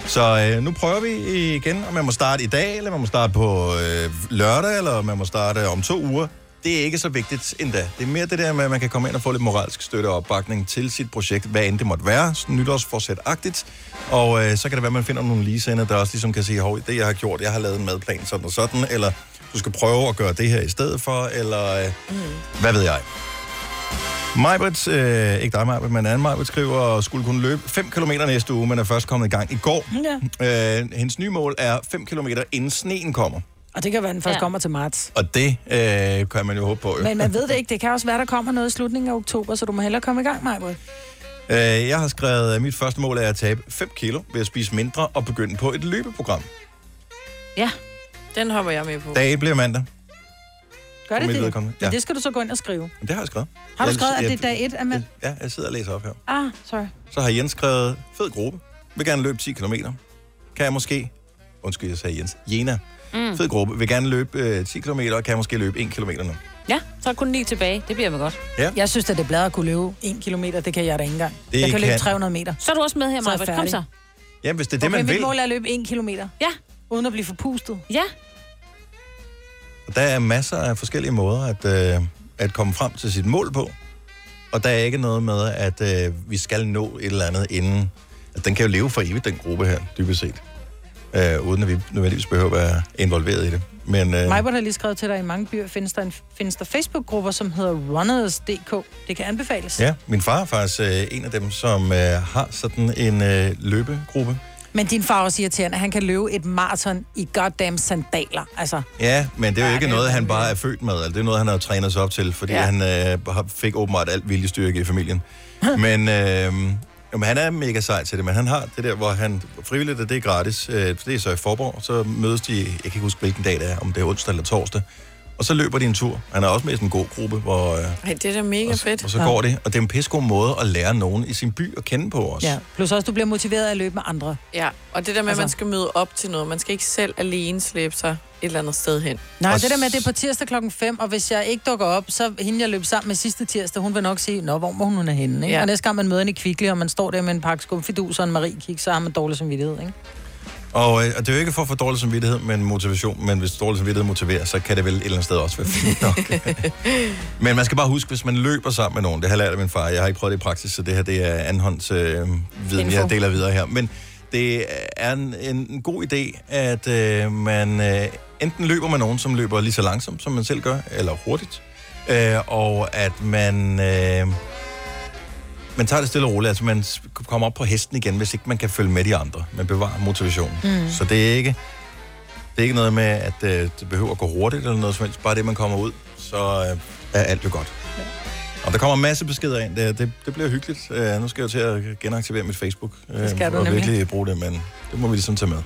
Speaker 1: Så øh, nu prøver vi igen, og man må starte i dag, eller man må starte på øh, lørdag, eller man må starte om to uger. Det er ikke så vigtigt endda. Det er mere det der med, at man kan komme ind og få lidt moralsk støtte og opbakning til sit projekt, hvad end det måtte være, sådan nytårsforsæt-agtigt. Og øh, så kan det være, at man finder nogle ligesender, der også ligesom kan sige, hov, det jeg har gjort, jeg har lavet en madplan sådan og sådan, eller du skal prøve at gøre det her i stedet for, eller øh, mm. hvad ved jeg. Majbert, øh, ikke dig Majbert, men anden Majbert skriver, skulle kunne løbe 5 km næste uge, men er først kommet i gang i går.
Speaker 2: Ja.
Speaker 1: Øh, hendes nye mål er 5 km inden sneen kommer.
Speaker 2: Og det kan være, den først
Speaker 1: Ja.
Speaker 2: ja. kommer til marts.
Speaker 1: Og det øh, kan man jo håbe på. Jo.
Speaker 2: Men man ved det ikke. Det kan også være, der kommer noget i slutningen af oktober, så du må hellere komme i gang, Michael.
Speaker 1: Øh, jeg har skrevet, at mit første mål er at tabe 5 kilo ved at spise mindre og begynde på et løbeprogram.
Speaker 3: Ja.
Speaker 5: Den hopper jeg med på.
Speaker 1: Dag bliver mandag.
Speaker 2: Gør
Speaker 1: For
Speaker 2: det
Speaker 1: mit
Speaker 2: det?
Speaker 1: vedkommende,
Speaker 2: Men
Speaker 1: ja.
Speaker 2: det skal du så gå ind og skrive.
Speaker 1: Men Det har jeg skrevet.
Speaker 2: Har du
Speaker 1: Jeg-
Speaker 2: skrevet, at
Speaker 1: jeg-
Speaker 2: det er dag 1, at man...
Speaker 1: Ja, jeg sidder og læser op her.
Speaker 2: Ah, sorry.
Speaker 1: Så har Jens skrevet, fed gruppe. Vil gerne løbe 10 km. Kan jeg måske... Undskyld, jeg sagde Jens. Jena. Mm. Fed gruppe. Vil gerne løbe øh, 10 km. Kan jeg måske løbe 1 km nu.
Speaker 3: Ja, så er kun lige tilbage. Det bliver vel godt.
Speaker 1: Ja.
Speaker 2: Jeg synes, at det er bladret at kunne løbe 1 km. Det kan jeg da ikke engang.
Speaker 1: Det
Speaker 2: Det jeg kan, løbe
Speaker 1: kan-
Speaker 2: 300 meter.
Speaker 3: Så er du også med her,
Speaker 2: Så er jeg
Speaker 3: Maja. Kom
Speaker 2: færdig.
Speaker 3: så.
Speaker 1: Ja, hvis det er det,
Speaker 2: Det, okay,
Speaker 1: man
Speaker 2: mit
Speaker 1: vil.
Speaker 2: mål er at løbe 1 km.
Speaker 3: Ja.
Speaker 2: Uden at blive forpustet.
Speaker 3: Ja.
Speaker 1: Der er masser af forskellige måder at, øh, at komme frem til sit mål på. Og der er ikke noget med, at øh, vi skal nå et eller andet inden. At den kan jo leve for evigt, den gruppe her, dybest set. Øh, uden at vi nødvendigvis behøver at være involveret i det. Men, øh,
Speaker 2: Majbert har lige skrevet til dig, at i mange byer findes der, en, findes der Facebook-grupper, som hedder Runners.dk. Det kan anbefales.
Speaker 1: Ja, min far er faktisk øh, en af dem, som øh, har sådan en øh, løbegruppe.
Speaker 2: Men din far er også irriterende. Han kan løbe et maraton i goddamn sandaler. Altså,
Speaker 1: Ja, men det er jo ikke noget, han bare er født med. Eller det er noget, han har trænet sig op til, fordi ja.
Speaker 2: Ja.
Speaker 1: han øh, har- fik åbenbart alt viljestyrke i familien. men, øh, jo, men han er mega sej til det, men han har det der, hvor han frivilligt, og det er gratis, øh, det er så i Forborg, så mødes de, jeg kan ikke huske, hvilken dag det er, om det er onsdag eller torsdag, og så løber de en tur. Han er også med i sådan en god gruppe, hvor... Øh,
Speaker 5: Ej, det er da mega fedt.
Speaker 1: og så går det, og det er en pissegod måde at lære nogen i sin by at kende på også.
Speaker 2: ja. Plus også, du bliver motiveret af at løbe med andre.
Speaker 5: Ja, og det der med, altså.
Speaker 2: Altså.
Speaker 5: at man skal møde op til noget. Man skal ikke selv alene slæbe sig et eller andet sted hen.
Speaker 2: Nej, det der med, at det er på tirsdag klokken 5, og hvis jeg ikke dukker op, så hende, jeg løb sammen med sidste tirsdag, hun vil nok sige, nå, hvor må hun er henne, ikke?
Speaker 5: Ja.
Speaker 2: Ja. Og næste gang man møder hende i Kvickly, og man står der med en pakke skumfidus og en marie kik, så har man dårlig samvittighed, ikke?
Speaker 1: Og, øh, og det er jo ikke for at få dårlig samvittighed, men motivation. Men hvis dårlig samvittighed motiverer, så kan det vel et eller andet sted også være fint nok. men man skal bare huske, hvis man løber sammen med nogen, det har jeg lært af min far, jeg har ikke prøvet det i praksis, så det her det er anhånds øh, viden,
Speaker 4: Info.
Speaker 1: jeg deler videre her. Men det er en, en en god idé, at øh, man øh, enten løber med nogen, som løber lige så langsomt, som man selv gør, eller hurtigt, øh, og at man... Øh, man tager det stille og roligt. Altså, man s- kommer op på hesten igen, hvis ikke man kan følge med de andre. Man bevarer motivationen.
Speaker 4: Mm.
Speaker 1: Mm. Så det er ikke... Det er ikke noget med, at øh, det behøver at gå hurtigt eller noget som helst. Bare det, man kommer ud, så øh, er alt jo godt. Og der kommer en masse beskeder ind. Det, det, det bliver hyggeligt. Øh, nu skal jeg jo til at genaktivere mit Facebook. Øh,
Speaker 2: Det skal du
Speaker 1: og
Speaker 2: nemlig.
Speaker 1: virkelig bruge det, men det må vi ligesom tage med.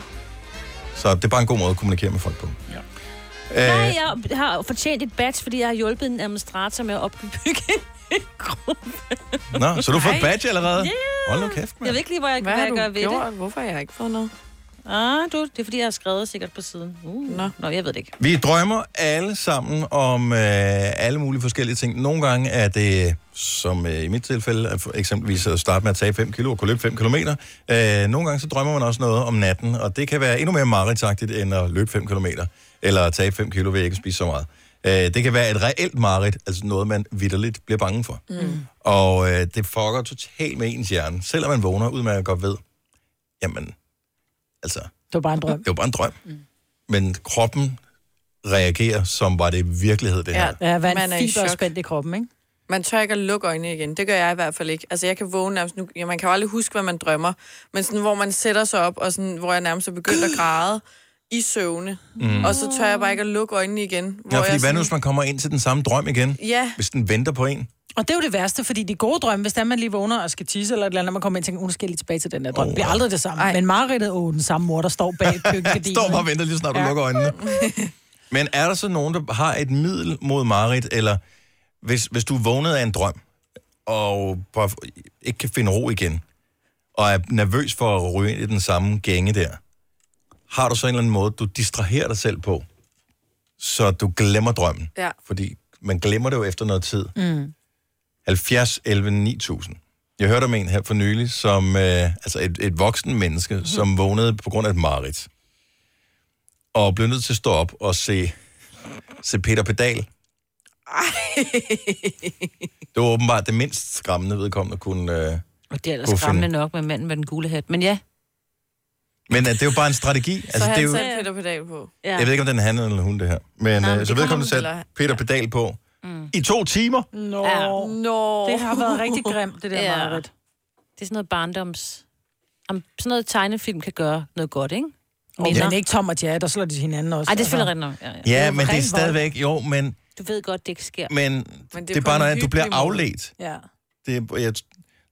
Speaker 1: Så det er bare en god måde at kommunikere med folk på. Øh, Ja.
Speaker 3: Nej, jeg har fortjent et badge, fordi jeg har hjulpet en administrator med at opbygge en gruppe.
Speaker 1: Nå, så du får et
Speaker 3: Nej.
Speaker 1: badge allerede?
Speaker 3: Ja.
Speaker 1: Hold nu kæft,
Speaker 3: Jeg
Speaker 1: mand.
Speaker 3: ved ikke lige, hvor jeg,
Speaker 5: Hvad
Speaker 3: hvad, hvad
Speaker 5: har du
Speaker 3: jeg gør ved
Speaker 5: gjort?
Speaker 3: det.
Speaker 5: Hvorfor har jeg ikke fået noget?
Speaker 3: Ah, du, det er fordi, jeg har skrevet sikkert på siden. Uh. Nå. Nå, jeg ved det ikke.
Speaker 1: Vi drømmer alle sammen om øh, alle mulige forskellige ting. Nogle gange er det, som øh, i mit tilfælde, at for eksempelvis at starte med at tage 5 kilo og kunne løbe 5 km. Øh, nogle gange så drømmer man også noget om natten, og det kan være endnu mere mareridtsagtigt end at løbe 5 km, eller at tabe 5 kilo ved ikke at spise så meget. Øh, det kan være et reelt mareridt, altså noget, man vidderligt bliver bange for.
Speaker 4: Mm.
Speaker 1: Og øh, det fucker totalt med ens hjerne, selvom man vågner, udmærket godt ved, jamen, altså,
Speaker 2: Det var bare en drøm.
Speaker 1: det var bare en drøm. Mm. Men kroppen reagerer, som var det virkelighed, det her.
Speaker 2: Ja, hvad
Speaker 5: Man er
Speaker 2: en
Speaker 5: i
Speaker 2: fiber er
Speaker 5: chok.
Speaker 2: spændt i kroppen, ikke?
Speaker 5: Man tør ikke at lukke øjnene igen. Det gør jeg i hvert fald ikke. Altså, jeg kan vågne nærmest nu. Ja, man kan jo aldrig huske, hvad man drømmer. Men sådan, hvor man sætter sig op, og sådan, hvor jeg nærmest er begyndt at græde i søvne.
Speaker 1: Mm.
Speaker 5: Mm. Og så tør jeg bare ikke at lukke øjnene igen. Hvor
Speaker 1: Ja, fordi
Speaker 5: jeg
Speaker 1: hvad nu, hvis man kommer ind til den samme drøm igen?
Speaker 5: Ja.
Speaker 1: Hvis den venter på en?
Speaker 2: Og det er jo det værste, fordi de gode drømme, hvis det er, man lige vågner og skal tisse eller et eller andet, og man kommer ind og tænker, "Uh, nu skal jeg lige tilbage til den der drøm. Oh, bliver aldrig det samme. Ej. Men mareridtet, åh, den samme mor, der står bag køkkendinen.
Speaker 1: Står bare og venter lige så snart du lukker øjnene. Men er der så nogen, der har et middel mod mareridt, eller hvis, hvis du vågnede af en drøm, og bare ikke kan finde ro igen, og er nervøs for at ryge ind i den samme gænge der, har du så en eller anden måde, du distraherer dig selv på, så du glemmer drømmen?
Speaker 5: Ja.
Speaker 1: Fordi man glemmer det jo efter noget tid.
Speaker 2: Mm.
Speaker 1: 70, 11, 9000. Jeg hørte om en her for nylig, som, øh, altså et, et voksen menneske, mm. som vågnede på grund af et mareridt. Og blev nødt til at stå op og se, se Peter Pedal. Det var åbenbart det mindst skræmmende vedkommende kunne... Øh,
Speaker 3: Og det er ellers
Speaker 1: Kunne
Speaker 3: skræmmende
Speaker 1: finde.
Speaker 3: nok med manden med den gule hat. Men ja.
Speaker 1: men øh, det er jo bare en strategi.
Speaker 5: Så altså,
Speaker 1: det er
Speaker 5: han
Speaker 1: jo,
Speaker 5: satte Peter Pedal på. Ja.
Speaker 1: Jeg ved ikke, om den handler eller hun, det her. Men
Speaker 5: Nej,
Speaker 1: Nej,
Speaker 5: men
Speaker 1: øh,
Speaker 5: det
Speaker 1: så
Speaker 5: kommer
Speaker 1: vedkommende
Speaker 5: hun
Speaker 1: satte
Speaker 5: til at-
Speaker 1: Peter Pedal på mm. i to timer.
Speaker 2: Nå.
Speaker 3: Ja.
Speaker 5: Nå.
Speaker 2: Det har været rigtig grimt, det der
Speaker 3: Ja.
Speaker 2: mareridt.
Speaker 3: Det er sådan noget barndoms... Om sådan noget tegnefilm kan gøre noget godt, ikke?
Speaker 2: Og
Speaker 3: Minder.
Speaker 2: men ikke Tom og Jad, der slår de hinanden også.
Speaker 3: Ej, det er selvfølgelig
Speaker 2: altså.
Speaker 3: rigtigt nok. Ja,
Speaker 1: Ja, men det er stadigvæk... Jo, men,
Speaker 3: Du ved godt, det ikke sker.
Speaker 1: men, men det, det er
Speaker 3: på en
Speaker 1: bare noget, andet. du bliver
Speaker 3: hyggelig måde.
Speaker 1: afledt.
Speaker 2: Ja.
Speaker 1: det, er- jeg,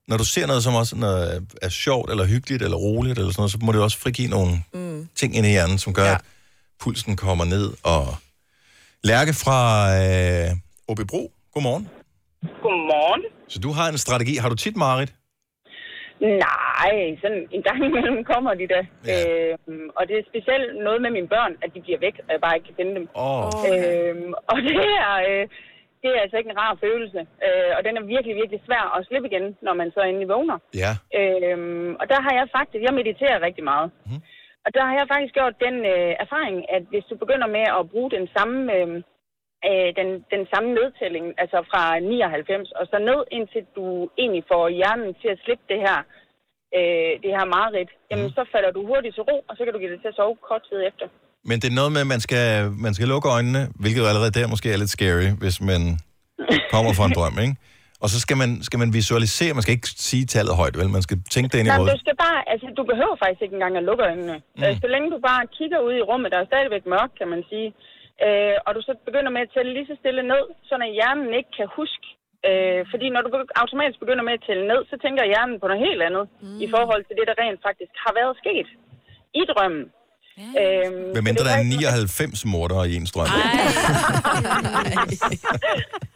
Speaker 1: når du ser noget, som også er, er sjovt, eller hyggeligt, eller roligt, eller sådan noget, så må det også frigive nogle mm. ting ind i hjernen, som gør, ja. at pulsen kommer ned. Og Lærke fra øh, Åbibro, godmorgen.
Speaker 24: Godmorgen.
Speaker 1: Så du har en strategi. Har du tit, Marit?
Speaker 24: Nej, sådan en gang imellem kommer de da. Ja. Øhm, og det er specielt noget med mine børn, at de bliver væk, og jeg bare ikke kan finde dem.
Speaker 1: Oh.
Speaker 24: Øhm, og det er, øh, det er altså ikke en rar følelse. Øh, og den er virkelig, virkelig svær at slippe igen, når man så endelig vågner.
Speaker 1: Ja.
Speaker 24: Øhm, og der har jeg faktisk, jeg mediterer rigtig meget.
Speaker 1: Mhm.
Speaker 24: Mm. Og der har jeg faktisk gjort den øh, erfaring, at hvis du begynder med at bruge den samme, øh, øh, den, den samme nedtælling, altså fra 99 og så ned, indtil du egentlig får hjernen til at slippe det her, øh, det her mareridt,
Speaker 1: Mhm.
Speaker 24: jamen så falder du hurtigt til ro, og så kan du give det til at sove kort tid efter.
Speaker 1: Men det er noget med, at man skal, man skal lukke øjnene, hvilket jo allerede der måske er lidt scary, hvis man kommer fra en drøm, ikke? Og så skal man, skal man visualisere, man skal ikke sige tallet højt, vel? Man skal tænke det ind i
Speaker 24: Nej, men du
Speaker 1: hovedet.
Speaker 24: skal bare, altså du behøver faktisk ikke engang at lukke øjnene.
Speaker 1: Mm.
Speaker 24: Mm. Øh, så længe du bare kigger ud i rummet, der er stadigvæk mørkt, kan man sige, øh, og du så begynder med at tælle lige så stille ned, så at hjernen ikke kan huske. Øh, fordi når du begy- automatisk begynder med at tælle ned, så tænker hjernen på noget helt andet mm. i forhold til det, der rent faktisk har været sket i drømmen. Ja. Øhm,
Speaker 1: Hvem mindre der er 99 morder i ens drøm.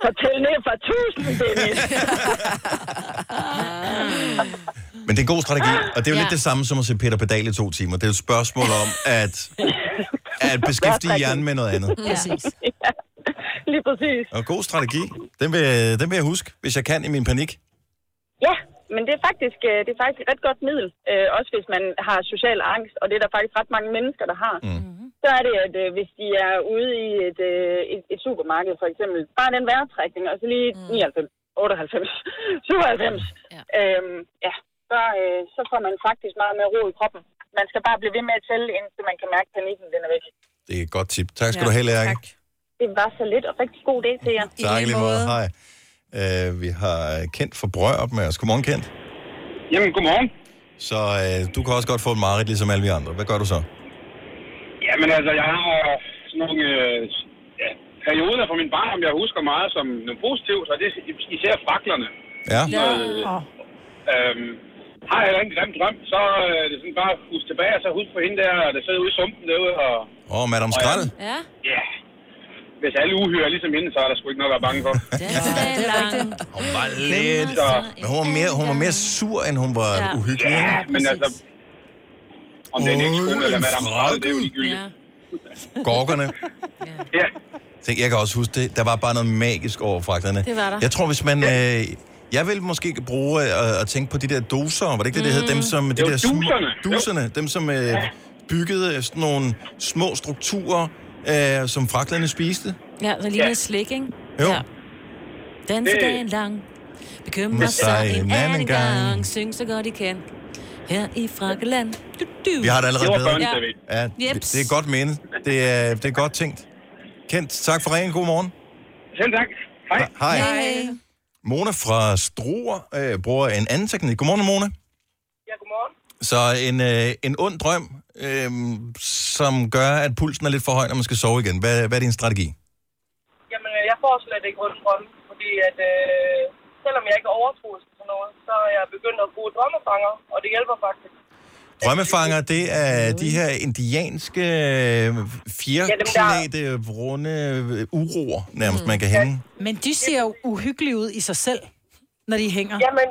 Speaker 24: Fortæl ned fra 1000, Dennis.
Speaker 1: Men det er en god strategi, og det er jo ja.
Speaker 24: Ja.
Speaker 1: lidt det samme som at se Peter Pedal i to timer. Det er jo et spørgsmål om at, at beskæftige hjernen med noget andet.
Speaker 24: Præcis. ja. Lige præcis.
Speaker 1: Og god strategi. Den vil, den vil jeg huske, hvis jeg kan i min panik.
Speaker 24: Ja, men det er faktisk, øh, det er faktisk et ret godt middel, øh, også hvis man har social angst, og det er der faktisk ret mange mennesker, der har. Mm. Så er det, at øh, hvis de er ude i et, øh, et, et supermarked for eksempel, bare den vejrtrækning, og så lige mm. 99, 98, 97, ja. Øhm, ja, så, øh, så får man faktisk meget mere ro i kroppen. Man skal bare blive ved med at tælle, indtil man kan mærke, at panikken den er væk.
Speaker 1: Det er et godt tip. Tak skal
Speaker 24: Ja,
Speaker 1: ja, du have, Lærke.
Speaker 24: Det var så lidt, og rigtig god dag til jer.
Speaker 1: Tak i lige måde. Hej. Øh, vi har Kent fra Brørup med os. Godmorgen, Kent.
Speaker 4: Jamen, godmorgen.
Speaker 1: Så øh, du kan også godt få et mareridt, ligesom alle vi andre. Hvad gør du så?
Speaker 4: Jamen altså, jeg har sådan nogle øh, ja, perioder fra min barndom, jeg husker meget som noget positivt, og det er især fraklerne.
Speaker 1: Ja.
Speaker 4: ja. Øhm, har jeg heller ikke en grim drøm, så øh, det er det sådan bare at huske tilbage, og så huske på hende der, der sidder ude i sumpen derude, og
Speaker 1: Åh, oh, Madame Skrald.
Speaker 4: Ja. ja. Hvis alle uhyrer er ligesom hende, så er der sgu ikke noget at være bange for.
Speaker 3: Det er rigtigt.
Speaker 1: Hun var lidt...
Speaker 4: Så,
Speaker 1: Men hun var mere, hun var mere sur, end hun var
Speaker 4: Ja.
Speaker 1: uhyggelig.
Speaker 4: Ja,
Speaker 1: ikke?
Speaker 4: men altså, om det er en ekskone eller Madame Skrald, det er jo ligegyldigt.
Speaker 1: Gorkerne.
Speaker 4: Ja.
Speaker 1: Tænk, jeg kan også huske det. Der var bare noget magisk over fragterne.
Speaker 4: Det var der.
Speaker 1: Jeg tror, hvis man... Øh, jeg vil måske bruge øh, at tænke på de der doser. Var det ikke det, det hed? Dem, som, de
Speaker 4: Jo,
Speaker 1: der små-
Speaker 4: duserne. Jo.
Speaker 1: Duserne. Dem, som øh, byggede øh, sådan nogle små strukturer, øh, som fragterne spiste.
Speaker 3: Ja, så lige ja. slik, ikke?
Speaker 1: Jo.
Speaker 3: Ja. Danse
Speaker 1: Det-
Speaker 3: dagen lang. Bekymre
Speaker 1: Må
Speaker 3: sig en, anden, gang. Syng så godt I kan. Her i Frakkeland. Du, du.
Speaker 1: Vi har det allerede bedre. Ja,
Speaker 3: Jeps.
Speaker 1: det, det er godt menet. Det er, det er godt tænkt. Kent, tak for ringen. God morgen.
Speaker 4: Selv tak. Hej.
Speaker 1: Hej. Mona fra Struer øh, bruger en anden teknik. Godmorgen, Mona.
Speaker 17: Ja, godmorgen.
Speaker 1: Så en, øh, en ond drøm, øh, som gør, at pulsen er lidt for høj, når man skal sove igen. Hvad, hvad er din strategi?
Speaker 17: Jamen, øh, jeg får slet ikke ondt drømme, fordi at, øh, selvom jeg ikke er overtroisk til noget, så er jeg begyndt at bruge drømmefanger, og det hjælper faktisk.
Speaker 1: Drømmefanger, det er de her indianske øh, fjerklædte, runde øh, uroer,
Speaker 17: Mm.
Speaker 1: nærmest, man kan hænge.
Speaker 2: Men de ser jo uhyggelige ud i sig selv, når de hænger.
Speaker 17: Jamen,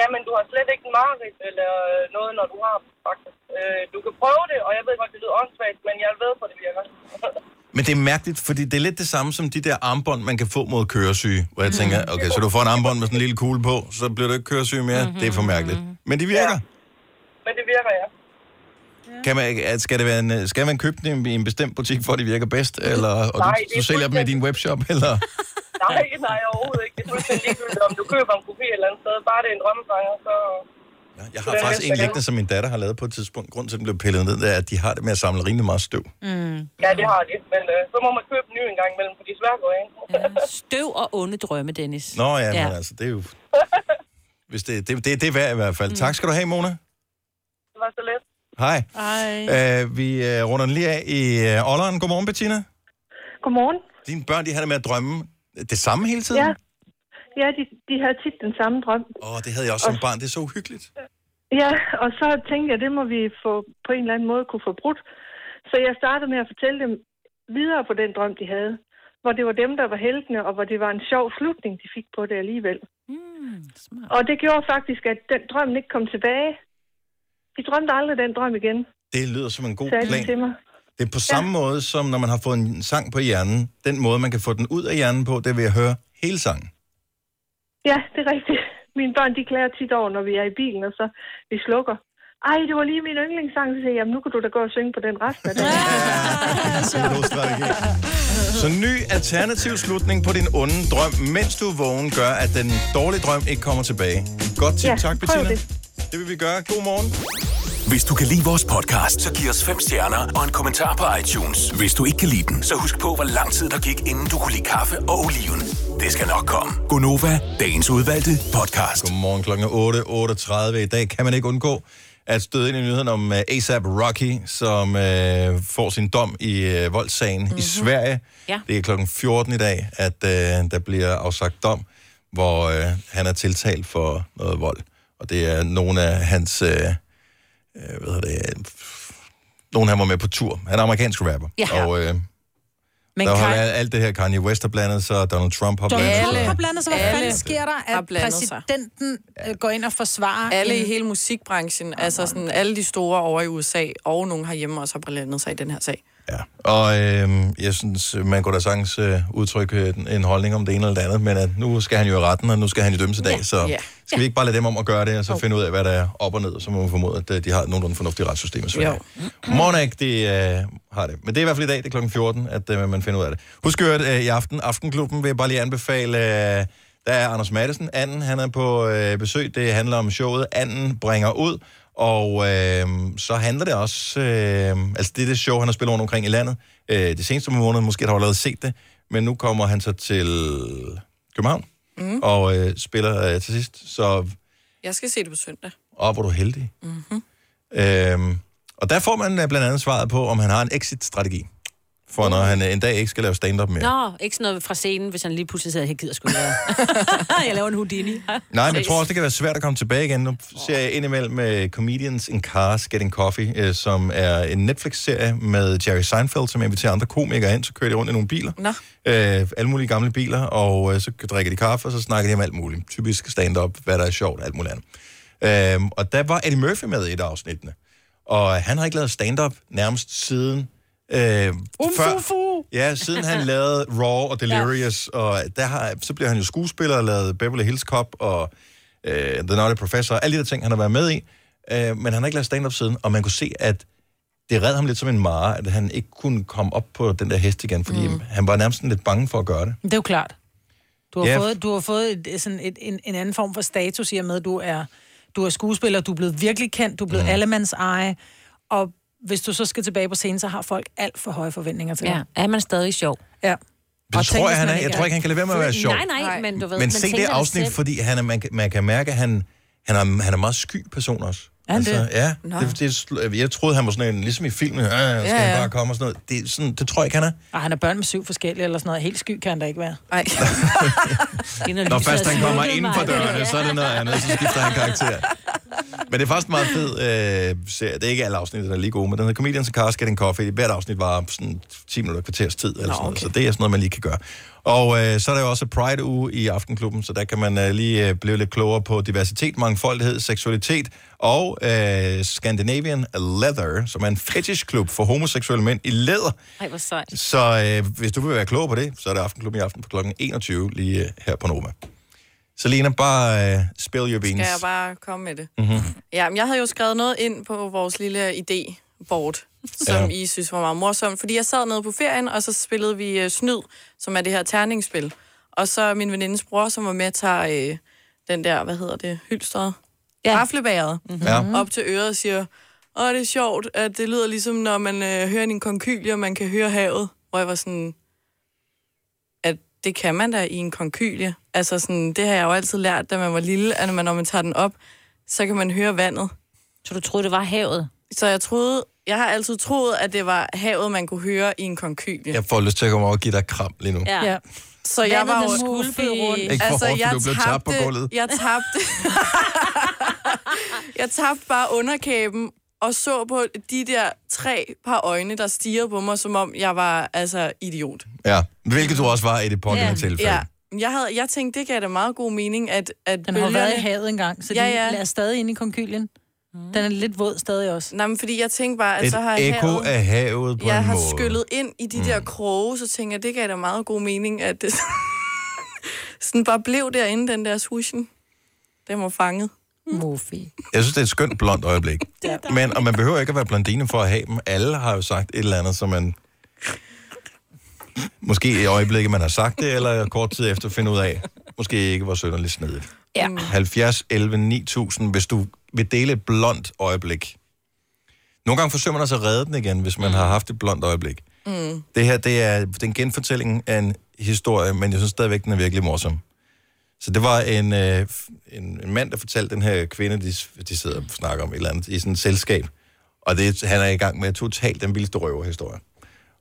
Speaker 17: jamen du har slet ikke en mareridt eller øh, noget, når du har dem, faktisk. Øh, du kan prøve det, og jeg ved godt, det lyder åndssvagt, men jeg ved, hvor det virker.
Speaker 1: Men det er mærkeligt, fordi det er lidt det samme som de der armbånd, man kan få mod køresyge. Hvor jeg tænker,
Speaker 17: Mm.
Speaker 1: okay, så du får en armbånd med sådan en lille kugle på, så bliver du ikke køresyge mere.
Speaker 17: Mm-hmm.
Speaker 1: Det er for mærkeligt. Men de virker.
Speaker 17: men det virker, ja.
Speaker 1: Kan man, at- skal, det være en, øh, skal man købe dem i en bestemt butik, for at de virker bedst? Eller, og
Speaker 17: Mm. Nej,
Speaker 1: du,
Speaker 17: det er
Speaker 1: du sælger dem i din webshop? Eller?
Speaker 17: Nej, nej, overhovedet ikke. Det er fuldstændig ligegyldigt, om du køber en kopi et eller andet sted. Bare det er en drømmefanger, så...
Speaker 1: Jeg
Speaker 17: Det
Speaker 1: har
Speaker 17: er
Speaker 1: faktisk
Speaker 17: næste
Speaker 1: en
Speaker 17: gang.
Speaker 1: liggende, som min datter har lavet på et tidspunkt. Grunden til, at den blev pillet ned, det er, at de har det med at samle rimelig meget støv.
Speaker 17: Mm. Ja, det har de. Men øh, så må man købe en ny en gang imellem, for de er svære at gå ind.
Speaker 3: Støv og onde drømme, Dennis.
Speaker 1: Nå ja, ja. men altså, det er jo... Hvis det, det, det, det er værd i hvert fald. Mm. Tak skal du have, Mona.
Speaker 17: Det var så let.
Speaker 1: Hej.
Speaker 17: Hej.
Speaker 1: Øh, vi øh, runder den lige af i øh, ålderen. Godmorgen, Bettina.
Speaker 6: Godmorgen.
Speaker 1: Dine børn, de har det med at drømme det samme hele tiden?
Speaker 6: Ja, ja de, de havde tit den samme drøm.
Speaker 1: Åh, det havde jeg også som barn. Det er så uhyggeligt.
Speaker 6: Ja, og så tænkte jeg, det må vi få, på en eller anden måde kunne få brudt. Så jeg startede med at fortælle dem videre på den drøm, de havde. Hvor det var dem, der var heltene, og hvor det var en sjov slutning, de fik på det alligevel. Mm, og det gjorde faktisk, at den drøm ikke kom tilbage. De drømte aldrig den drøm igen,
Speaker 1: Det lyder som en god
Speaker 6: sagde de
Speaker 1: plan.
Speaker 6: til mig.
Speaker 1: Det er på samme ja. måde, som når man har fået en sang på hjernen. Den måde, man kan få den ud af hjernen på, det er ved at høre hele sangen.
Speaker 6: Ja, det er rigtigt. Mine børn, de klager tit over, når vi er i bilen, og så vi slukker. Ej, det var lige min yndlingssang, så siger jeg, jamen nu kan du da gå og synge på den resten af dagen.
Speaker 1: Så ny alternativ slutning på din onde drøm, mens du er vågen, gør, at den dårlige drøm ikke kommer tilbage. Godt tip.
Speaker 13: Ja,
Speaker 1: tak,
Speaker 13: prøv
Speaker 1: Bettina.
Speaker 13: det.
Speaker 1: Det vil vi gøre. God morgen.
Speaker 13: Hvis du kan lide vores podcast, så giv os fem stjerner og en kommentar på iTunes. Hvis du ikke kan lide den, så husk på, hvor lang tid der gik, inden du kunne lide kaffe og oliven. Det skal nok komme.
Speaker 1: Gonova, dagens udvalgte podcast. Godmorgen klokken er 8.38 i dag. Kan man ikke undgå at støde ind i nyheden om øh, ASAP Rocky, som øh, får sin dom i øh, voldssagen
Speaker 2: Mhm.
Speaker 1: mm-hmm. i Sverige.
Speaker 3: Ja.
Speaker 1: Det er klokken 14 i dag, at øh, der bliver afsagt dom, hvor øh, han er tiltalt for noget vold. Og det er nogle af hans... Øh, øh, hvad hedder det? øh, Nogle han var med på tur. Han er amerikansk rapper.
Speaker 2: Ja.
Speaker 1: Og øh,
Speaker 2: Men
Speaker 1: Men der har
Speaker 2: Kanye-
Speaker 1: været alt det her. Kanye West har blandet sig, Donald Trump har
Speaker 2: Donald
Speaker 1: blandet sig.
Speaker 2: Trump har blandet sig. Hvad
Speaker 5: Alle
Speaker 2: fanden sker der,
Speaker 5: har
Speaker 2: at
Speaker 5: blandet sig.
Speaker 2: præsidenten øh, går ind og forsvarer...
Speaker 5: Alle i
Speaker 2: en- Ah,
Speaker 5: hele musikbranchen, altså sådan alle de store over i USA, og nogen herhjemme også har blandet sig i den her sag.
Speaker 1: Og øh, jeg synes, man kunne da sagtens øh, udtrykke øh, en- en holdning om det ene eller det andet, men at nu skal han jo i retten, og nu skal han jo dømmes i dag,
Speaker 5: Ja.
Speaker 1: så
Speaker 5: Ja.
Speaker 1: skal vi ikke bare lade dem om at gøre det, og så finde ud af, hvad der er op og ned, og så må man formode, at øh, de har et nogenlunde fornuftigt retssystem i Sverige. Monak, det øh, har det. Men det er i hvert fald i dag, det er klokken 14, at øh, man finder ud af det. Husk at øh, i aften, Aftenklubben vil jeg bare lige anbefale, øh, der er Anders Madsen, Anden, han er på øh, besøg, det handler om showet, Anden bringer ud, og øh, så handler det også, øh, altså det er det show, han har spillet rundt omkring i landet, øh, det seneste måned, måske har du allerede set det, men nu kommer han så til København,
Speaker 5: Mm.
Speaker 1: og øh, spiller øh, til sidst. Så
Speaker 5: Jeg skal se det på søndag.
Speaker 1: Åh, hvor er du heldig.
Speaker 5: Mm-hmm.
Speaker 1: Øhm, og der får man øh, blandt andet svaret på, om han har en exit-strategi. For når han øh, en dag ikke skal lave stand-up mere.
Speaker 3: Nå, ikke sådan noget fra scenen, hvis han lige pludselig sidder, jeg gider sgu ikke være. jeg laver en Houdini.
Speaker 1: Nej, men jeg tror også, det kan være svært at komme tilbage igen. Nu ser jeg indimellem uh, Comedians in Cars Getting Coffee, uh, som er en Netflix-serie med Jerry Seinfeld, som inviterer andre komikere ind, så kører de rundt i nogle biler.
Speaker 5: Nå.
Speaker 1: Uh, alle mulige gamle biler, og uh, så drikker de kaffe, og så snakker de om alt muligt. Typisk stand-up, hvad der er sjovt, alt muligt andet. Uh, og der var Eddie Murphy med i et af afsnittene. Og han har ikke lavet stand-up nærmest siden... Øh,
Speaker 9: fufu.
Speaker 1: Ja, siden han lavede Raw og Delirious, Uh. ja. og der har, så blev han jo skuespiller og lavede Beverly Hills Cop og øh, The Naughty Professor, og alle de der ting, han har været med i. Øh, men han har ikke lavet stand-up siden, og man kunne se, at det red ham lidt som en mare, at han ikke kunne komme op på den der hest igen, fordi mm. han var nærmest sådan lidt bange for at gøre det.
Speaker 2: Det er jo klart. Du har
Speaker 1: Ja.
Speaker 2: yeah. fået, du har fået et, sådan et, en, en anden form for status i og med, at du er, du er skuespiller, du er blevet virkelig kendt, du er
Speaker 1: Mhm.
Speaker 2: blevet mm. allemands eje, og hvis du så skal tilbage på scenen, så har folk alt for høje forventninger til
Speaker 3: Ja,
Speaker 2: dig. er man stadig sjov? Ja.
Speaker 1: Det
Speaker 2: Og
Speaker 1: tror
Speaker 2: tænk,
Speaker 1: jeg,
Speaker 2: hvis
Speaker 1: han
Speaker 2: man
Speaker 1: er. Jeg
Speaker 2: ikke
Speaker 1: tror ikke, han kan lade være med at være sjov.
Speaker 3: Nej, nej, men du ved...
Speaker 1: Men
Speaker 3: man
Speaker 1: se det
Speaker 3: tænker
Speaker 1: afsnit,
Speaker 3: selv.
Speaker 1: fordi han er, man, kan- man kan mærke, at han, han, er, han er meget sky person også. Altså,
Speaker 3: Er han det?
Speaker 1: Ja,
Speaker 3: Nå.
Speaker 1: det, det, sl- jeg troede, han var sådan en, ligesom i filmen, øh, skal ja,
Speaker 2: Ja,
Speaker 1: han
Speaker 2: ja.
Speaker 1: bare komme og sådan noget. Det, er sådan, det tror jeg ikke, han er.
Speaker 2: Og han er børn med syv forskellige eller sådan noget. Helt sky kan han da ikke være.
Speaker 5: Nej.
Speaker 1: Når først han kommer ind for dørene, så er det noget andet, så skifter han karakter. Men det er faktisk en meget fed øh, serie. Det er ikke alle afsnit, der er lige gode, men den hedder Comedians in Cars Getting Coffee. Hvert afsnit var sådan 10 minutter kvarters tid, eller sådan noget. så det er sådan noget, man lige kan gøre. Og øh, så er der jo også Pride-uge i Aftenklubben, så der kan man øh, lige øh, blive lidt klogere på diversitet, mangfoldighed, seksualitet og øh, Scandinavian Leather, som er en fetishklub for homoseksuelle mænd i læder.
Speaker 3: Ej, hvor sejt.
Speaker 1: Så øh, hvis du vil være klogere på det, så er det Aftenklubben i aften på kl. 21 lige øh, her på Nova. Selena, bare øh, spill your beans.
Speaker 5: Skal jeg bare komme med det?
Speaker 1: Mm-hmm.
Speaker 5: Ja, men jeg havde jo skrevet noget ind på vores lille idé-board, som
Speaker 1: Ja.
Speaker 5: ja. I synes var meget morsomt. Fordi jeg sad nede på ferien, og så spillede vi øh, Snyd, som er det her terningsspil. Og så min venindes bror, som var med, tager øh, den der, hvad hedder det, hylstret? Ja. Raflebæret. Mm-hmm.
Speaker 1: Ja.
Speaker 5: Op til øret og siger, åh, det er sjovt, at det lyder ligesom, når man øh, hører en konkylie, og man kan høre havet. Hvor jeg var sådan, at det kan man da i en konkylie. Altså sådan, det har jeg jo altid lært, da man var lille, at når man, når man tager den op, så kan man høre vandet.
Speaker 3: Så du troede, det var havet?
Speaker 5: Så jeg troede, jeg har altid troet, at det var havet, man kunne høre i en konkylie.
Speaker 1: Jeg får lyst til at komme over og give dig kram lige nu.
Speaker 5: Ja. Så jeg
Speaker 3: Vandet,
Speaker 5: var
Speaker 3: der
Speaker 5: jo...
Speaker 3: skulpede rundt.
Speaker 1: Ikke for hårdt, for du blev tabt på gulvet.
Speaker 5: Jeg Altså, tabte... jeg tabte bare underkæben og så på de der tre par øjne, der stirrede på mig, som om jeg var altså idiot.
Speaker 1: Ja, hvilket du også var i det pågældende yeah. tilfælde.
Speaker 5: ja. Jeg, havde, jeg tænkte, det gav da meget god mening, at, at
Speaker 2: Den har jo været i havet engang, så de er stadig inde i konkylien. Den er lidt våd stadig også.
Speaker 5: Mm. Nej, men fordi jeg tænkte bare, at
Speaker 1: Et
Speaker 5: så Altså, har
Speaker 1: ekko
Speaker 5: havet...
Speaker 1: af havet på
Speaker 5: jeg
Speaker 1: en
Speaker 5: har
Speaker 1: måde. Mm.
Speaker 5: skyllet ind i de der kroge, så tænker jeg, det gav da meget god mening, at det sådan bare blev derinde, den der sushen. Den var fanget.
Speaker 2: Mofi.
Speaker 1: Jeg synes, det er et skønt blondt øjeblik. Men, og man behøver ikke at være blondine for at have dem. Alle har jo sagt et eller andet, som man... Måske i øjeblikket, man har sagt det, eller kort tid efter finde ud af, måske ikke var sønderligt snedigt.
Speaker 3: Ja.
Speaker 1: 70, 11, 9000, hvis du vil dele et blondt øjeblik. Nogle gange forsøger man også at redde den igen, hvis man har haft et blondt øjeblik.
Speaker 5: Mm.
Speaker 1: Det her, det er den genfortælling af en historie, men jeg synes stadigvæk, den er virkelig morsom. Så det var en, øh, f- en, en mand, der fortalte den her kvinde, de, s- de sidder og snakker om et eller andet, i sådan et selskab. Og det, han er i gang med totalt den vildeste røverhistorie.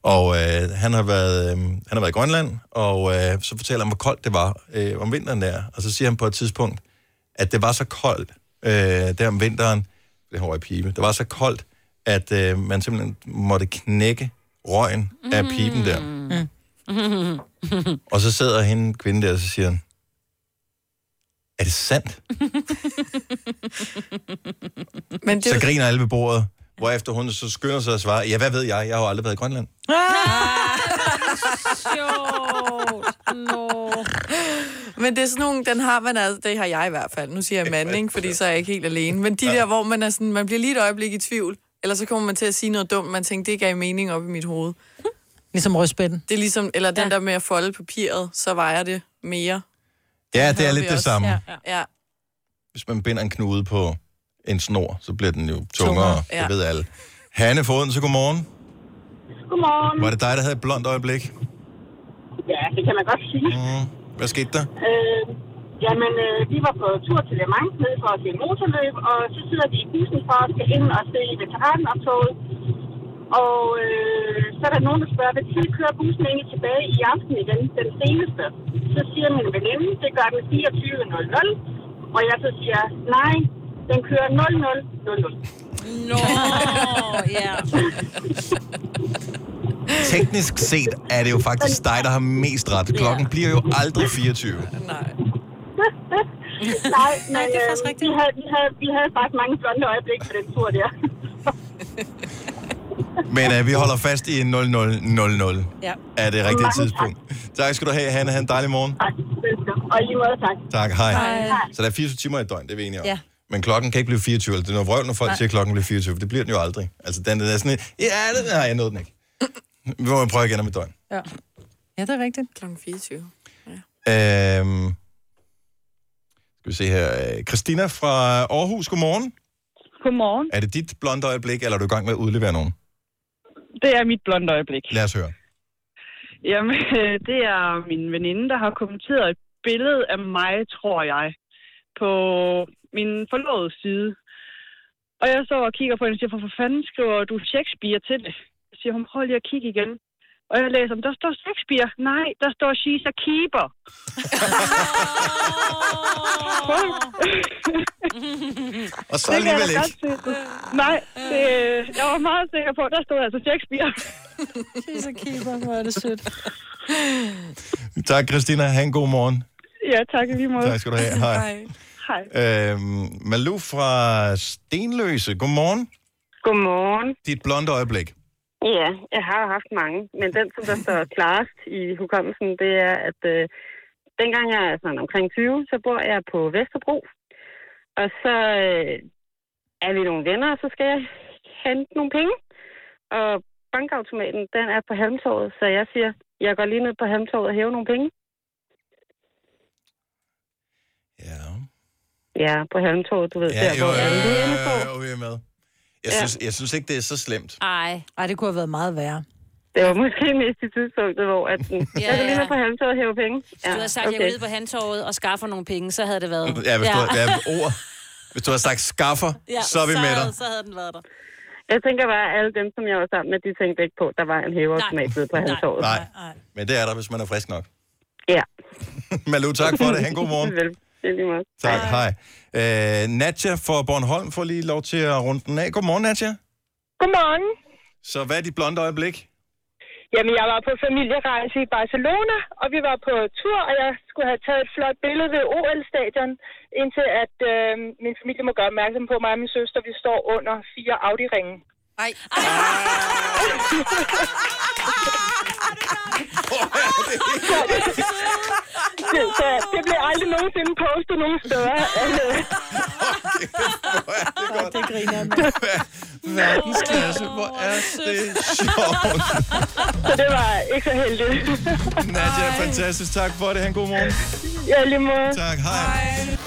Speaker 1: Og øh, han, har været, øh, han har været i Grønland, og øh, så fortæller han, hvor koldt det var øh, om vinteren der. Og så siger han på et tidspunkt, at det var så koldt øh, der om vinteren, det her i pibe, det var så koldt, at øh, man simpelthen måtte knække røgen af piben der. Og så sidder hende kvinde der, og så siger han, er det sandt?
Speaker 5: Men
Speaker 1: det... Så griner alle ved bordet, hvorefter hun så skynder sig at svare, ja, hvad ved jeg, jeg har jo aldrig været i Grønland.
Speaker 5: Ah! Men det er sådan nogle, den har man altså, det har jeg i hvert fald. Nu siger jeg mand, ikke? fordi så er jeg ikke helt alene. Men de der, hvor man er sådan, man bliver lige et øjeblik i tvivl, eller så kommer man til at sige noget dumt, man tænker, det gav mening op i mit hoved.
Speaker 2: Ligesom rødspætten.
Speaker 5: Det er ligesom, eller den ja. der med at folde papiret, så vejer det mere.
Speaker 1: Ja, det er
Speaker 5: Hører
Speaker 1: lidt
Speaker 5: vi
Speaker 1: det
Speaker 5: også.
Speaker 1: samme.
Speaker 5: Ja. ja.
Speaker 1: Hvis man binder en knude på en snor, så bliver den jo tungere,
Speaker 5: ja.
Speaker 1: det ved alle. Hanne Foden, så godmorgen.
Speaker 17: Godmorgen.
Speaker 1: Var det dig, der havde et blondt øjeblik?
Speaker 17: Ja, det kan man godt sige.
Speaker 1: Hvad skete der?
Speaker 17: Øh,
Speaker 15: Jamen, øh, vi var på tur til Le Mans nede for at se motorløb, og så sidder vi i bussen for at skal ind og se veteranoptoget. Og øh, så er der nogen, der spørger, hvad tid kører bussen egentlig tilbage i aften i den, den seneste? Så siger min veninde, det gør den 24.00, og jeg så siger, nej, den kører 00.00.
Speaker 3: Nå, ja.
Speaker 1: Teknisk set er det jo faktisk dig, der har mest ret. Klokken bliver jo aldrig 24.
Speaker 15: Nej, men det er faktisk rigtigt. Vi havde, vi, havde, vi havde faktisk mange flotte øjeblikke på den tur der.
Speaker 1: Men øh, vi holder fast i 0000.
Speaker 15: Ja.
Speaker 1: Er det rigtige
Speaker 15: Mange
Speaker 1: tidspunkt. Tak skal du have, Hanne. Ha' en dejlig morgen.
Speaker 15: Og i lige måde, tak.
Speaker 1: Tak, hej.
Speaker 15: Hej.
Speaker 1: Så der er 24 timer i et døgn, det er vi enige om.
Speaker 15: Ja.
Speaker 1: Men klokken kan ikke blive 24. eller Det er noget vrøvl, når folk
Speaker 25: Nej.
Speaker 1: siger, at klokken bliver 24, for det bliver den jo aldrig. Altså, den er sådan, et, ja, den, nej, jeg nåede den ikke. Vi må prøve igen om et døgn.
Speaker 2: Ja. ja, det er rigtigt.
Speaker 5: Klokken 24.
Speaker 1: Øhm, skal vi se her. Øh, Christina fra Aarhus, godmorgen.
Speaker 18: Godmorgen.
Speaker 1: Er det dit blonde øjeblik, eller er du i gang med at udlevere nogen?
Speaker 18: Det er mit blonde øjeblik.
Speaker 1: Lad os høre.
Speaker 18: Jamen, øh, det er min veninde, der har kommenteret et billede af mig, tror jeg, på min forlovede side. Og jeg står og kigger på hende og siger, hvorfor fanden skriver du Shakespeare til det? Så siger hun, prøv lige at kigge igen. Og jeg læser, "Men der står Shakespeare. Nej, der står she's a keeper.
Speaker 1: Og så
Speaker 18: Det kan jeg
Speaker 1: alligevel
Speaker 18: da
Speaker 1: ikke.
Speaker 18: godt se. Nej, det, jeg var meget sikker på, at der stod altså Shakespeare.
Speaker 2: she's a keeper, hvor er det sødt.
Speaker 1: Tak, Christina. Ha' en god morgen.
Speaker 18: Ja, tak i lige måde.
Speaker 1: Tak skal du have. Hej. Hej.
Speaker 18: Hej.
Speaker 1: Øhm, Malou fra Stenløse, godmorgen.
Speaker 26: Godmorgen.
Speaker 1: Dit blonde øjeblik.
Speaker 26: Ja, jeg har jo haft mange, men den, som der står klarest i hukommelsen, det er, at øh, dengang jeg er sådan omkring 20, så bor jeg på Vesterbro. Og så øh, er vi nogle venner, og så skal jeg hente nogle penge. Og bankautomaten, den er på Halmtorvet, så jeg siger, jeg går lige ned på Halmtorvet og hæver nogle penge. Ja. Ja, på Halmtorvet, du ved.
Speaker 1: Ja,
Speaker 26: der,
Speaker 1: jo,
Speaker 26: hvor
Speaker 1: jo,
Speaker 26: alle
Speaker 1: jo,
Speaker 26: lægerne står.
Speaker 1: jo, vi er med. Jeg synes, jeg synes ikke, det er så slemt.
Speaker 2: Ej. Ej, det kunne have været meget værre.
Speaker 26: Det var måske mest i tidspunktet, hvor at, ja, jeg kan lige ned på Halmtorvet og hæve penge.
Speaker 3: Du har sagt, okay. jeg går ned på handtorvet og skaffer nogle penge, så havde det været...
Speaker 1: Ja, hvis, Du, ja, ord, hvis du har sagt skaffer, ja, så er vi med dig.
Speaker 26: Så havde den været der. Jeg tænker bare, at alle dem, som jeg var sammen med, de tænkte ikke på, at der var en hæveautomat ude på halvtåret.
Speaker 1: Nej, men det er der, hvis man er frisk nok.
Speaker 26: Ja.
Speaker 1: Malou, tak for det. Ha' en god morgen.
Speaker 26: Vel, det er lige meget.
Speaker 1: Tak, hej. hej. Øh, Nadja fra Bornholm får lige lov til at runde den af. Godmorgen, Nadja.
Speaker 24: Godmorgen.
Speaker 1: Så hvad er dit blonde øjeblik?
Speaker 24: Jamen, jeg var på familierejse i Barcelona, og vi var på tur, og jeg skulle have taget et flot billede ved OL-stadion, indtil at øh, min familie må gøre opmærksom på at mig og min søster, vi står under fire Audi-ringe. Nej. det, så det blev aldrig nogensinde postet nogen steder.
Speaker 2: Det griner jeg
Speaker 1: Verdensklasse, hvor er det sjovt.
Speaker 24: Så det var ikke så heldigt.
Speaker 1: Nadja, fantastisk. Tak for det. Ha' en god morgen.
Speaker 24: Ja, lige måde.
Speaker 1: Tak, hej.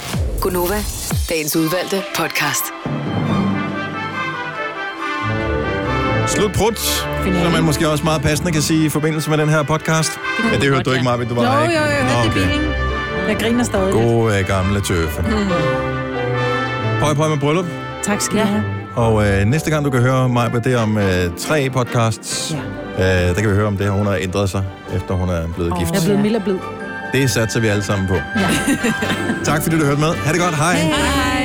Speaker 27: Gunova, dagens udvalgte podcast.
Speaker 1: Slut prut, som man måske også meget passende kan sige i forbindelse med den her podcast. Ja, det hørte du ikke, Marvind, du var
Speaker 2: Jo,
Speaker 1: her
Speaker 2: jo,
Speaker 1: ikke.
Speaker 2: jo, jeg
Speaker 1: Nå,
Speaker 2: hørte det i bilen. Jeg griner stadig. Hmm.
Speaker 1: Gode øh, gamle tøffe. Pøj, pøj med bryllup.
Speaker 2: Tak skal jeg have.
Speaker 1: Og øh, næste gang, du kan høre mig på det er om øh, tre podcasts, ja. øh, der kan vi høre om det her. Hun har ændret sig, efter hun er blevet oh, gift.
Speaker 2: Jeg er blevet mild og blid.
Speaker 1: Det satser vi alle sammen på. Ja. tak fordi du hørte med. Ha' det godt. Hej.
Speaker 2: Hej.